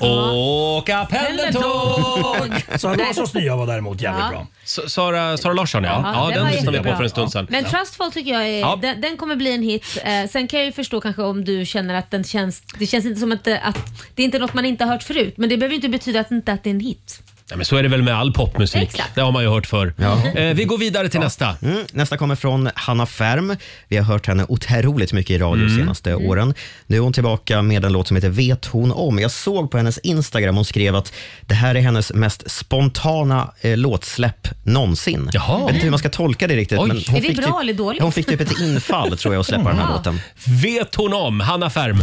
[SPEAKER 1] Åka pendeltåg!
[SPEAKER 9] Så Larssons nya var däremot jävligt
[SPEAKER 2] Ja.
[SPEAKER 9] bra.
[SPEAKER 1] S- Sara, Sara Larsson ja. Ja, den
[SPEAKER 2] var
[SPEAKER 1] lyssnade vi på
[SPEAKER 2] jättebra.
[SPEAKER 1] för en stund sedan.
[SPEAKER 2] Men Trustfall tycker jag är,
[SPEAKER 1] Ja.
[SPEAKER 2] den, den kommer bli en hit. Eh, sen kan jag ju förstå kanske om du känner att den känns, det känns inte som att, det- att det är inte något man inte har hört förut. Men det behöver ju inte betyda att, inte att det är en hit.
[SPEAKER 1] Nej, men så är det väl med all popmusik.
[SPEAKER 2] Exakt.
[SPEAKER 1] Det har man ju hört förr. Eh, vi går vidare till nästa.
[SPEAKER 4] Mm, nästa kommer från Hanna Färm. Vi har hört henne otroligt mycket i radio
[SPEAKER 1] Mm.
[SPEAKER 4] de senaste åren. Nu är hon tillbaka med en låt som heter Vet hon om. Jag såg på hennes Instagram, hon skrev att det här är hennes mest spontana eh, låtsläpp någonsin. Jag vet inte hur man ska tolka det riktigt.
[SPEAKER 1] Oj.
[SPEAKER 4] Men hon
[SPEAKER 2] Är det
[SPEAKER 4] fick
[SPEAKER 2] bra
[SPEAKER 4] typ,
[SPEAKER 2] eller dåligt?
[SPEAKER 4] Hon fick typ ett infall tror jag att släppa den här
[SPEAKER 2] Ja.
[SPEAKER 4] låten.
[SPEAKER 1] Vet hon om? Hanna Färm.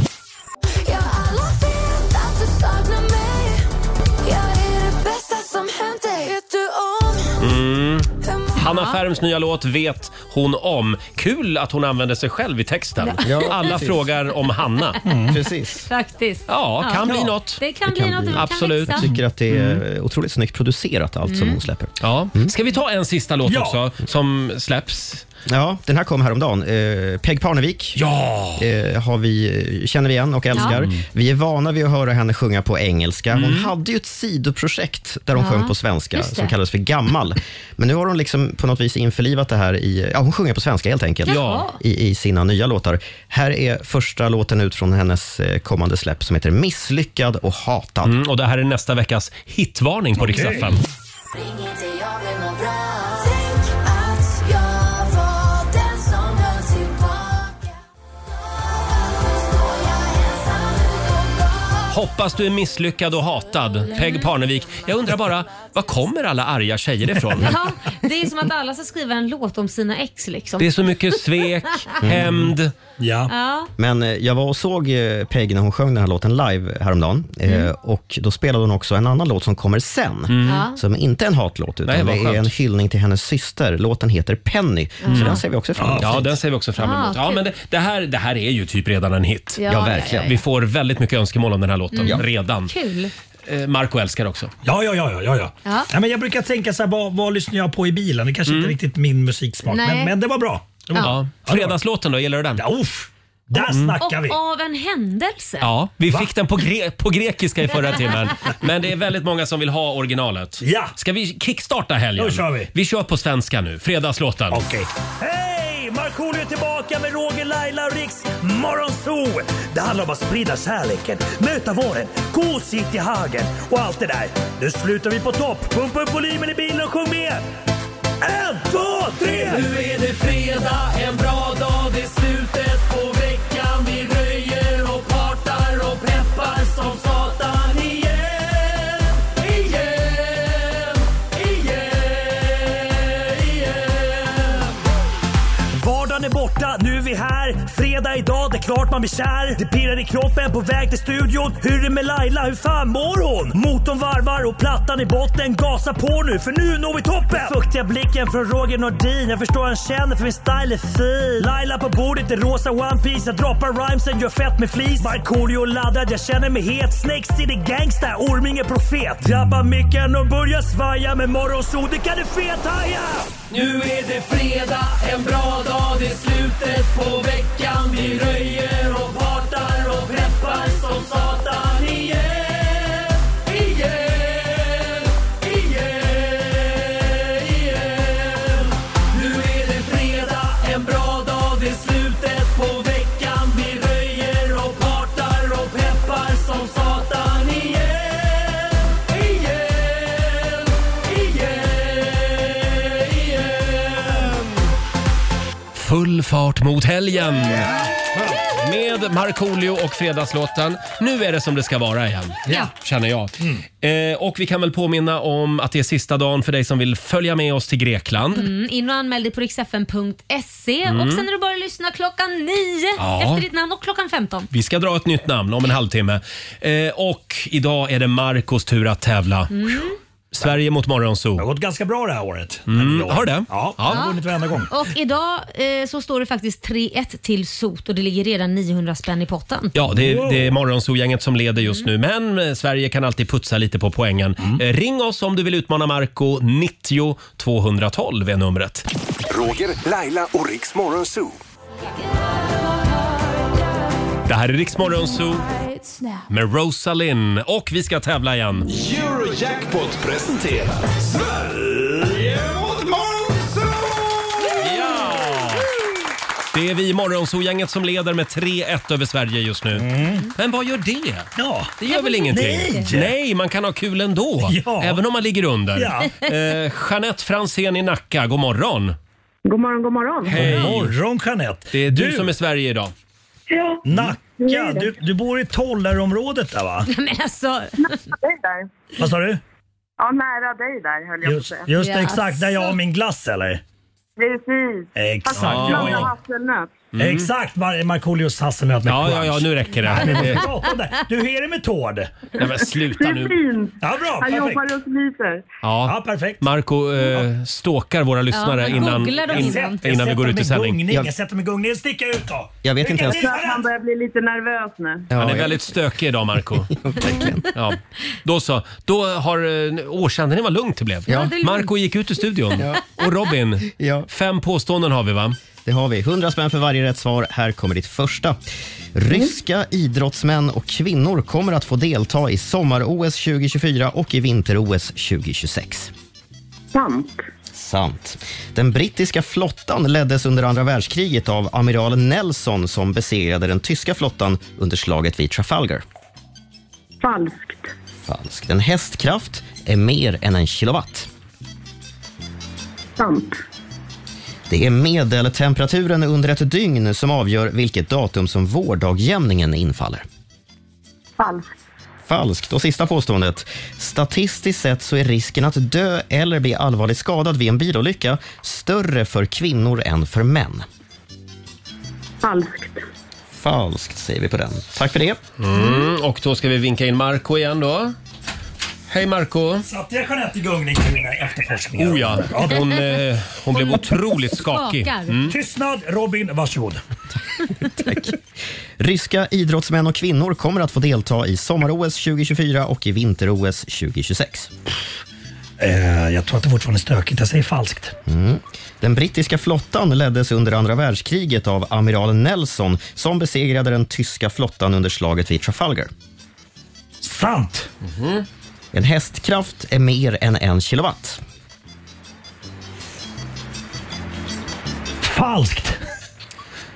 [SPEAKER 1] Mm. Hanna Färms nya låt Vet hon om. Kul att hon använder sig själv i texten.
[SPEAKER 2] Ja,
[SPEAKER 1] Alla
[SPEAKER 2] precis.
[SPEAKER 1] frågar om Hanna.
[SPEAKER 4] Precis.
[SPEAKER 2] Faktiskt.
[SPEAKER 1] Ja, kan bli något.
[SPEAKER 2] Det kan, bli något. och det kan
[SPEAKER 1] Absolut.
[SPEAKER 2] växa.
[SPEAKER 4] tycker att det är otroligt snyggt producerat allt som
[SPEAKER 1] Mm.
[SPEAKER 4] hon släpper.
[SPEAKER 1] Ja. Ska vi ta en sista låt
[SPEAKER 4] Ja.
[SPEAKER 1] också som släpps?
[SPEAKER 4] Ja, den här kom häromdagen. Eh, Peg Parnevik
[SPEAKER 1] ja.
[SPEAKER 4] eh, har vi, känner vi igen och älskar.
[SPEAKER 1] Ja.
[SPEAKER 4] Vi är vana vid att höra henne sjunga på engelska. Hon
[SPEAKER 1] Mm.
[SPEAKER 4] hade ju ett sidoprojekt där hon
[SPEAKER 1] Ja.
[SPEAKER 4] sjöng på svenska
[SPEAKER 1] Just det.
[SPEAKER 4] som kallades för Gammal. Men nu har hon liksom på något vis införlivat det här i... Ja, hon sjunger på svenska helt enkelt
[SPEAKER 1] Jaha.
[SPEAKER 4] i, i sina nya låtar. Här är första låten ut från hennes eh, kommande släpp som heter Misslyckad och hatad.
[SPEAKER 1] Mm, och det här är nästa veckas hitvarning på Okej. Riksdagen.
[SPEAKER 12] Spring inte, jag vill må bra. Tänk att jag var den som höll tillbaka.
[SPEAKER 1] Hoppas du är misslyckad och hatad, Peg Parnevik. Jag undrar bara, var kommer alla arga tjejer ifrån?
[SPEAKER 2] Ja, det är som att alla ska skriva en låt om sina ex liksom. Mm.
[SPEAKER 1] Det är så mycket svek,
[SPEAKER 4] Mm.
[SPEAKER 1] hämnd.
[SPEAKER 9] Ja.
[SPEAKER 2] Ja.
[SPEAKER 4] Men eh, jag var och såg eh, Peg när hon sjöng den här låten live häromdagen. Eh,
[SPEAKER 2] Mm.
[SPEAKER 4] Och då spelade hon också en annan låt som kommer sen.
[SPEAKER 1] Mm. Ja.
[SPEAKER 4] Som inte är en hatlåt utan
[SPEAKER 1] Nej,
[SPEAKER 4] det
[SPEAKER 1] vad
[SPEAKER 4] är en
[SPEAKER 1] skönt.
[SPEAKER 4] hyllning till hennes syster. Låten heter Penny. Så
[SPEAKER 1] Mm.
[SPEAKER 4] den ser vi också fram emot.
[SPEAKER 1] Ja, den ser vi också fram
[SPEAKER 2] Ah,
[SPEAKER 1] emot. Ja,
[SPEAKER 2] kul.
[SPEAKER 1] men det, det, här, det här är ju typ redan en hit.
[SPEAKER 2] Ja, Ja, verkligen. ja, ja.
[SPEAKER 1] Vi får väldigt mycket önskemål om den här låten
[SPEAKER 2] Mm.
[SPEAKER 1] redan.
[SPEAKER 2] Kul.
[SPEAKER 1] Eh, Marco älskar också.
[SPEAKER 9] Ja, ja, ja. ja, ja.
[SPEAKER 2] Ja.
[SPEAKER 9] Nej, men jag brukar tänka så här, vad, vad lyssnar jag på i bilen? Det kanske inte är riktigt min musiksmak,
[SPEAKER 2] Nej.
[SPEAKER 9] men, men det var bra. Det var
[SPEAKER 2] Ja.
[SPEAKER 9] bra.
[SPEAKER 1] Mm. Ja. Fredagslåten då, gillar du den? Mm.
[SPEAKER 9] Ja, uff, där snackar vi.
[SPEAKER 2] Och av en händelse.
[SPEAKER 1] Ja, vi fick den på, gre- på grekiska i förra timmen. Men det är väldigt många som vill ha originalet. Ja. Ska vi kickstarta helgen?
[SPEAKER 9] Då kör vi.
[SPEAKER 1] Vi kör på svenska nu, fredagslåten.
[SPEAKER 9] Okej. Hej! Markoolio är tillbaka med Roger, Laila och Riks Morgonzoo! Det handlar om att sprida kärleken, möta våren, gosigt i hagen och allt det där. Nu slutar vi på topp! Pumpa upp volymen i bilen och sjung med! En, två, tre!
[SPEAKER 19] Nu är det fredag, en bra dag, det är slutet på veckan. Vi röjer och partar och peppar som satan igen. Igen, igen, igen.
[SPEAKER 9] Vardagen är borta, nu är vi här. Fredag idag, det är klart man blir kär. Det pirrar i kroppen på väg till studion. Hur är det med Laila, hur fan mår hon? Motorn varvar och plattan i botten. Gasa på nu, för nu når vi toppen! Den fuktiga blicken från Roger Nordin. Jag förstår han känner för min style är fin. Laila på bordet i rosa One Piece Jag droppar rhymesen, gör fett med flis. Markoolio laddad, jag känner mig het. Snakes city gangsta, Orminge profet. Drabbar micken och börjar svaja. Med morgonsol, det kan du fethaja!
[SPEAKER 19] Nu är det fredag, en bra dag, det är slutet på veckan. Vi röjer och partar och peppar som satan igen. Igen, igen, igen. Nu är det fredag, en bra dag, det är slutet på veckan. Vi röjer och partar och peppar som satan igen. Igen, igen, igen.
[SPEAKER 1] Full fart mot helgen! Med Markoolio och Fredagslåten. Nu är det som det ska vara igen,
[SPEAKER 19] Ja.
[SPEAKER 1] känner jag.
[SPEAKER 9] Mm.
[SPEAKER 1] Eh, och vi kan väl påminna om att det är sista dagen för dig som vill följa med oss till Grekland.
[SPEAKER 2] Mm, in och anmäl dig på riksfn.se
[SPEAKER 1] Mm.
[SPEAKER 2] och sen är det bara att lyssna klockan 9
[SPEAKER 1] Ja.
[SPEAKER 2] efter ditt namn och klockan 15.
[SPEAKER 1] Vi ska dra ett nytt namn om en halvtimme. Eh, och idag är det Marcos tur att tävla.
[SPEAKER 2] Mm.
[SPEAKER 1] Sverige mot Morgonzoo. Det har
[SPEAKER 9] gått ganska bra det här året.
[SPEAKER 1] Mm. Har det?
[SPEAKER 9] Ja,
[SPEAKER 1] ja.
[SPEAKER 2] Och idag eh, så står det faktiskt 3-1 till sot och det ligger redan 900 spänn i potten.
[SPEAKER 1] Ja, det är, det är Morgonzoo-gänget som leder just nu, men eh, Sverige kan alltid putsa lite på poängen. Eh, Ring oss om du vill utmana Marco 90 212 är numret.
[SPEAKER 3] Roger, Laila och Riks Morgonzoo.
[SPEAKER 1] Det här är Rix Morgonzoo med Rosalind och vi ska tävla igen.
[SPEAKER 19] Eurojackpot presenterar Sverige mot
[SPEAKER 1] Det är vi Morgonzoo-gänget som leder med 3-1 över Sverige just nu. Men vad gör det?
[SPEAKER 9] Ja.
[SPEAKER 1] Det gör väl ingenting?
[SPEAKER 19] Nej.
[SPEAKER 1] Nej, man kan ha kul ändå. Även om man ligger under.
[SPEAKER 19] Ja.
[SPEAKER 1] Eh, Jeanette Fransén i Nacka, god morgon.
[SPEAKER 5] God morgon, god morgon.
[SPEAKER 1] Hej.
[SPEAKER 9] morgon Jeanette.
[SPEAKER 1] Det är du,
[SPEAKER 9] Du.
[SPEAKER 1] som är Sverige idag.
[SPEAKER 5] Ja.
[SPEAKER 9] Nacka,
[SPEAKER 5] Mm.
[SPEAKER 9] du, du bor i Tollarområdet där va?
[SPEAKER 2] Men alltså...
[SPEAKER 5] där.
[SPEAKER 9] Vad sa du?
[SPEAKER 5] Ja, nära dig där höll jag på att
[SPEAKER 9] Just,
[SPEAKER 5] säga.
[SPEAKER 9] just det, exakt där jag har min glass eller?
[SPEAKER 5] Precis.
[SPEAKER 9] Exakt.
[SPEAKER 5] Fast
[SPEAKER 9] Jag
[SPEAKER 5] blanda
[SPEAKER 9] är,
[SPEAKER 5] hasselnöt.
[SPEAKER 1] Mm.
[SPEAKER 9] Exakt, Mar- Markoolios hasselnöt med
[SPEAKER 1] Ja,
[SPEAKER 9] crunch.
[SPEAKER 1] ja, ja, nu räcker det.
[SPEAKER 9] Nej, men vi pratar om det. Du är det med Tord.
[SPEAKER 1] Nej, men sluta nu.
[SPEAKER 9] fint. Ja, bra.
[SPEAKER 5] Han
[SPEAKER 9] perfekt.
[SPEAKER 5] jobbar och sliter.
[SPEAKER 1] Ja,
[SPEAKER 9] perfekt.
[SPEAKER 1] Marco eh, stalkar våra lyssnare
[SPEAKER 5] men
[SPEAKER 1] innan,
[SPEAKER 5] googla dem innan.
[SPEAKER 1] innan, innan vi går ut i sändning.
[SPEAKER 9] Jag, sätter mig i gungning. Sticka ut då!
[SPEAKER 1] Jag vet inte ens-
[SPEAKER 5] Jag tror att han börjar bli lite nervös nu.
[SPEAKER 1] Han är väldigt stökig idag, Marco. ja. Då så. Då har... eh, Åh, kände ni vad lugnt det blev?
[SPEAKER 4] Ja. Ja, det är lugnt.
[SPEAKER 1] Marco gick ut ur studion. Och Robin, fem påståenden har vi va?
[SPEAKER 4] Det har vi. 100 spänn för varje rätt svar. Här kommer ditt första. Ryska idrottsmän och kvinnor kommer att få delta i sommar-OS 2024 och i vinter-OS 2026.
[SPEAKER 5] Sant.
[SPEAKER 4] Sant. Den brittiska flottan leddes under andra världskriget av amiral Nelson som besegrade den tyska flottan under slaget vid Trafalgar.
[SPEAKER 5] Falskt.
[SPEAKER 4] Falskt. En hästkraft är mer än en kilowatt.
[SPEAKER 5] Sant.
[SPEAKER 4] Det är medeltemperaturen under ett dygn som avgör vilket datum som vårdagjämningen infaller.
[SPEAKER 5] Falskt.
[SPEAKER 4] Falskt. Och sista påståendet. Statistiskt sett så är risken att dö eller bli allvarligt skadad vid en bilolycka större för kvinnor än för män.
[SPEAKER 5] Falskt.
[SPEAKER 4] Falskt säger vi på den. Tack för det.
[SPEAKER 1] Mm, och då ska vi vinka in Marco igen då. Hej Marco.
[SPEAKER 9] Satte jag Jeanette i gungning i mina efterforskningar?
[SPEAKER 1] Oh ja, hon, eh, hon blev otroligt skakig.
[SPEAKER 9] Skakar.
[SPEAKER 1] Mm.
[SPEAKER 9] Tystnad, Robin. Varsågod.
[SPEAKER 4] Ryska idrottsmän och kvinnor kommer att få delta i sommar-OS 2024 och i vinter-OS 2026.
[SPEAKER 9] Eh, jag tror att det fortfarande är stökigt. Jag säger falskt.
[SPEAKER 4] Mm. Den brittiska flottan leddes under andra världskriget av amiral Nelson som besegrade den tyska flottan under slaget vid Trafalgar.
[SPEAKER 9] Sant!
[SPEAKER 4] En hästkraft är mer än en kilowatt.
[SPEAKER 9] Falskt!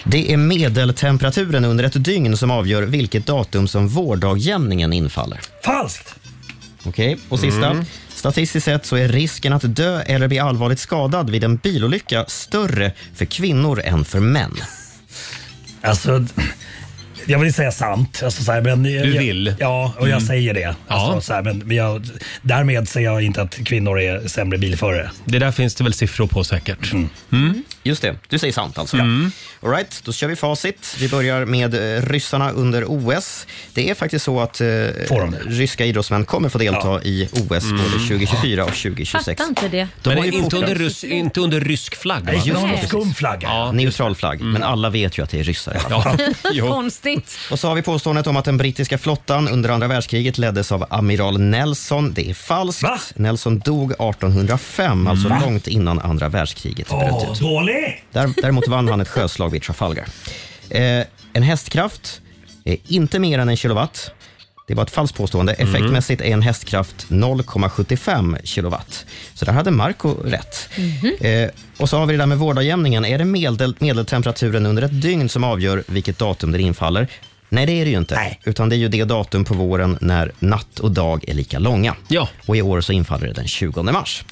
[SPEAKER 4] Det är medeltemperaturen under ett dygn som avgör vilket datum som vårdagjämningen infaller.
[SPEAKER 9] Falskt!
[SPEAKER 4] Okej, och sista.
[SPEAKER 9] Mm.
[SPEAKER 4] Statistiskt sett så är risken att dö eller bli allvarligt skadad vid en bilolycka större för kvinnor än för män.
[SPEAKER 9] Alltså, jag vill säga sant. Alltså, så här, men,
[SPEAKER 1] Du vill?
[SPEAKER 9] Ja, och jag
[SPEAKER 1] Mm.
[SPEAKER 9] säger det. Alltså, så här, men jag, därmed säger jag inte att kvinnor är sämre bilförare.
[SPEAKER 1] Det där finns det väl siffror på säkert.
[SPEAKER 4] Mm.
[SPEAKER 1] Mm.
[SPEAKER 4] Just det, du säger sant alltså. All right, då kör vi facit. Vi börjar med eh, ryssarna under OS. Det är faktiskt så att eh, ryska idrottsmän kommer få delta i OS både
[SPEAKER 1] Mm.
[SPEAKER 4] 2024 och 2026.
[SPEAKER 2] Fattar inte det.
[SPEAKER 1] Men inte under, rys, inte under rysk flagg va?
[SPEAKER 4] Nej, just det. Nej.
[SPEAKER 9] Skum flagga.
[SPEAKER 4] Neutral flagg,
[SPEAKER 1] Mm.
[SPEAKER 4] men alla vet ju att det är ryssar.
[SPEAKER 2] Konstigt.
[SPEAKER 4] Och så har vi påståendet om att den brittiska flottan under andra världskriget leddes av amiral Nelson. Det är falskt. Nelson dog 1805, alltså
[SPEAKER 1] Mm.
[SPEAKER 9] Va?
[SPEAKER 4] långt innan andra världskriget bröt ut.
[SPEAKER 9] Åh, dålig!
[SPEAKER 4] Där, däremot vann han ett sjöslag vid Trafalgar. Eh, en hästkraft är inte mer än en kilowatt. Det var ett falskt påstående. Effektmässigt är en hästkraft 0,75 kilowatt. Så där hade Marco rätt. Eh, och så har vi det där med vårdagjämningen. Är det medel, medeltemperaturen under ett dygn som avgör vilket datum den infaller? Nej, det är det ju inte. Utan det är ju det datum på våren när natt och dag är lika långa. Ja. Och i år så infaller det den 20 mars.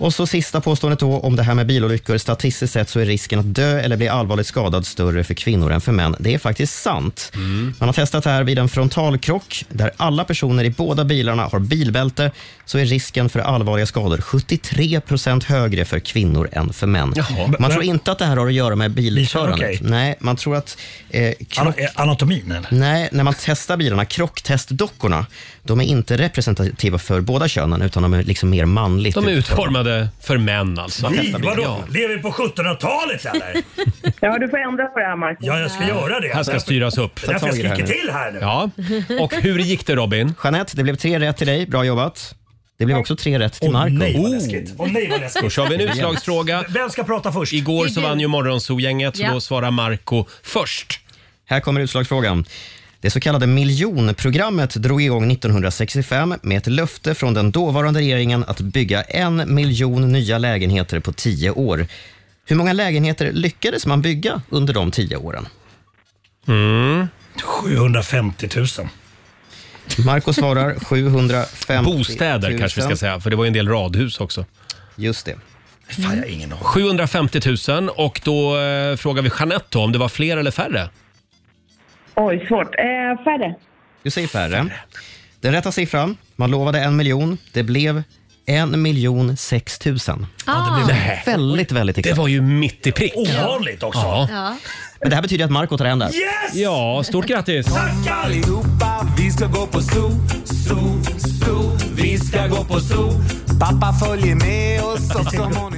[SPEAKER 4] Och så sista påståendet då om det här med bilolyckor. Statistiskt sett så är risken att dö eller bli allvarligt skadad större för kvinnor än för män. Det är faktiskt sant. Man har testat det här vid en frontalkrock där alla personer i båda bilarna har bilbälte så är risken för allvarliga skador 73 procent högre för kvinnor än för män.
[SPEAKER 9] Jaha.
[SPEAKER 4] Man tror inte att det här har att göra med bilförandet.
[SPEAKER 9] Okej.
[SPEAKER 4] Nej, man tror att... Eh, krock...
[SPEAKER 9] Ana- eh, Anatomin eller?
[SPEAKER 4] Nej, när man testar bilarna, krocktestdockorna, de är inte representativa för båda könen utan de är liksom mer manligt
[SPEAKER 1] De är
[SPEAKER 4] utformade.
[SPEAKER 1] utformade för män alltså.
[SPEAKER 9] Vi, vadå?
[SPEAKER 1] Ja.
[SPEAKER 9] Lever vi på 1700-talet eller?
[SPEAKER 5] Ja, du får ändra på det här Marcus.
[SPEAKER 9] Ja, jag ska göra det.
[SPEAKER 1] Här ska styras upp.
[SPEAKER 9] Det är därför jag skriker till här nu.
[SPEAKER 1] Ja. Och hur gick det Robin?
[SPEAKER 4] Jeanette, det blev tre rätt till dig. Bra jobbat. Det blev också tre rätt till
[SPEAKER 1] Åh,
[SPEAKER 4] Marco.
[SPEAKER 1] nej, vad
[SPEAKER 9] läskigt. Åh, nej, vad läskigt.
[SPEAKER 1] Oh. Då kör vi en utslagsfråga.
[SPEAKER 9] Vem ska prata först?
[SPEAKER 1] Igår
[SPEAKER 9] Det är
[SPEAKER 1] så
[SPEAKER 9] du.
[SPEAKER 1] vann ju Morgonzoo-gänget så
[SPEAKER 9] Ja.
[SPEAKER 1] då svarar Marco först.
[SPEAKER 4] Här kommer utslagsfrågan. Det så kallade miljonprogrammet drog igång 1965 med ett löfte från den dåvarande regeringen att bygga en miljon nya lägenheter på tio år. Hur många lägenheter lyckades man bygga under de tio åren?
[SPEAKER 9] Mm. 750 000.
[SPEAKER 4] Marco svarar 750 000.
[SPEAKER 1] Bostäder kanske vi ska säga, för det var ju en del radhus också.
[SPEAKER 4] Just det.
[SPEAKER 9] Fan, jag har ingen aning.
[SPEAKER 1] 750 000 och då eh, frågar vi Jeanette då, om det var fler eller färre.
[SPEAKER 5] Oj, svårt. Eh, färre.
[SPEAKER 4] Du säger färre. Den rätta siffran. Man lovade en miljon. Det blev en miljon sex tusen.
[SPEAKER 2] Ah.
[SPEAKER 4] Väldigt, väldigt exakt.
[SPEAKER 1] Det var ju mitt i prick.
[SPEAKER 9] Ovanligt också.
[SPEAKER 4] Ja.
[SPEAKER 2] Ja.
[SPEAKER 4] Men det här betyder att Marco tar hem det. här.
[SPEAKER 9] Yes!
[SPEAKER 1] Ja, stort grattis!
[SPEAKER 19] Tack allihopa, vi ska gå på zoo, zoo, zoo. Vi ska gå på zoo. Pappa följer med oss och som hon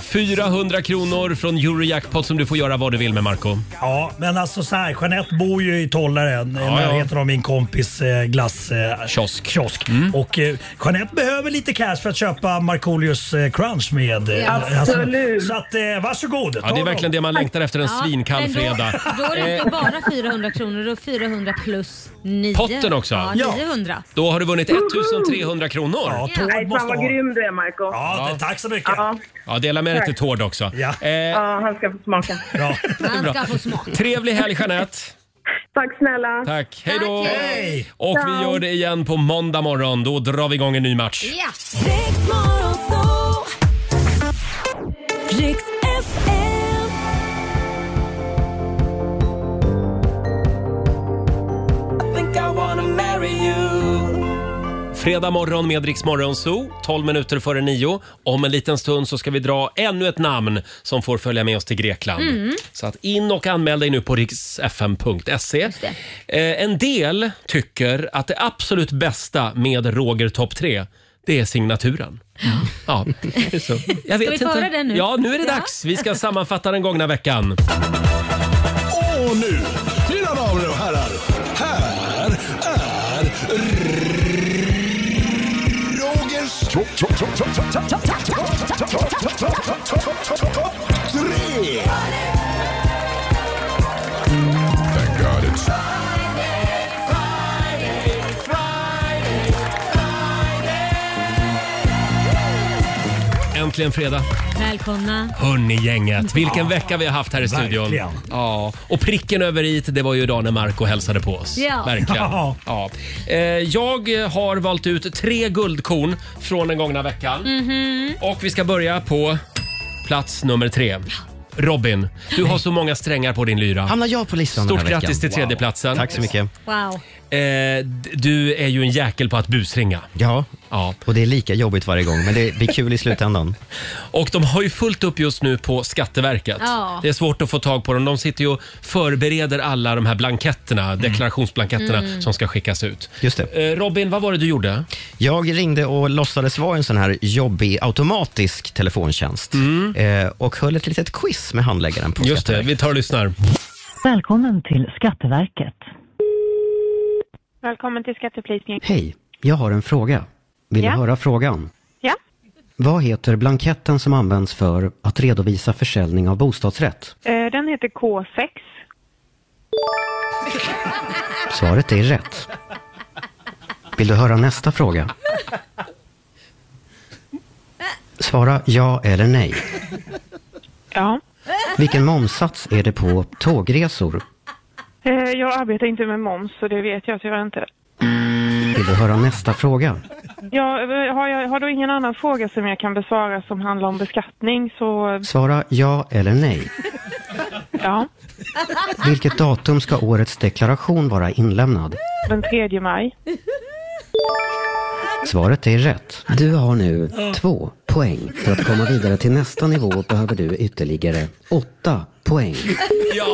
[SPEAKER 1] 400 kronor från Eurojackpot som du får göra vad du vill med Marco.
[SPEAKER 9] Ja, men alltså så här, Jeanette bor ju i Tollaren i
[SPEAKER 1] ja.
[SPEAKER 9] närheten av min kompis eh, glass... Eh,
[SPEAKER 1] kiosk. Mm.
[SPEAKER 9] kiosk. Och eh, Jeanette behöver lite cash för att köpa Markoolios eh, crunch med. eh,
[SPEAKER 1] Ja.
[SPEAKER 9] alltså,
[SPEAKER 1] Absolut.
[SPEAKER 9] så att eh, varsågod.
[SPEAKER 1] Ja, det är verkligen det man längtar efter en
[SPEAKER 2] Ja,
[SPEAKER 1] svinkall
[SPEAKER 2] men då-
[SPEAKER 1] fredag.
[SPEAKER 2] Då är det
[SPEAKER 1] Eh,
[SPEAKER 2] inte bara 400 kronor, då är 400 plus 9.
[SPEAKER 1] Potten också?
[SPEAKER 2] Ja,
[SPEAKER 1] Ja.
[SPEAKER 2] 900.
[SPEAKER 1] Då har du vunnit 1300 kronor. Ja,
[SPEAKER 20] Nej, fan vad grym du är Marco.
[SPEAKER 9] Ja, tack så mycket.
[SPEAKER 20] Ja,
[SPEAKER 1] Ja, dela med dig till Tord också. Ja.
[SPEAKER 20] ja, han ska få smaka.
[SPEAKER 1] Han ska få smak. Trevlig helg Jeanette.
[SPEAKER 20] Tack snälla.
[SPEAKER 1] Tack. Hej då.
[SPEAKER 20] Tack, hej.
[SPEAKER 1] Och vi
[SPEAKER 20] Ciao.
[SPEAKER 1] gör det igen på måndag morgon. Då drar vi igång en ny match.
[SPEAKER 2] Ja.
[SPEAKER 12] Riks FM.
[SPEAKER 19] Think I wanna marry you.
[SPEAKER 1] Fredag morgon med Rix Morgon Zoo, 12 minuter före nio. Om en liten stund så ska vi dra ännu ett namn som får följa med oss till Grekland.
[SPEAKER 19] Mm.
[SPEAKER 1] Så att in och anmäl dig nu på riksfm.se. Eh, en del tycker att det absolut bästa med Roger topp 3, det är signaturen. Ja. Så. Jag
[SPEAKER 2] vi få höra den nu?
[SPEAKER 1] Ja, nu är det
[SPEAKER 2] Ja.
[SPEAKER 1] dags. Vi ska sammanfatta den gångna veckan.
[SPEAKER 19] Och nu, mina damer och herrar, här är Rogers tre. Thank God it's...
[SPEAKER 1] Äntligen fredag.
[SPEAKER 2] Välkomna.
[SPEAKER 1] Hörni gänget, vilken vecka vi har haft här i studion.
[SPEAKER 2] Verkligen.
[SPEAKER 1] Ja, och pricken över i det var ju idag när Marco hälsade på oss.
[SPEAKER 2] Ja.
[SPEAKER 1] Verkligen.
[SPEAKER 2] Ja.
[SPEAKER 1] Ja. Eh, Jag har valt ut tre guldkorn från den gångna veckan.
[SPEAKER 2] Mhm.
[SPEAKER 1] Och vi ska börja på plats nummer tre. Robin, du har så många strängar på din lyra.
[SPEAKER 4] Hamnar jag på listan den
[SPEAKER 1] Stort
[SPEAKER 4] här veckan?
[SPEAKER 1] grattis till
[SPEAKER 4] Wow.
[SPEAKER 1] tredjeplatsen.
[SPEAKER 4] Tack så mycket.
[SPEAKER 2] Wow.
[SPEAKER 1] Eh, d- du är ju en jäkel på att busringa.
[SPEAKER 4] Ja.
[SPEAKER 1] ja,
[SPEAKER 4] och det är lika jobbigt varje gång, men det blir kul i slutändan.
[SPEAKER 1] Och de har ju fullt upp just nu på Skatteverket.
[SPEAKER 4] Ja.
[SPEAKER 1] Det är svårt att få tag på dem. De sitter ju och förbereder alla de här blanketterna, deklarationsblanketterna
[SPEAKER 4] Mm.
[SPEAKER 1] som ska skickas ut.
[SPEAKER 4] Just det.
[SPEAKER 1] Eh, Robin, vad var det du gjorde?
[SPEAKER 4] Jag ringde och låtsades vara en sån här jobbig automatisk telefontjänst eh, och höll ett litet quiz med handläggaren på
[SPEAKER 1] Mm. Just det, vi tar och lyssnar.
[SPEAKER 21] Välkommen till Skatteverket.
[SPEAKER 22] Välkommen till skatteupplysning.
[SPEAKER 4] Hej, jag har en fråga. Vill
[SPEAKER 22] Ja.
[SPEAKER 4] du höra frågan?
[SPEAKER 22] Ja.
[SPEAKER 4] Vad heter blanketten som används för att redovisa försäljning av bostadsrätt?
[SPEAKER 22] Eh, Den heter K6.
[SPEAKER 4] Svaret är rätt. Vill du höra nästa fråga? Svara ja eller nej.
[SPEAKER 22] Ja.
[SPEAKER 4] Vilken momssats är det på tågresor?
[SPEAKER 22] Eh, Jag arbetar inte med moms så det vet jag tyvärr inte.
[SPEAKER 4] Vill du höra nästa fråga?
[SPEAKER 22] Jag eh, har, jag har då ingen annan fråga som jag kan besvara som handlar om beskattning så
[SPEAKER 4] Svara ja eller nej.
[SPEAKER 22] ja.
[SPEAKER 4] Vilket datum ska årets deklaration vara inlämnad?
[SPEAKER 22] Den 3 maj.
[SPEAKER 4] Svaret är rätt. Du har nu två poäng. För att komma vidare till nästa nivå behöver du ytterligare åtta poäng.
[SPEAKER 1] Ja,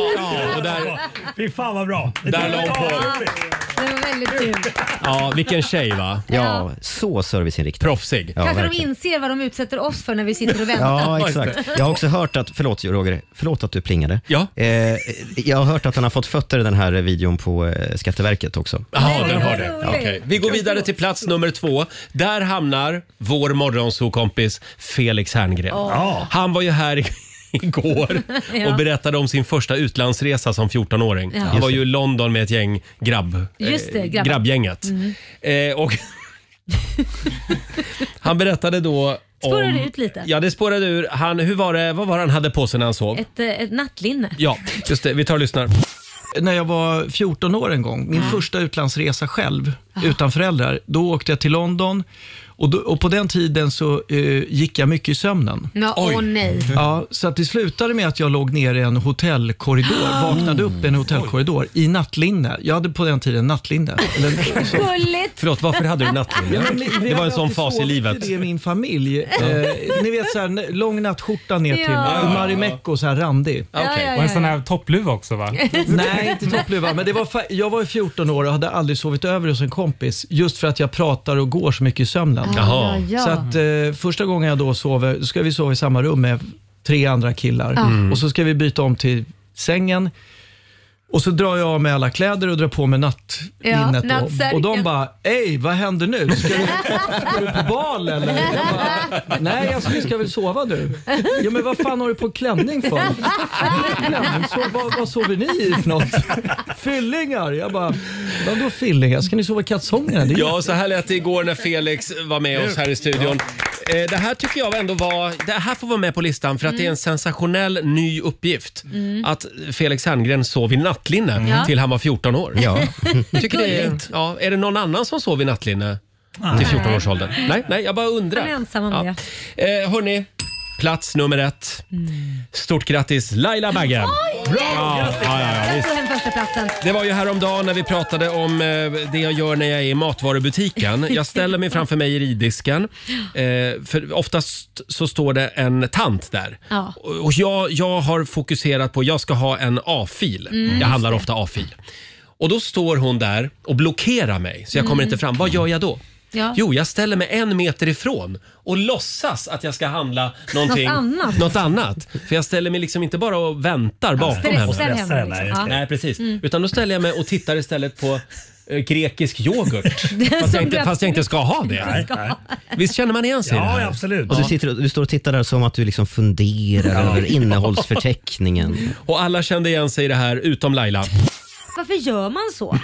[SPEAKER 1] och där...
[SPEAKER 9] Fy fan vad bra.
[SPEAKER 1] Där la hon på.
[SPEAKER 2] Det var väldigt kul.
[SPEAKER 1] Ja, vilken tjej va?
[SPEAKER 4] Ja, så serviceinriktad.
[SPEAKER 1] Proffsig.
[SPEAKER 4] Ja,
[SPEAKER 2] Kanske de
[SPEAKER 4] verkligen.
[SPEAKER 2] inser vad de utsätter oss för när vi sitter och väntar.
[SPEAKER 4] Ja, exakt. Jag har också hört att, förlåt Roger, förlåt att du plingade.
[SPEAKER 1] Ja.
[SPEAKER 4] Eh, jag har hört att han har fått fötter i den här videon på eh, Skatteverket också.
[SPEAKER 1] Jaha, den har det. Okej. Vi går vidare till plats nummer två. Där hamnar vår morgonsokompis Felix Herngren.
[SPEAKER 19] Åh. Ja.
[SPEAKER 1] Han var ju här i- igår
[SPEAKER 19] Ja.
[SPEAKER 1] och berättade om sin första utlandsresa som 14-åring.
[SPEAKER 19] Ja.
[SPEAKER 1] Han
[SPEAKER 19] Just
[SPEAKER 1] var
[SPEAKER 19] det.
[SPEAKER 1] ju i London med ett gäng grabb,
[SPEAKER 19] Just det,
[SPEAKER 1] eh,
[SPEAKER 19] grabbar.
[SPEAKER 1] grabbgänget.
[SPEAKER 19] Mm.
[SPEAKER 1] Eh, och han berättade då
[SPEAKER 2] Spårar
[SPEAKER 1] om...
[SPEAKER 2] det ut lite?
[SPEAKER 1] Ja, det spårade ur. Han, hur var det, vad var det han hade på sig när han sov?
[SPEAKER 2] Ett, eh, ett nattlinne.
[SPEAKER 1] Ja, just det. Vi tar och lyssnar. Mm.
[SPEAKER 23] När jag var 14 år en gång, min första utlandsresa själv, utan föräldrar, då åkte jag till London
[SPEAKER 6] Och, då, och på den tiden så eh, gick jag mycket i sömnen.
[SPEAKER 2] Nå, åh nej.
[SPEAKER 6] Ja, så att det slutade med att jag låg nere i en hotellkorridor,
[SPEAKER 2] Ah.
[SPEAKER 6] vaknade upp i en hotellkorridor i nattlinne. Jag hade på den tiden nattlinne. Eller-
[SPEAKER 2] Gulligt.
[SPEAKER 1] Förlåt, varför hade du nattlinne?
[SPEAKER 6] Ja, men ni- vi
[SPEAKER 1] Det var
[SPEAKER 6] har
[SPEAKER 1] en sån
[SPEAKER 6] alltid
[SPEAKER 1] fas i
[SPEAKER 6] sovit
[SPEAKER 1] livet.
[SPEAKER 6] Det i min familj.
[SPEAKER 1] Ja.
[SPEAKER 6] Eh, ni vet så här, n- lång nattskjorta ner till
[SPEAKER 2] Ja.
[SPEAKER 6] ja. Marimekko, så här randig.
[SPEAKER 2] Ja, ja, ja, Och en sån här
[SPEAKER 6] toppluva också va? Nej, inte toppluva. Men det var fa- jag var ju 14 år och hade aldrig sovit över hos en kompis just för att jag pratar och går så mycket i sömnen.
[SPEAKER 2] Ah, Jaha. ja, ja.
[SPEAKER 6] Så att eh, första gången jag då sover, då ska vi sova i samma rum med tre andra killar.
[SPEAKER 2] Mm.
[SPEAKER 6] Och så ska vi byta om till sängen. Och så drar jag av mig alla kläder och drar på mig
[SPEAKER 2] Ja,
[SPEAKER 6] nattlinnet.
[SPEAKER 2] nattsärken.
[SPEAKER 6] och, och de bara, ej vad händer nu? Ska du, ska du på bal eller? Jag bara, Nej, alltså, vi ska väl sova nu. Ja, men vad fan har du på klänning för? Klänning, så, vad, vad sover ni i för något? Fyllingar? Jag bara, vadå fyllingar? Ska ni sova i kalsongerna? Det är
[SPEAKER 1] Ja, så här lät det igår när Felix var med oss här i studion. Eh, Det här tycker jag ändå var, det här får vara med på listan för att det är en sensationell ny uppgift.
[SPEAKER 2] Mm.
[SPEAKER 1] Att Felix Herngren sov i nattlinne
[SPEAKER 2] Mm. Ja.
[SPEAKER 1] till han var 14 år.
[SPEAKER 2] Ja.
[SPEAKER 1] Tycker det är,
[SPEAKER 2] Gulligt.
[SPEAKER 1] ja, är det någon annan som sov i nattlinne till
[SPEAKER 2] Nej.
[SPEAKER 1] 14-årsåldern? Nej, nej, jag bara
[SPEAKER 2] Han är
[SPEAKER 1] undrar.
[SPEAKER 2] ensam om
[SPEAKER 1] Ja.
[SPEAKER 2] det.
[SPEAKER 1] Eh, hörni, plats nummer ett. Stort grattis Laila Bagge!
[SPEAKER 2] Mm. Oj!
[SPEAKER 1] Ja, ja, ja, ja,
[SPEAKER 2] Jag
[SPEAKER 1] visst.
[SPEAKER 2] tog hem första platsen.
[SPEAKER 1] Det var ju häromdagen när vi pratade om eh, det jag gör när jag är i matvarubutiken. Jag ställer mig framför mejeridisken. Eh, för oftast så står det en tant där.
[SPEAKER 2] Ja.
[SPEAKER 1] Och jag, jag har fokuserat på jag ska ha en A-fil.
[SPEAKER 2] Mm.
[SPEAKER 1] Jag handlar
[SPEAKER 2] Just
[SPEAKER 1] ofta A-fil. Och då står hon där och blockerar mig så jag kommer
[SPEAKER 2] Mm.
[SPEAKER 1] inte fram. Vad gör jag då?
[SPEAKER 2] Ja.
[SPEAKER 1] Jo, jag ställer mig en meter ifrån och låtsas att jag ska handla någonting,
[SPEAKER 2] Något annat.
[SPEAKER 1] något annat. För jag ställer mig liksom inte bara och väntar bakom
[SPEAKER 2] stressar
[SPEAKER 1] henne.
[SPEAKER 2] henne liksom.
[SPEAKER 1] nej,
[SPEAKER 2] Ja.
[SPEAKER 1] nej, precis.
[SPEAKER 2] Mm.
[SPEAKER 1] Utan då ställer jag mig och tittar istället på eh, grekisk yoghurt.
[SPEAKER 2] Det är
[SPEAKER 1] Fast
[SPEAKER 2] som
[SPEAKER 1] jag, inte,
[SPEAKER 2] du
[SPEAKER 1] fast jag inte ska ha
[SPEAKER 2] absolut
[SPEAKER 1] det.
[SPEAKER 2] inte ska ha.
[SPEAKER 1] Visst känner man igen sig i det här?
[SPEAKER 4] Och du, sitter, och- du står och tittar där som att du liksom funderar
[SPEAKER 1] Ja.
[SPEAKER 4] över innehållsförteckningen.
[SPEAKER 1] Och alla kände igen sig i det här utom Laila.
[SPEAKER 2] Varför gör man så?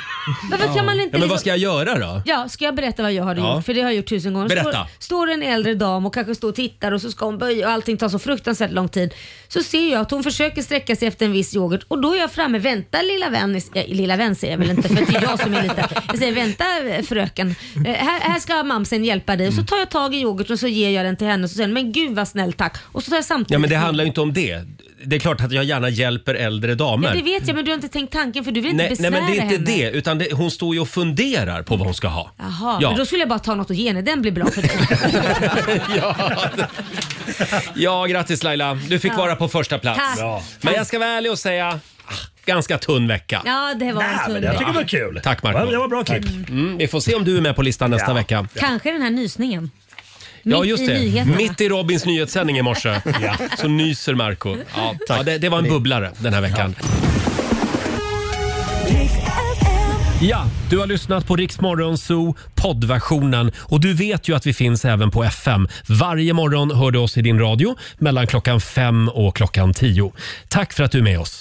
[SPEAKER 2] Varför kan man inte...
[SPEAKER 1] ja, men
[SPEAKER 2] liksom-
[SPEAKER 1] vad ska jag göra då?
[SPEAKER 2] Ja, ska jag berätta vad jag hade
[SPEAKER 1] Ja.
[SPEAKER 2] gjort? För det har jag gjort tusen gånger.
[SPEAKER 1] Berätta.
[SPEAKER 2] Står, står en äldre dam och kanske står och tittar och så ska hon böja och allting tar så fruktansvärt lång tid. Så ser jag att hon försöker sträcka sig efter en viss yoghurt och då är jag framme. Vänta lilla vän, ja, lilla vän säger jag väl inte för det är jag som är liten. Jag säger vänta fröken, Eh, här, här ska mamsen hjälpa dig. Och så tar jag tag i yoghurten och så ger jag den till henne och så säger hon, men gud vad snäll tack. Och så tar jag samtidigt
[SPEAKER 1] Ja, men det handlar ju inte om det. Det är klart att jag gärna hjälper äldre damer.
[SPEAKER 2] Ja, det vet jag men du har inte tänkt tanken för du vill inte
[SPEAKER 1] nej,
[SPEAKER 2] besvära
[SPEAKER 1] nej, men det är inte
[SPEAKER 2] henne.
[SPEAKER 1] det. Utan det, hon står ju och funderar på vad hon ska ha.
[SPEAKER 2] Jaha,
[SPEAKER 1] Ja.
[SPEAKER 2] men då skulle jag bara ta något och ge henne. Den blir bra för dig.
[SPEAKER 1] Ja, grattis Laila. Du fick
[SPEAKER 2] Ja.
[SPEAKER 1] vara på första plats.
[SPEAKER 2] Tack. Bra.
[SPEAKER 1] Men jag ska vara ärlig och säga, ah, ganska tunn vecka.
[SPEAKER 2] Ja, det var en tunn vecka.
[SPEAKER 1] kul. Tack Marco.
[SPEAKER 9] Ja, det var bra klipp.
[SPEAKER 1] Tack. Mm, vi får se om du är med på listan nästa vecka.
[SPEAKER 2] Kanske den här nysningen.
[SPEAKER 1] Ja,
[SPEAKER 2] Mitt
[SPEAKER 1] just
[SPEAKER 2] i
[SPEAKER 1] det.
[SPEAKER 2] nyheterna.
[SPEAKER 1] Mitt i Robins nyhetssändning i morse så nyser Marco. Ja, ja, det, det var en bubblare den här veckan. Ja, du har lyssnat på Rix Morgon Zoo poddversionen och du vet ju att vi finns även på FM. Varje morgon hör du oss i din radio mellan klockan fem och klockan tio. Tack för att du är med oss.